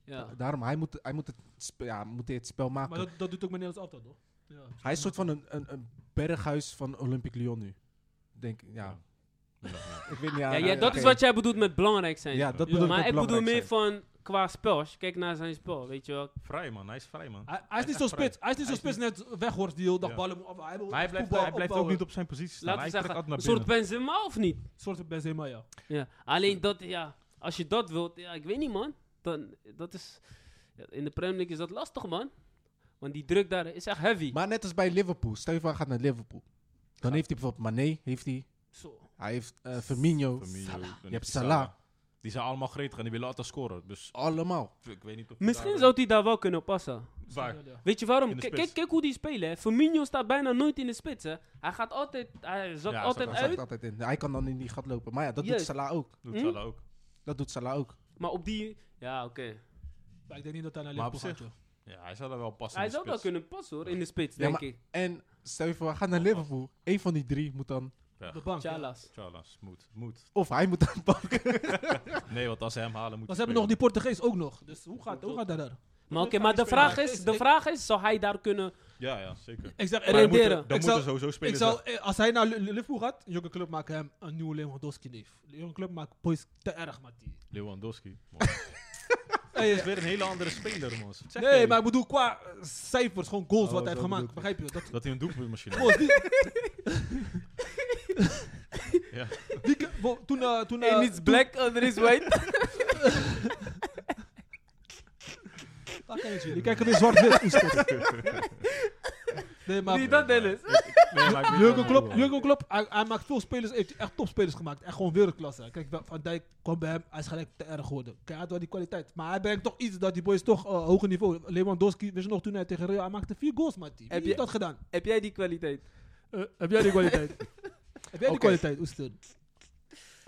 Speaker 1: Ja.
Speaker 3: Daarom, hij moet, hij moet, het, spe- ja, moet hij het spel
Speaker 2: Ah,
Speaker 3: maken.
Speaker 4: Maar dat, dat doet ook mijn Nederlands elftal, toch? Ja.
Speaker 3: Hij is een soort van een, een, een berghuis van Olympique Lyon nu. Denk, ik, ja. Ik weet niet... eh,
Speaker 1: Ja, ja, dat is
Speaker 3: oké.
Speaker 1: wat jij bedoelt met belangrijk zijn.
Speaker 3: Ja, dat
Speaker 4: Ja.
Speaker 3: bedoel
Speaker 1: maar
Speaker 3: ik
Speaker 1: ik
Speaker 3: met
Speaker 1: bedoel
Speaker 3: belangrijk
Speaker 1: meer van qua spel. Als je kijkt naar zijn spel, weet je wel.
Speaker 2: Vrij man, hij is vrij man.
Speaker 4: Hij, hij is niet
Speaker 2: echt
Speaker 4: zo
Speaker 2: vrij.
Speaker 4: spits. Hij is niet zo
Speaker 2: Hij is
Speaker 4: spits net weghorst die heel dag
Speaker 2: Ja.
Speaker 4: ballen moet af. Hij, wil
Speaker 2: Maar hij blijft,
Speaker 4: voetbal
Speaker 2: hij blijft ook
Speaker 4: opbouwen.
Speaker 2: niet op zijn positie staan.
Speaker 1: Laten we
Speaker 2: Hij trekt
Speaker 1: zeggen,
Speaker 2: altijd
Speaker 1: een
Speaker 2: naar
Speaker 1: soort
Speaker 2: binnen.
Speaker 1: Benzema of niet?
Speaker 4: Een soort van Benzema, ja.
Speaker 1: Ja. Alleen dat, ja. Als je dat wilt, ja, ik weet niet, man. Dan, dat is, ja, in de Premier League is dat lastig, man. Want die druk daar is echt heavy.
Speaker 3: Maar net als bij Liverpool. Stel je voor, hij gaat naar Liverpool. Dan heeft hij bijvoorbeeld Mané, heeft hij,
Speaker 1: Zo.
Speaker 3: hij heeft eh, Firmino.
Speaker 2: Firmino, dan heb
Speaker 3: hebt Salah.
Speaker 2: Die zijn allemaal gretig en die willen altijd scoren. Dus
Speaker 3: Allemaal.
Speaker 2: ik weet niet of...
Speaker 1: Misschien zou Hm? hij daar wel kunnen passen.
Speaker 2: Waar?
Speaker 4: Ja, ja.
Speaker 1: Weet je waarom?
Speaker 2: In de
Speaker 1: Kijk-
Speaker 2: spits.
Speaker 1: Kijk kijk hoe die spelen. hè. Firmino staat bijna nooit in de spits. Hè. Hij gaat altijd, hij zakt
Speaker 2: Ja, hij
Speaker 1: altijd
Speaker 3: Hij
Speaker 1: uit.
Speaker 3: zakt altijd in. Hij kan dan in die gat lopen. Maar ja, dat doet
Speaker 1: Juist.
Speaker 3: Salah ook.
Speaker 2: Doet
Speaker 1: Hm?
Speaker 2: Salah ook.
Speaker 3: Dat doet Salah ook.
Speaker 1: Maar op die, ja, oké.
Speaker 4: Maar ik denk niet dat hij naar
Speaker 2: Maar op
Speaker 4: Liverpool gaat. joh.
Speaker 2: Ja, hij zou daar wel passen
Speaker 1: Hij
Speaker 2: in de
Speaker 1: zou wel
Speaker 2: spits.
Speaker 1: kunnen passen hoor, in de spits,
Speaker 3: Ja,
Speaker 1: denk
Speaker 3: maar-
Speaker 1: ik.
Speaker 3: En stel je voor, hij gaat naar Liverpool. Eén van die drie moet dan...
Speaker 4: Op de bank. ja.
Speaker 1: Chalas.
Speaker 2: Chalas, moet, moet.
Speaker 3: Of hij moet dan pakken.
Speaker 2: Nee, want als ze hem halen moet
Speaker 4: Maar
Speaker 2: hij
Speaker 4: ze hebben nog die
Speaker 2: spelen.
Speaker 4: Portugees ook nog. Dus hoe gaat, hoe gaat dat daar?
Speaker 1: Maar oké,
Speaker 4: kan
Speaker 1: maar
Speaker 4: die
Speaker 1: de
Speaker 4: spelen.
Speaker 1: vraag, is,
Speaker 4: Ik-
Speaker 1: de
Speaker 4: ik-
Speaker 1: vraag is, zou hij daar kunnen...
Speaker 2: Ja, ja, zeker.
Speaker 4: Ik zeg
Speaker 1: Maar
Speaker 2: dan
Speaker 4: eerlijk,
Speaker 1: moet-
Speaker 2: moeten,
Speaker 1: Renderen.
Speaker 2: dan moeten
Speaker 4: zou-
Speaker 2: sowieso
Speaker 4: ik
Speaker 2: spelers...
Speaker 4: zou, eh, als hij naar Li- Li- Liverpool gaat, een jonge club maakt hem een nieuwe Lewandowski neef. De jonge club maakt boys te erg, man. die.
Speaker 2: Lewandowski. man.
Speaker 4: Hey,
Speaker 2: is weer een hele andere speler, man. Wat zeg
Speaker 4: nee,
Speaker 2: jij?
Speaker 4: maar ik bedoel qua eh, cijfers, gewoon goals
Speaker 2: Oh,
Speaker 4: wat hij heeft
Speaker 2: zo bedoel
Speaker 4: gemaakt.
Speaker 2: ik.
Speaker 4: Begrijp je? Dat
Speaker 2: Dat hij een doelpuntmachine
Speaker 4: goals die... [LAUGHS]
Speaker 2: Ja.
Speaker 4: Die ke- wo- toen, eh, toen, eh,
Speaker 1: Eén is black, ander is [LAUGHS] white.
Speaker 4: Ah, kijk eens, jullie kijken weer zwart-wit. Oestkot. nee, maar
Speaker 1: Zie je dat, Dennis?
Speaker 4: Jurgen Klopp, Jurgen Klopp hij, hij maakt veel spelers, heeft echt topspelers gemaakt. Echt gewoon wereldklasse. Kijk, Wa- Van Dijk kwam bij hem, hij is gelijk te erg geworden. Kijk, hij had wel die kwaliteit. Maar hij brengt toch iets dat die boys toch eh, hoger niveau. Lewandowski, wist je nog toen hij tegen Real, hij maakte vier goals, Matty. Wie
Speaker 1: Heb
Speaker 4: heeft
Speaker 1: je-
Speaker 4: dat gedaan?
Speaker 1: Heb jij die kwaliteit?
Speaker 4: Eh, heb jij die kwaliteit? [LAUGHS] heb jij die
Speaker 3: Oké.
Speaker 4: kwaliteit, Oester?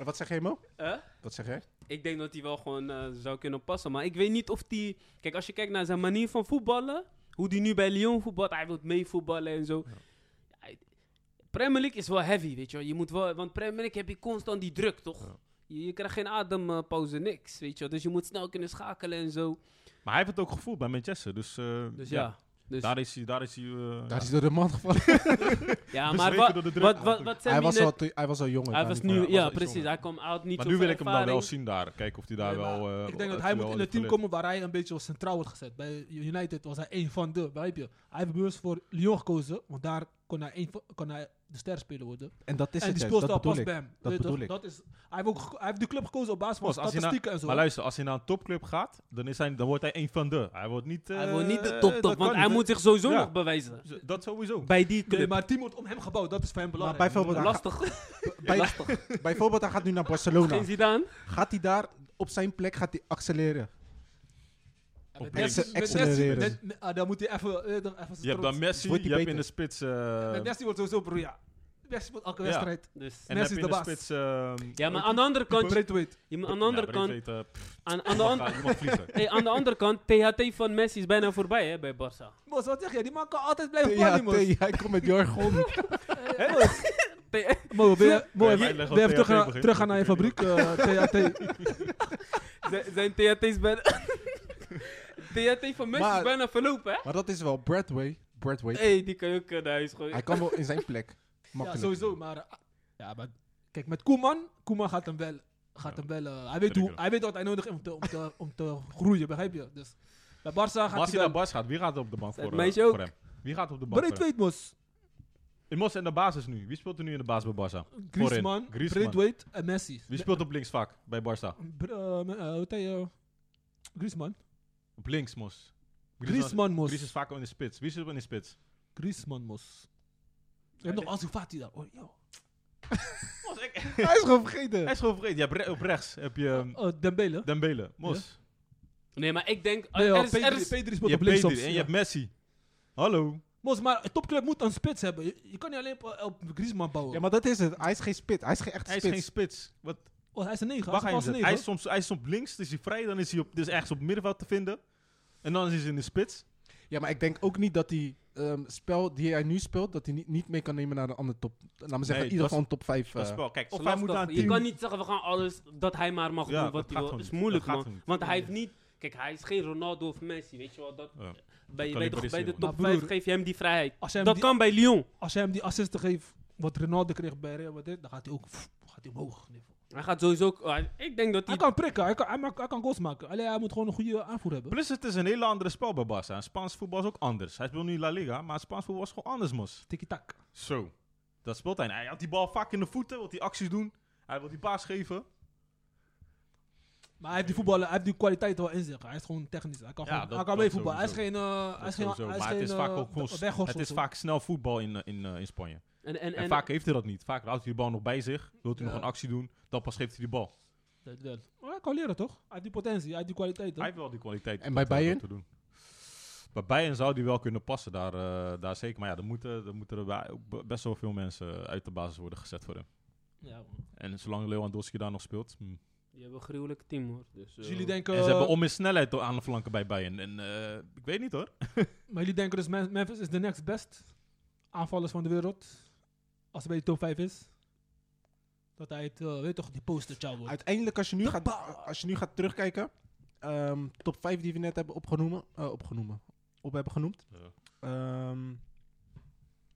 Speaker 3: Wat zeg jij, Mo?
Speaker 1: Huh?
Speaker 3: Wat zeg jij?
Speaker 1: Ik denk dat hij wel gewoon eh, zou kunnen passen. Maar ik weet niet of die... Kijk, als je kijkt naar zijn manier van voetballen... Hoe die nu bij Lyon voetbalt. Hij wil meevoetballen en zo. Ja, Premier League is wel heavy, weet je wel. Je moet wel... Want Premier League heb je constant die druk, toch?
Speaker 2: Ja.
Speaker 1: Je, je krijgt geen adempauze, niks, weet je wel. Dus je moet snel kunnen schakelen en zo.
Speaker 2: Maar hij heeft het ook gevoeld bij Manchester, dus... eh,
Speaker 1: Dus ja. Dus,
Speaker 2: Daar is hij... Daar is hij... eh,
Speaker 3: Daar
Speaker 2: ja.
Speaker 3: is hij door de man gevallen.
Speaker 1: ja, maar wat,
Speaker 2: bezweken door de
Speaker 1: wat, wat,
Speaker 2: druk natuurlijk.
Speaker 1: wat Sammy
Speaker 3: Hij was,
Speaker 1: net-
Speaker 3: al, te- hij was al jong.
Speaker 1: Hij
Speaker 3: daar
Speaker 1: was
Speaker 3: niet
Speaker 1: nu,
Speaker 2: hij
Speaker 1: ja,
Speaker 2: was al iets
Speaker 1: precies.
Speaker 2: jonger.
Speaker 1: Hij kwam uit niet
Speaker 2: Maar
Speaker 1: zo
Speaker 2: nu
Speaker 1: veel
Speaker 2: wil ik hem dan wel
Speaker 1: ervaring.
Speaker 2: zien daar. Kijken of hij daar
Speaker 4: Nee, maar
Speaker 2: wel... eh,
Speaker 4: ik denk
Speaker 2: of
Speaker 4: dat hij
Speaker 2: wel
Speaker 4: moet in het team
Speaker 2: verlicht.
Speaker 4: komen waar hij een beetje als centraal wordt gezet. Bij United was hij één van de, begrijp je? Hij heeft bewust voor Lyon gekozen, want daar kon hij, één van- kon hij de ster spelen worden.
Speaker 3: van. En dat is
Speaker 4: en
Speaker 3: het,
Speaker 4: die
Speaker 3: juist,
Speaker 4: speelstijl
Speaker 3: dat bedoel
Speaker 4: past
Speaker 3: ik.
Speaker 4: bij hem.
Speaker 3: Dat
Speaker 4: Weet je
Speaker 3: bedoel
Speaker 4: toch?
Speaker 3: ik.
Speaker 4: Dat is, hij, heeft ook, ge- hij heeft de club gekozen op basis van
Speaker 2: Pas, als hij na-
Speaker 4: statistieken en zo.
Speaker 2: Maar luister, als hij naar een topclub gaat, dan, is hij, dan wordt hij één van de. Hij wordt niet...
Speaker 1: Hij
Speaker 2: eh,
Speaker 1: wil niet de
Speaker 2: eh,
Speaker 1: top
Speaker 2: dat
Speaker 1: top,
Speaker 2: kan
Speaker 1: want
Speaker 2: niet,
Speaker 1: hij
Speaker 2: hè.
Speaker 1: moet zich sowieso
Speaker 2: Ja.
Speaker 1: nog bewijzen.
Speaker 2: Z- Dat sowieso.
Speaker 1: Bij die
Speaker 4: nee,
Speaker 1: club.
Speaker 4: maar het team wordt om hem gebouwd, dat is voor hem belangrijk.
Speaker 3: Maar bijvoorbeeld-
Speaker 1: Lastig.
Speaker 3: Bij-
Speaker 1: Lastig.
Speaker 3: [LAUGHS] Bijvoorbeeld, hij gaat nu naar Barcelona.
Speaker 1: Geen Zidane.
Speaker 3: Gaat hij daar op zijn plek gaat hij accelereren?
Speaker 4: Ja, met
Speaker 2: op
Speaker 4: Messi-
Speaker 3: links.
Speaker 4: met Messi-
Speaker 3: Accelereren.
Speaker 4: met- met- ah, Dan moet hij even... eh, dan even
Speaker 2: Je hebt dan
Speaker 4: trots-
Speaker 2: Messi,
Speaker 3: Wordt
Speaker 2: je
Speaker 3: hij
Speaker 2: hebt in
Speaker 3: beter?
Speaker 2: de spits... eh,
Speaker 4: Met Messi wordt sowieso broer, ja. Messi wordt elke
Speaker 2: Ja.
Speaker 4: wedstrijd.
Speaker 1: Dus.
Speaker 4: Messi
Speaker 2: en heb
Speaker 4: is
Speaker 2: je
Speaker 4: de
Speaker 2: in de
Speaker 4: baas.
Speaker 2: spits... eh,
Speaker 1: Ja, maar aan de andere kant,
Speaker 4: Breedweight.
Speaker 1: je moet aan de andere
Speaker 2: Ja,
Speaker 1: kant,
Speaker 2: Breed weet, eh, pff,
Speaker 1: aan, aan, de [LAUGHS]
Speaker 2: iemand
Speaker 1: an-
Speaker 2: gaat- iemand vliegen.
Speaker 1: hey, aan de andere kant, THT van Messi is bijna voorbij hè, bij Barça.
Speaker 4: Mos, wat zeg je? Die man kan altijd blijven
Speaker 3: Ja,
Speaker 4: ballen, mos.
Speaker 3: T, hij komt met jargon. [LAUGHS]
Speaker 1: T- [LAUGHS]
Speaker 4: Mo, wil je- Mo,
Speaker 2: Ja,
Speaker 4: wil
Speaker 2: wij
Speaker 4: je- wil
Speaker 2: leggen
Speaker 4: je even
Speaker 2: THT
Speaker 4: terug gaan-
Speaker 2: begin.
Speaker 4: terug gaan naar je fabriek, eh,
Speaker 2: [LAUGHS]
Speaker 4: THT?
Speaker 1: zijn- Zijn THT's bijna... [LAUGHS] THT van Messi is
Speaker 3: Maar-
Speaker 1: bijna verlopen hè.
Speaker 3: maar dat is wel Bradway. Bradway.
Speaker 1: Hé, die kan je ook eh, naar huis gooien.
Speaker 3: Hij kan wel in zijn plek. Makkelijk.
Speaker 4: Ja, sowieso, maar... eh, ja, maar kijk, met Koeman, Koeman gaat hem wel... Gaat
Speaker 2: Ja.
Speaker 4: hem wel eh, hij, weet hoe,
Speaker 2: Trigger.
Speaker 4: hij weet wat hij nodig heeft om te, om te, om te groeien, begrijp je? Dus bij Barca gaat
Speaker 2: Als
Speaker 4: hij
Speaker 2: hij naar
Speaker 4: wel...
Speaker 2: eh. Bas gaat, wie gaat er op de bank
Speaker 1: Zet
Speaker 2: voor, eh,
Speaker 1: meisje ook.
Speaker 2: voor hem? Wie gaat op de bank voor hem?
Speaker 4: Breedweight, mos.
Speaker 2: Ik moest in de basis nu. Wie speelt er nu in de basis bij Barca?
Speaker 4: Griezmann,
Speaker 2: Griezmann.
Speaker 4: Breedweight en Messi.
Speaker 2: Wie speelt op linksvak bij Barca?
Speaker 4: Br- eh, me- eh, hoe heet hij? eh, Griezmann.
Speaker 2: Op links, Mos.
Speaker 4: Griezmann, mos.
Speaker 2: Gries is vaak in de spits. Wie zit in de spits?
Speaker 4: Griezmann, mos. Je hebt nog Ansu Fati daar. Oh, joh.
Speaker 2: Mos, ik-
Speaker 4: Hij is gewoon
Speaker 2: Hij
Speaker 4: vergeten.
Speaker 2: is gewoon vergeten. Je hebt re- op rechts heb je
Speaker 1: Oh.
Speaker 2: ehm,
Speaker 4: Eh, Dembele.
Speaker 2: Dembele. Mos.
Speaker 1: Nee, maar ik denk...
Speaker 2: Ah,
Speaker 4: Nee,
Speaker 1: er
Speaker 4: ja,
Speaker 1: is- er
Speaker 4: Pedri,
Speaker 1: is-
Speaker 4: Pedri
Speaker 2: Je
Speaker 4: speelt op
Speaker 2: hebt
Speaker 4: links.
Speaker 2: Pedri en je hebt Messi. Hallo.
Speaker 4: Mos, maar een topclub moet een spits hebben. Je, je kan niet alleen op, op Griezmann bouwen.
Speaker 3: Ja, maar dat is het. Hij is geen spit. Hij is geen echte
Speaker 2: Hij is
Speaker 3: spits.
Speaker 2: geen spits. Wat,
Speaker 4: oh, hij is een 9.
Speaker 2: waar ga
Speaker 4: hij
Speaker 2: je hem
Speaker 4: is een valse
Speaker 2: zetten? Hij
Speaker 4: negen.
Speaker 2: is soms, hij is soms links, dus hij vrij. Dan is hij op, dus ergens op middenveld te vinden. En dan is hij in de spits.
Speaker 3: Ja, maar ik denk ook niet dat die ehm, spel die hij nu speelt, dat hij niet, niet mee kan nemen naar een andere top. Laten we zeggen, in
Speaker 2: dat
Speaker 3: ieder
Speaker 2: is-
Speaker 3: geval een top eh. 5.
Speaker 2: Dat is wel- Kijk,
Speaker 1: is
Speaker 2: of hij moet
Speaker 1: lastig.
Speaker 2: aan
Speaker 1: Je
Speaker 2: team.
Speaker 1: kan niet zeggen, we gaan alles... Dat hij maar mag
Speaker 2: Ja,
Speaker 1: doen
Speaker 2: dat
Speaker 1: wat hij
Speaker 2: gaat
Speaker 1: wil.
Speaker 2: gewoon
Speaker 1: is
Speaker 2: niet.
Speaker 1: moeilijk,
Speaker 2: Dat
Speaker 1: man.
Speaker 2: gaat gewoon niet.
Speaker 1: Want hij heeft niet... Kijk, hij is geen Ronaldo of Messi, weet je wel. Dat,
Speaker 2: Ja.
Speaker 1: bij,
Speaker 2: kan
Speaker 1: bij,
Speaker 2: niet
Speaker 1: de,
Speaker 2: Brazilië,
Speaker 1: bij de
Speaker 2: man.
Speaker 1: top
Speaker 4: Maar
Speaker 1: 5
Speaker 4: broer,
Speaker 1: geef je hem die vrijheid.
Speaker 4: Als, hij hem
Speaker 1: Dat
Speaker 4: die-
Speaker 1: kan bij Lyon.
Speaker 4: als hij hem die assisten geeft, wat Ronaldo kreeg bij Real Madrid, dan gaat hij ook pff, gaat hij omhoog.
Speaker 1: Hij gaat sowieso... ook- hij- ik denk dat
Speaker 4: Hij
Speaker 1: hij...
Speaker 4: kan prikken, hij kan, hij, maakt- hij kan goals maken. Alleen hij moet gewoon een goede aanvoer hebben.
Speaker 2: Plus het is een hele andere spel bij Barca. En Spaans voetbal is ook anders. Hij speelt nu La Liga, maar Spaans voetbal is gewoon anders, mos.
Speaker 4: Tiki-tak.
Speaker 2: Zo. Dat speelt hij. Hij had die bal vaak in de voeten, wil die acties doen. Hij wil die paas geven.
Speaker 4: Maar hij heeft die voetballen, hij heeft die kwaliteit wel in zich. Hij is gewoon technisch. Hij kan,
Speaker 2: Ja,
Speaker 4: gewoon,
Speaker 2: dat-
Speaker 4: hij kan mee
Speaker 2: dat
Speaker 4: voetballen. Hij is geen.
Speaker 2: sowieso.
Speaker 4: eh hij is geen.
Speaker 2: Sowieso,
Speaker 4: hij is
Speaker 2: maar
Speaker 4: geen,
Speaker 2: het is vaak
Speaker 4: eh,
Speaker 2: ook gewoon...
Speaker 4: de-
Speaker 2: s-
Speaker 4: weghorst
Speaker 2: Het
Speaker 4: of
Speaker 2: is
Speaker 4: zo.
Speaker 2: vaak snel voetbal in, eh, in, eh, in Spanje.
Speaker 1: En, en,
Speaker 2: En,
Speaker 1: en,
Speaker 2: vaak heeft hij dat niet. Vaak houdt hij die bal nog bij zich. Wilt hij
Speaker 4: Ja.
Speaker 2: nog een actie doen, dan pas geeft hij die bal.
Speaker 4: Dat wel. Maar hij kan leren toch? Hij heeft die potentie, hij heeft die kwaliteit.
Speaker 2: Hij
Speaker 4: Toch?
Speaker 2: heeft wel die kwaliteit.
Speaker 3: En
Speaker 2: om
Speaker 3: bij
Speaker 2: dat, eh,
Speaker 3: Bayern?
Speaker 2: dat te doen. Bij Bayern zou die wel kunnen passen, daar, eh, daar zeker. Maar ja, dan moeten, dan moeten er bij- ook be- best wel veel mensen uit de basis worden gezet voor hem.
Speaker 4: Ja, man.
Speaker 2: En zolang Lewandowski daar nog speelt... hm.
Speaker 1: Je hebt een gruwelijk team, hoor. Dus,
Speaker 4: Dus
Speaker 1: eh,
Speaker 4: jullie denken.
Speaker 2: En ze hebben om in snelheid to- aan de flanken bij Bayern. En eh, ik weet niet hoor.
Speaker 4: Maar jullie denken dus Mem- Memphis is de next best aanvallers van de wereld. Als hij bij de top 5 is. Dat hij het, eh, weet toch, die poster child wordt.
Speaker 3: Uiteindelijk, als je nu,
Speaker 4: De
Speaker 3: gaat,
Speaker 4: bal.
Speaker 3: als je nu gaat terugkijken, ehm, top 5 die we net hebben opgenomen, eh, opgenomen, op hebben genoemd.
Speaker 2: Ja.
Speaker 3: Ehm,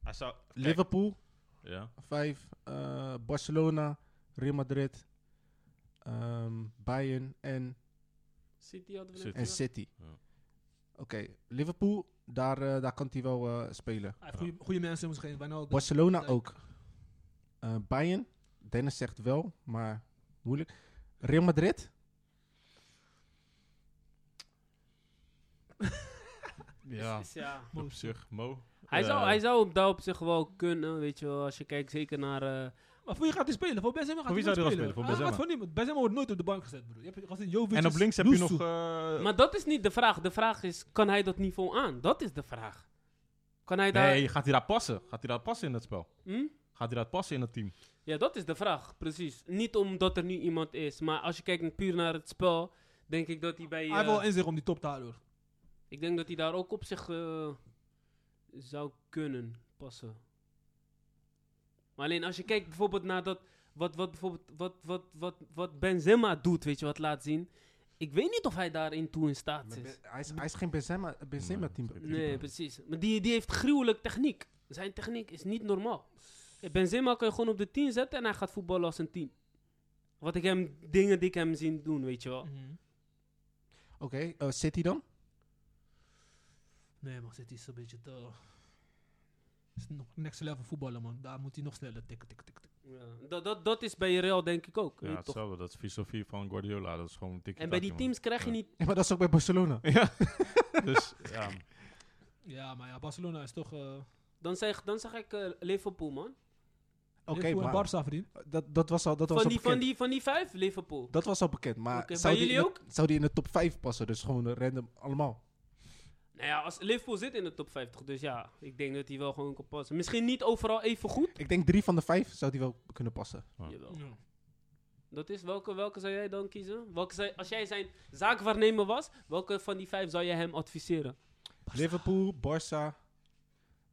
Speaker 2: Hij zou...
Speaker 3: Liverpool,
Speaker 2: Ja.
Speaker 3: 5, Barcelona, Real Madrid, ehm, Bayern en,
Speaker 1: City hadden we
Speaker 2: City.
Speaker 1: net
Speaker 3: en
Speaker 1: gezegd.
Speaker 3: City.
Speaker 2: Ja.
Speaker 3: Oké, Liverpool, daar, eh, daar kan hij wel eh, spelen.
Speaker 4: Hij heeft goede- goede mensen om zich heen. Wijnaldum.
Speaker 3: Barcelona
Speaker 4: Dijk.
Speaker 3: ook. Eh, Bayern, Dennis zegt wel, maar moeilijk. Real Madrid,
Speaker 2: Ja.
Speaker 1: Dus ja.
Speaker 2: Op zich, Mo.
Speaker 1: Hij,
Speaker 2: Eh,
Speaker 1: zou, hij zou op dat op zich wel kunnen, weet je wel. Als je kijkt zeker naar... eh,
Speaker 4: Maar voor wie gaat hij spelen? Voor Benzema gaat
Speaker 2: Voor wie
Speaker 4: hij
Speaker 2: zou hij
Speaker 4: nooit
Speaker 2: dan spelen? Voor
Speaker 4: Hij
Speaker 2: Benzema?
Speaker 4: gaat voor niemand. Benzema wordt nooit op de bank gezet, broer. Je hebt gezien Jovic.
Speaker 2: En op
Speaker 4: is
Speaker 2: links heb je nog...
Speaker 4: Lusso.
Speaker 2: eh,
Speaker 1: Maar dat is niet de vraag. De vraag is, kan hij dat niveau aan? Dat is de vraag. Kan hij daar...
Speaker 2: nee, gaat hij daar passen? Gaat hij daar passen in het spel?
Speaker 1: Hm?
Speaker 2: Gaat hij daar passen in het team?
Speaker 1: Ja, dat is de vraag, precies. Niet omdat er nu iemand is, maar als je kijkt puur naar het spel, denk ik dat hij bij...
Speaker 4: Hij heeft
Speaker 1: eh,
Speaker 4: wel in zich om die top te halen, hoor.
Speaker 1: ik denk dat hij daar ook op zich eh, zou kunnen passen. Maar alleen als je kijkt bijvoorbeeld naar dat, wat, wat, bijvoorbeeld, wat, wat, wat, wat Benzema doet, weet je, wat laat zien. Ik weet niet of hij daarin toe in staat
Speaker 3: Maar
Speaker 1: is.
Speaker 3: Be- hij, is, hij is geen Benzema, Benzema team.
Speaker 2: Nee,
Speaker 1: Nee, precies. Maar die, die heeft gruwelijk techniek. Zijn techniek is niet normaal. Ja, Benzema kan je gewoon op de 10 zetten en hij gaat voetballen als een 10. Wat ik hem, dingen die ik hem zien doen, weet je wel.
Speaker 2: Oh.
Speaker 4: Mhm.
Speaker 3: Oké, eh, City dan? [LAUGHS]
Speaker 4: Nee, maar City is een beetje te... is nog next level voetballen, man. Daar moet hij nog sneller tikken, tikken, tikken. tikken.
Speaker 1: Ja. Dat, dat, dat is bij Real denk ik ook. weet je
Speaker 2: Ja,
Speaker 1: toch?
Speaker 2: hetzelfde. Dat is filosofie van Guardiola. Dat is gewoon een tikkie
Speaker 1: En bij die
Speaker 2: takkie, man.
Speaker 1: teams krijg je
Speaker 2: Ja.
Speaker 1: niet...
Speaker 3: Ja, maar dat is ook bij Barcelona.
Speaker 2: [LAUGHS] Ja.
Speaker 1: [LAUGHS]
Speaker 2: dus, ja.
Speaker 4: Ja, maar ja, Barcelona is toch... eh
Speaker 1: Dan zeg, dan zeg ik eh, Liverpool, man.
Speaker 3: Oké,
Speaker 4: Liverpool en
Speaker 3: maar
Speaker 4: Barca, vriend.
Speaker 3: dat, dat was al, dat was
Speaker 1: Van die,
Speaker 3: al bekend.
Speaker 1: van, die, van die vijf, Liverpool.
Speaker 3: Dat was al bekend, maar
Speaker 1: Oké,
Speaker 3: zou,
Speaker 1: bij
Speaker 3: die in
Speaker 1: jullie
Speaker 3: de- zou die in de top 5 passen? Dus gewoon eh, random allemaal.
Speaker 1: Nou ja, als Liverpool zit in de top 50. Dus ja, ik denk dat hij wel gewoon kan passen. Misschien niet overal even goed.
Speaker 3: Ik denk drie van de vijf zou die wel kunnen passen.
Speaker 2: Ja.
Speaker 1: Jawel.
Speaker 4: Ja.
Speaker 1: Dat is, welke, welke zou jij dan kiezen? Welke zou- als jij zijn zaakwaarnemer was, welke van die vijf zou jij hem adviseren?
Speaker 3: Liverpool, Barça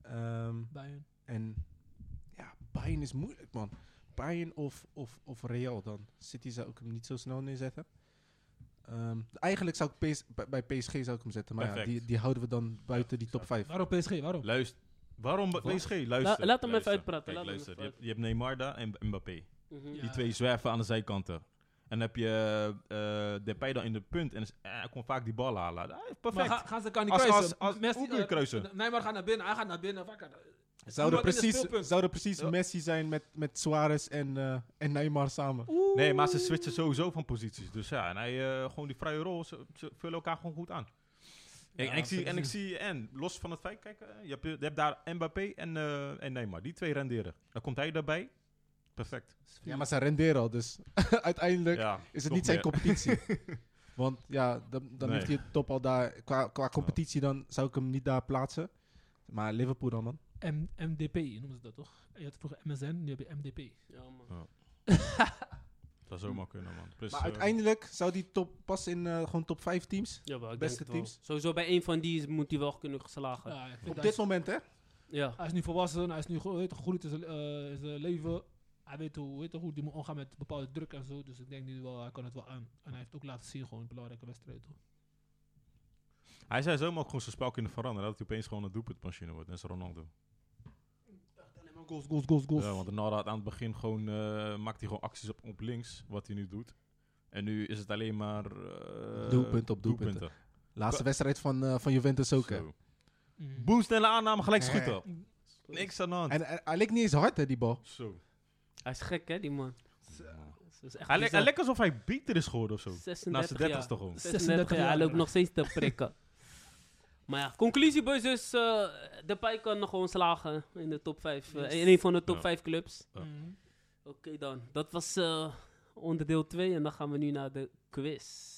Speaker 3: ehm,
Speaker 4: Bayern.
Speaker 3: en ja, Bayern is moeilijk man. Bayern of, of, of Real dan. City zou ik hem niet zo snel neerzetten. Ehm, eigenlijk zou ik PS bij- bij PSG zou ik hem zetten, maar ja,
Speaker 2: Perfect.
Speaker 3: die, die houden we dan buiten die top 5.
Speaker 4: Waarom PSG? Waarom?
Speaker 2: Luister, Waarom bij PSG? Luister.
Speaker 1: laat hem even
Speaker 2: luister.
Speaker 1: uitpraten,
Speaker 2: Kijk,
Speaker 1: laat hem
Speaker 2: luister.
Speaker 1: even
Speaker 2: je, hebt, je hebt Neymar daar en en Mbappé.
Speaker 1: Mhm.
Speaker 2: Die twee zwerven aan de zijkanten. En dan heb je eh Depay dan in de punt. En is- eh, hij kon vaak die bal halen. Ah,
Speaker 4: Maar
Speaker 2: perfect.
Speaker 4: ga- gaan ze elkaar niet
Speaker 2: Als-
Speaker 4: kruisen?
Speaker 2: als- als- hoe kun je
Speaker 4: eh,
Speaker 2: kruisen?
Speaker 4: Neymar gaat naar binnen, hij gaat naar binnen. Waar kan-
Speaker 3: Zouden
Speaker 4: Iemand in het
Speaker 3: precies,
Speaker 4: speelpunt.
Speaker 3: zouden precies
Speaker 2: Ja.
Speaker 3: Messi zijn met, met Suarez en, eh, en Neymar samen.
Speaker 2: Nee, maar ze switchen sowieso van posities. Dus ja, en hij, eh, gewoon die vrije rol, ze, ze vullen elkaar gewoon goed aan. En- en, ik zie, en ik zie, en los van het feit, kijk, eh, je, hebt, je hebt daar Mbappé en, eh en Neymar. Die twee renderen. Dan komt hij daarbij. Perfect.
Speaker 3: Ja, maar ze renderen al, dus [LAUGHS] uiteindelijk
Speaker 2: Ja,
Speaker 3: is het
Speaker 2: nog
Speaker 3: niet zijn
Speaker 2: meer.
Speaker 3: competitie.
Speaker 2: [LAUGHS]
Speaker 3: Want ja, dan, dan
Speaker 2: Nee.
Speaker 3: heeft hij het top al daar. Qua, qua competitie dan zou ik hem niet daar plaatsen. Maar Liverpool dan, man.
Speaker 4: M- MDP noemen ze dat toch? Je had vroeger MSN, nu heb je MDP.
Speaker 1: Ja, man.
Speaker 2: Dat zou zomaar kunnen, man. Plus,
Speaker 3: Maar
Speaker 2: eh,
Speaker 3: uiteindelijk zou die top pas in eh, gewoon top 5 teams.
Speaker 1: Jawel, ik
Speaker 3: Beste
Speaker 1: denk het wel.
Speaker 3: teams.
Speaker 1: Sowieso bij één van die is- moet hij wel kunnen geslagen. Ja.
Speaker 4: Ja, ik vind
Speaker 3: Op
Speaker 4: hij
Speaker 3: dit
Speaker 4: is-
Speaker 3: moment, hè?
Speaker 1: ja.
Speaker 4: Hij is nu volwassen, hij is nu gro- weet je, gegroeid in zijn, eh, in zijn leven. Hij weet hoe, weet je, hoe die moet omgaan met bepaalde druk en zo. Dus ik denk nu wel, hij kan het wel aan. En hij heeft ook laten zien gewoon belangrijke wedstrijden.
Speaker 2: Hij zei zomaar ook gewoon zijn spel kunnen veranderen. Dat hij opeens gewoon een doelpuntmachine wordt. Net als Ronaldo.
Speaker 4: Goals, goals, goals, goals.
Speaker 2: Ja, want Ronaldo had aan het begin gewoon, eh, maakt hij gewoon acties op, op links. Wat hij nu doet. En nu is het alleen maar... eh,
Speaker 3: Doelpunt op doelpunten. Laatste wedstrijd van, eh, van Juventus ook, hè?
Speaker 2: Zo.
Speaker 4: Mm.
Speaker 2: Boem, snelle aanname, gelijk schieten.
Speaker 4: Nee.
Speaker 2: Niks aan de hand.
Speaker 3: En eh, hij leek niet eens hard, hè, die bal.
Speaker 2: Zo.
Speaker 1: Hij is gek, hè, die man. Dat is echt
Speaker 2: Hij lijkt
Speaker 1: bizar.
Speaker 2: hij lijkt alsof hij beter is geworden of zo. Na zijn
Speaker 1: 36 jaar.
Speaker 2: 30 toch gewoon.
Speaker 1: 36 jaar, hij loopt
Speaker 4: jaar.
Speaker 1: nog steeds te
Speaker 3: [LAUGHS]
Speaker 1: prikken. maar ja, conclusie, boys, is... eh Depay kan nog gewoon slagen in de top 5.
Speaker 4: Yes.
Speaker 1: in een van de top
Speaker 2: Ja.
Speaker 1: 5 clubs.
Speaker 4: Mm.
Speaker 2: Ja.
Speaker 1: Oké dan, dat was eh, onderdeel 2. En dan gaan we nu naar de quiz.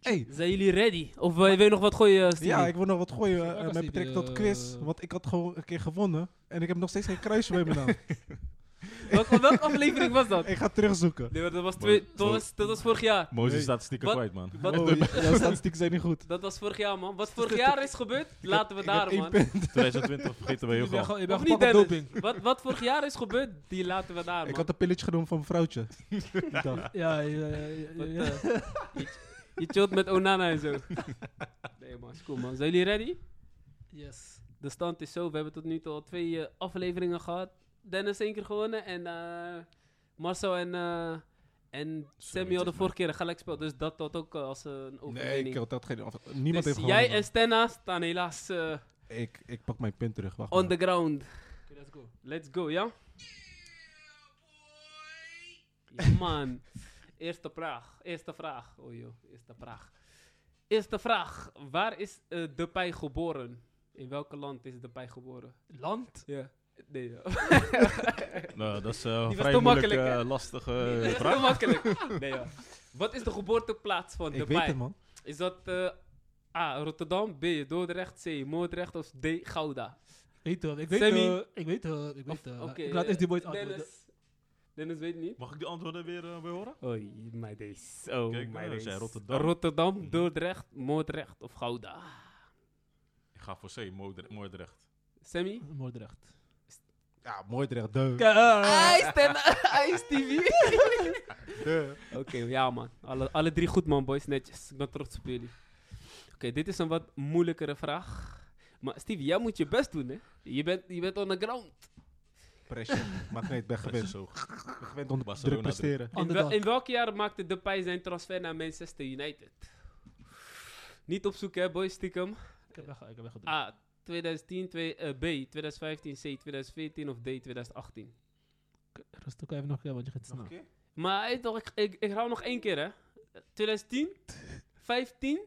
Speaker 3: Hey,
Speaker 1: Zijn jullie ready? Of wil wil je nog wat gooien, eh, Steven?
Speaker 3: Ja, ik wil nog wat gooien
Speaker 4: Ja,
Speaker 3: eh,
Speaker 4: ik was
Speaker 3: met
Speaker 4: niet,
Speaker 3: betrekking tot
Speaker 4: eh,
Speaker 3: quiz. Want ik had gewoon een keer gewonnen. En ik heb nog steeds geen kruisje bij mijn
Speaker 1: [LAUGHS]
Speaker 3: naam.
Speaker 1: [LAUGHS] welke, welke aflevering was
Speaker 3: [LAUGHS]
Speaker 1: dat?
Speaker 3: Ik ga terugzoeken.
Speaker 1: Nee, maar dat was, twee,
Speaker 2: Mooi.
Speaker 1: dat was, dat was vorig jaar.
Speaker 2: Mozes
Speaker 3: Nee.
Speaker 2: staat stiekem
Speaker 1: Wat?
Speaker 2: kwijt,
Speaker 1: [LAUGHS]
Speaker 2: man.
Speaker 1: Wat,
Speaker 3: Oh, j- jouw statistieken zijn niet
Speaker 1: [LAUGHS]
Speaker 3: goed.
Speaker 1: Dat was vorig jaar, man. Wat vorig jaar is gebeurd, laten we
Speaker 3: Ik heb
Speaker 1: daar,
Speaker 3: één
Speaker 1: man.
Speaker 3: punt.
Speaker 2: 2020 vergeten we heel
Speaker 4: Je bent
Speaker 2: veel.
Speaker 4: ge- je bent
Speaker 1: Of niet,
Speaker 4: gepakt op
Speaker 1: Dennis?
Speaker 4: doping.
Speaker 1: Wat, wat vorig jaar is gebeurd, die laten we daar, man.
Speaker 3: Ik had een pilletje genomen van mijn
Speaker 1: [LAUGHS]
Speaker 3: vrouwtje. Die dag.
Speaker 4: Ja, ja, ja, ja,
Speaker 1: Wat,
Speaker 4: ja.
Speaker 1: eh, je, [LAUGHS] je chillt met Onana en zo. [LAUGHS] Nee, man, is cool, man. Zijn jullie ready?
Speaker 4: [LAUGHS] Yes.
Speaker 1: De stand is zo. We hebben tot nu toe al twee eh, afleveringen gehad. Dennis één keer gewonnen en eh, Marcel en, eh, en Samuel
Speaker 2: zeg
Speaker 1: de
Speaker 2: maar.
Speaker 1: vorige keer een gelijkspel. Dus dat tot ook eh, als een
Speaker 3: Nee,
Speaker 1: overwinning.
Speaker 3: ik had dat geen... af-
Speaker 1: dus
Speaker 3: Niemand heeft
Speaker 1: jij
Speaker 3: gewonnen.
Speaker 1: en Stenna staan helaas eh,
Speaker 3: Ik, ik pak mijn punt terug. Wacht
Speaker 1: on
Speaker 3: maar.
Speaker 1: the ground.
Speaker 4: Oké, let's go.
Speaker 1: Let's go, ja? Ja, man. Eerste vraag. Eerste vraag. Oh joh, eerste vraag. Eerste vraag. Waar is eh, Depay geboren? In welk land is Depay geboren?
Speaker 4: Land?
Speaker 1: Ja. Nee, ja. [LAUGHS]
Speaker 2: Nou, dat is eh, een
Speaker 1: was
Speaker 2: vrij
Speaker 1: te
Speaker 2: moeilijk,
Speaker 1: makkelijk,
Speaker 2: eh,
Speaker 1: hè?
Speaker 2: lastige
Speaker 1: dat
Speaker 2: eh,
Speaker 1: is
Speaker 2: vraag.
Speaker 1: te [LAUGHS] makkelijk. Nee, ja. Wat is de geboorteplaats van
Speaker 3: Ik weet
Speaker 1: Depay?
Speaker 3: het, man.
Speaker 1: Is dat eh, A. Rotterdam, B. Dordrecht, C. Moordrecht of D. Gouda?
Speaker 4: Weet je, ik weet
Speaker 1: Sammy.
Speaker 4: eh, Ik weet eh, ik weet
Speaker 1: Of-
Speaker 4: eh,
Speaker 1: oké,
Speaker 4: Ik laat
Speaker 1: eh,
Speaker 4: eerst die boys antwoorden.
Speaker 1: Dennis. Dennis weet niet.
Speaker 2: Mag ik de antwoorden weer, eh, weer horen?
Speaker 1: Oei, my days. Oh,
Speaker 2: Kijk,
Speaker 1: my
Speaker 2: nou,
Speaker 1: days.
Speaker 2: zei Rotterdam. Mhm.
Speaker 1: Dordrecht, Moordrecht of Gouda.
Speaker 2: Ik ga voor C, Moordre- Moordrecht.
Speaker 1: Sammy?
Speaker 4: Moordrecht.
Speaker 3: Ja, mooi terecht. Duh.
Speaker 2: Ah.
Speaker 1: IJs en IJs TV. [LAUGHS] Oké, ja man. Alle, alle drie goed man, boys. Netjes. Ik ben trots op jullie. Oké, dit is een wat moeilijkere vraag. Maar Stevie, jij moet je best doen, hè? Je bent, je bent on the ground.
Speaker 5: [LAUGHS]
Speaker 3: Pressure. Mag niet, ik ben
Speaker 2: Dat is
Speaker 3: gewend.
Speaker 2: zo.
Speaker 3: Ik ben gewend om
Speaker 2: Barcelona
Speaker 3: druk
Speaker 2: druk.
Speaker 3: presteren.
Speaker 1: In, wel,
Speaker 4: Underdog.
Speaker 1: in welk jaar maakte Depay zijn transfer naar Manchester United? Niet opzoeken, hè, boys. Stiekem.
Speaker 4: Ik heb weg- ik heb weggedrukt.
Speaker 1: A. 2010, twee- eh, B. 2015, C. 2014 of D. 2018?
Speaker 4: Rustig, kan je even nog een keer, want je gaat snel.
Speaker 1: Maar hey, toch, ik, ik, ik hou nog één keer, hè. 2010, 15,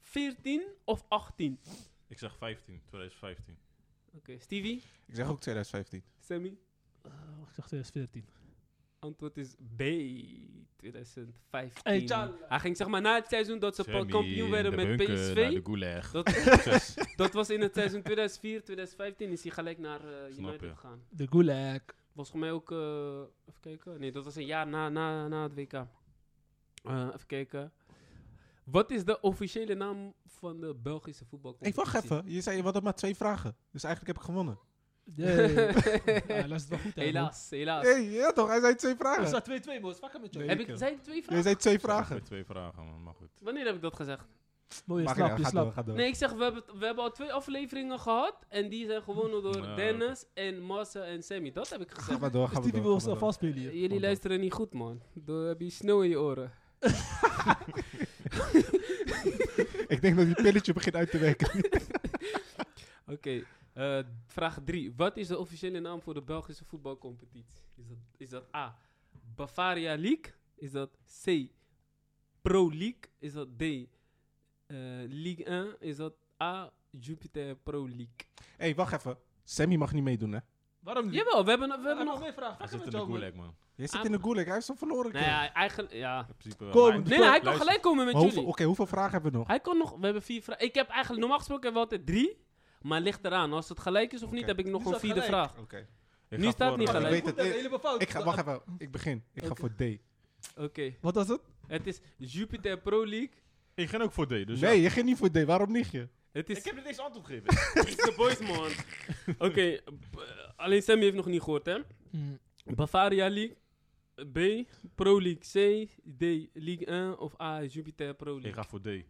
Speaker 1: 14 of 18? Oké,
Speaker 2: Ik zeg 15, 2015.
Speaker 1: Stevie,
Speaker 3: Ik zeg ook 2015.
Speaker 1: Sammy.
Speaker 4: Eh, Ik zeg 2014.
Speaker 1: Antwoord is B, 2015.
Speaker 4: Hey, Charles.
Speaker 1: Hij ging zeg maar na het seizoen dat ze
Speaker 2: Sammy
Speaker 1: kampioen
Speaker 2: in
Speaker 1: werden
Speaker 2: de
Speaker 1: met
Speaker 2: bunker, naar
Speaker 1: PSV.
Speaker 2: de gulag.
Speaker 1: Dat, [LAUGHS]
Speaker 2: Succes.
Speaker 1: dat was in het seizoen 2004, 2015 is hij gelijk naar eh,
Speaker 2: Snap
Speaker 1: United
Speaker 2: je.
Speaker 1: gegaan.
Speaker 4: De
Speaker 1: [LAUGHS]
Speaker 4: Gulag.
Speaker 1: Was volgens mij ook, eh, even kijken, nee dat was een jaar na, na, na het WK. Eh, even kijken. Wat is de officiële naam van de Belgische
Speaker 3: Ik
Speaker 1: voetbalcompetitie?
Speaker 3: wacht even. Je zei, je had maar twee vragen. Dus eigenlijk heb ik gewonnen.
Speaker 1: [LAUGHS]
Speaker 4: Yeah. ja, Ah, luister wel goed, hè,
Speaker 1: Helaas, helaas.
Speaker 3: Hé, ja toch? Hij zei twee
Speaker 4: man. Er
Speaker 3: vragen.
Speaker 4: staat 2-2, boos. Fuck hem met jou.
Speaker 3: Nee.
Speaker 1: Heb
Speaker 3: Zeker.
Speaker 1: ik, zijn het twee
Speaker 3: Jij
Speaker 1: vragen?
Speaker 3: zei twee
Speaker 2: Ik zeg
Speaker 3: vragen.
Speaker 2: weer Twee vragen, man. Maar goed.
Speaker 1: Wanneer heb ik dat gezegd?
Speaker 4: Mooi, je
Speaker 5: Maakt
Speaker 4: slaapt,
Speaker 5: niet
Speaker 4: je
Speaker 5: uit, nou, ga door,
Speaker 4: slaapt.
Speaker 5: ga door.
Speaker 1: Nee, ik zeg, we hebben, het- we hebben al twee afleveringen gehad. En die zijn gewonnen door
Speaker 2: Ja,
Speaker 1: Dennis en Marcel en Sammy. Dat heb ik
Speaker 5: Ga
Speaker 1: gezegd.
Speaker 5: maar door, ga maar
Speaker 4: Stevie
Speaker 5: door.
Speaker 4: wil
Speaker 5: ga maar door.
Speaker 4: vastspelen hier.
Speaker 1: Jullie luisteren niet goed, man. Dan heb je sneeuw in je oren.
Speaker 5: Ik denk dat die pilletje begint uit te werken. [LAUGHS]
Speaker 1: Oké, eh, vraag 3. Wat is de officiële naam voor de Belgische voetbalcompetitie? Is dat, is dat A. Bavaria League? Is dat C. Pro League? Is dat D. eh, Ligue 1? Is dat A. Jupiter Pro League?
Speaker 3: Hé, hey, wacht even.
Speaker 5: Sammy mag niet meedoen, hè?
Speaker 4: Waarom niet?
Speaker 1: Jawel, we hebben, we
Speaker 4: we
Speaker 1: hebben
Speaker 4: hebben nog
Speaker 1: nog.
Speaker 4: meer vragen.
Speaker 2: Hij
Speaker 4: Vraag met
Speaker 2: zit in de
Speaker 4: jou, man.
Speaker 2: gulag, man.
Speaker 5: Jij zit in de gulag, hij is al verloren.
Speaker 1: Nou
Speaker 5: kerel.
Speaker 1: ja, eigenlijk. Ja.
Speaker 2: In principe wel.
Speaker 4: Kom,
Speaker 2: Maar-
Speaker 1: Nee, nee, hij kan
Speaker 2: Luister.
Speaker 1: gelijk komen met
Speaker 5: Maar hoeveel-
Speaker 1: jullie.
Speaker 5: Oké, hoeveel vragen hebben we nog?
Speaker 1: Hij kon nog, we hebben vier vragen. Ik heb eigenlijk, normaal gesproken hebben we altijd drie. Maar ligt eraan. Als het gelijk is of niet,
Speaker 5: Oké.
Speaker 1: heb ik nog
Speaker 4: Nu
Speaker 1: een
Speaker 4: staat
Speaker 1: vierde
Speaker 4: gelijk.
Speaker 1: vraag.
Speaker 5: Oké.
Speaker 2: Ik
Speaker 1: Nu
Speaker 2: ga
Speaker 1: staat
Speaker 2: voor,
Speaker 1: niet
Speaker 2: eh,
Speaker 1: gelijk.
Speaker 5: weet het,
Speaker 4: Dat is
Speaker 5: ik-
Speaker 4: helemaal fout.
Speaker 5: Ik ga, wacht even, ik begin. Ik ga
Speaker 4: Oké.
Speaker 5: voor D.
Speaker 1: Oké.
Speaker 5: Wat was het?
Speaker 1: Het is Jupiter Pro League.
Speaker 2: Ik ging ook voor D, dus ja.
Speaker 5: Nee, je ging niet voor D, waarom niet je?
Speaker 1: Het is.
Speaker 2: heb er niks antwoord gegeven.
Speaker 1: It's the boys, man. Oké, b- alleen Sammy heeft nog niet gehoord, hè?
Speaker 4: Hmm.
Speaker 1: Bavaria League. B, Pro League C, D, League 1 of A, Jupiter Pro
Speaker 2: Ik
Speaker 1: League.
Speaker 2: ga voor D.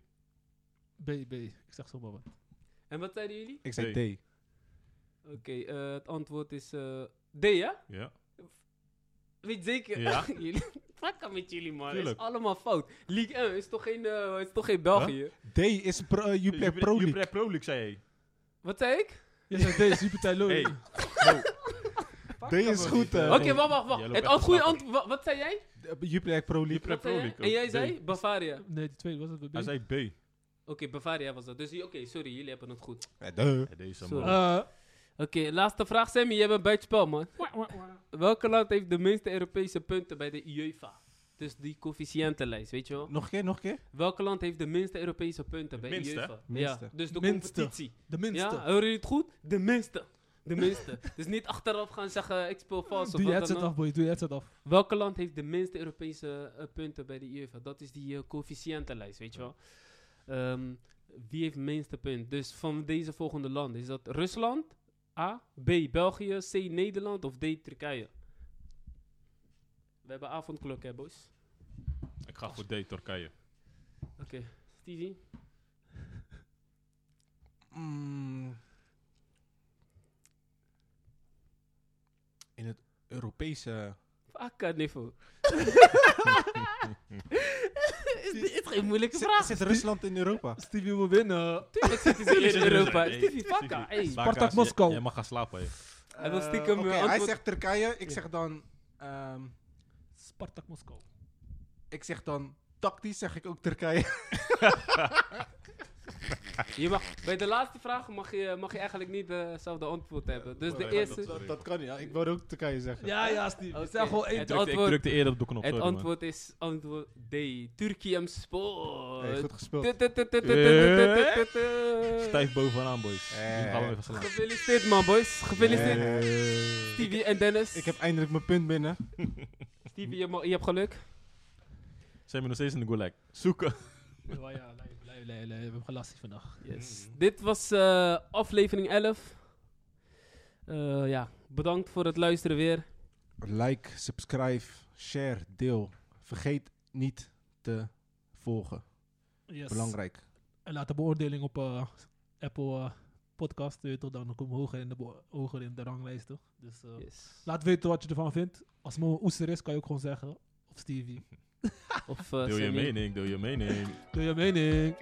Speaker 4: B, B. Ik zeg zomaar
Speaker 5: [LAUGHS]
Speaker 4: wat.
Speaker 1: En wat zeiden jullie?
Speaker 5: Ik zei D.
Speaker 1: Oké, eh, het antwoord is eh, D, hè?
Speaker 2: Ja.
Speaker 1: Weet je zeker?
Speaker 2: Ja.
Speaker 1: [LAUGHS] jullie, Fuck met jullie, man. Het is
Speaker 2: Tuurlijk.
Speaker 1: allemaal fout. League 1 is toch geen, eh, is toch geen België?
Speaker 5: D is pro, eh, Jupiler Pro League.
Speaker 2: Jupiler Pro League, zei hij.
Speaker 1: Wat zei ik?
Speaker 4: Je zegt D, super Tylo.
Speaker 2: Hey.
Speaker 5: D is goed. eh.
Speaker 1: Oké, wacht, wacht, wacht.
Speaker 2: Jij
Speaker 1: Het
Speaker 2: loopt echt
Speaker 1: ant- goede
Speaker 2: te
Speaker 1: antwoord... wa- Wat zei jij?
Speaker 5: D- Eh, Jupiler Pro League.
Speaker 2: Jupiler
Speaker 1: Wat
Speaker 2: Pro
Speaker 1: zei jij?
Speaker 2: League.
Speaker 1: En jij
Speaker 2: D.
Speaker 1: zei Bavaria. Oké,
Speaker 4: Nee, die twee was het.
Speaker 2: Hij
Speaker 4: B.
Speaker 2: zei B.
Speaker 1: Bavaria was dat. Dus oké, sorry, jullie hebben het goed.
Speaker 5: Ja, duh.
Speaker 2: Ja, Deze
Speaker 1: Sorry.
Speaker 4: Eh,
Speaker 2: man.
Speaker 1: Oké, laatste vraag, Sammy. Jij bent buitenspel, man. Welke land heeft de minste Europese punten bij de UEFA? Dus die coëfficiëntenlijst, weet je wel?
Speaker 5: Nog een keer, nog een keer?
Speaker 1: Welke land heeft de minste Europese punten bij
Speaker 2: Minste,
Speaker 1: de
Speaker 2: hè?
Speaker 1: UEFA?
Speaker 5: Minste.
Speaker 1: Ja, dus de
Speaker 4: Minste.
Speaker 1: competitie.
Speaker 4: De minste.
Speaker 1: Ja, horen jullie het goed? De minste. De minste. [LAUGHS] dus niet achteraf gaan zeggen, ik speel vals of
Speaker 4: Doe je
Speaker 1: wat
Speaker 4: headset
Speaker 1: dan ook.
Speaker 4: af, boy. Doe je headset af.
Speaker 1: Welke land heeft de minste Europese eh, punten bij de UEFA? Dat is die eh, coëfficiëntenlijst, weet je wel. Ehm, wie heeft het minste punt? Dus van deze volgende landen. Is dat Rusland? A. B. België. C. Nederland. Of D. Turkije? We hebben avondklok, hè, boys?
Speaker 2: Ik ga voor
Speaker 1: [LAUGHS]
Speaker 2: D, Turkije.
Speaker 1: Oké. Stevie?
Speaker 3: Mm. In het Europese...
Speaker 1: Fuck, eh, [LAUGHS] niveau. is dit geen moeilijke vraag?
Speaker 5: Zit, zit Rusland in Europa?
Speaker 4: Stevie wil winnen.
Speaker 1: Tuurlijk zitten ze hier in
Speaker 2: [LAUGHS] Tuurlijk
Speaker 1: Europa.
Speaker 2: zitten ze-
Speaker 1: Stevie,
Speaker 2: Hey,
Speaker 1: fuck,
Speaker 2: Stevie.
Speaker 1: hey.
Speaker 2: Sparta,
Speaker 4: Spartak
Speaker 2: je-
Speaker 4: Moskou.
Speaker 2: Jij mag gaan slapen, hè.
Speaker 1: Hij wil stiekem,
Speaker 3: Eh,
Speaker 1: eh,
Speaker 3: oké, Hij
Speaker 1: antwoord-
Speaker 3: zegt Turkije, ik zeg dan... ehm,
Speaker 4: Spartak Moskou.
Speaker 3: ik zeg dan... Tactisch zeg ik ook Turkije.
Speaker 1: Je mag, bij de laatste vraag mag je, mag je eigenlijk niet eh, hetzelfde antwoord hebben. Dus de
Speaker 2: nee, maar
Speaker 1: eerste...
Speaker 2: oh,
Speaker 5: [LAUGHS]
Speaker 2: dat-
Speaker 5: Dat, dat kan niet, ja. ik wou ook Turkije zeggen.
Speaker 4: Ja, ja, Stevie.
Speaker 5: Oh,
Speaker 1: Oké.
Speaker 4: Zeg gewoon één.
Speaker 1: Het
Speaker 2: Ik drukte- Ik
Speaker 1: antwoord-
Speaker 2: drukte eerder op de knop.
Speaker 1: Het
Speaker 2: sorry, man.
Speaker 1: antwoord is antwoord D. Turkije hem spoor.
Speaker 5: Hey, goed gespeeld.
Speaker 2: Eh? Stijf bovenaan, boys.
Speaker 5: Eh.
Speaker 2: Nu gaan we even slaan.
Speaker 1: Gefeliciteerd man boys. Gefeliciteerd.
Speaker 5: Eh,
Speaker 1: Stevie en Dennis.
Speaker 5: Ik heb eindelijk mijn punt binnen.
Speaker 1: Stevie, je, mag- je hebt geluk.
Speaker 2: Zijn we nog steeds in de gulag? Zoeken.
Speaker 4: Ja, ja, lei, lei, lei, lei. We hebben gelastig vandaag.
Speaker 1: Yes. Dit was eh, aflevering 11. Eh, ja, bedankt voor het luisteren weer.
Speaker 3: Like, subscribe, share, deel. Vergeet niet te volgen.
Speaker 4: Yes.
Speaker 3: Belangrijk.
Speaker 4: En laat de beoordeling op eh, Apple eh, Podcast. eh, Tot dan komen we hoger in de, beo- hoger in de ranglijst, toch? Dus eh,
Speaker 1: Yes.
Speaker 4: laat weten wat je ervan vindt. Als Mo een oester is, kan je ook gewoon zeggen. Of Stevie.
Speaker 1: Of, eh,
Speaker 2: Deel je
Speaker 1: Sammy.
Speaker 2: mening, deel je mening.
Speaker 4: Doe je mening.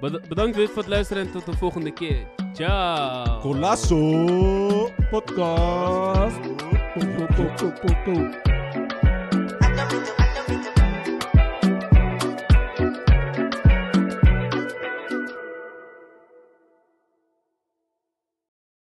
Speaker 1: Bed- bedankt weer voor het luisteren en tot de volgende keer. Ciao.
Speaker 3: Colasso!
Speaker 4: Podcast. Pop, pop, pop, pop, pop, pop.
Speaker 6: I love you.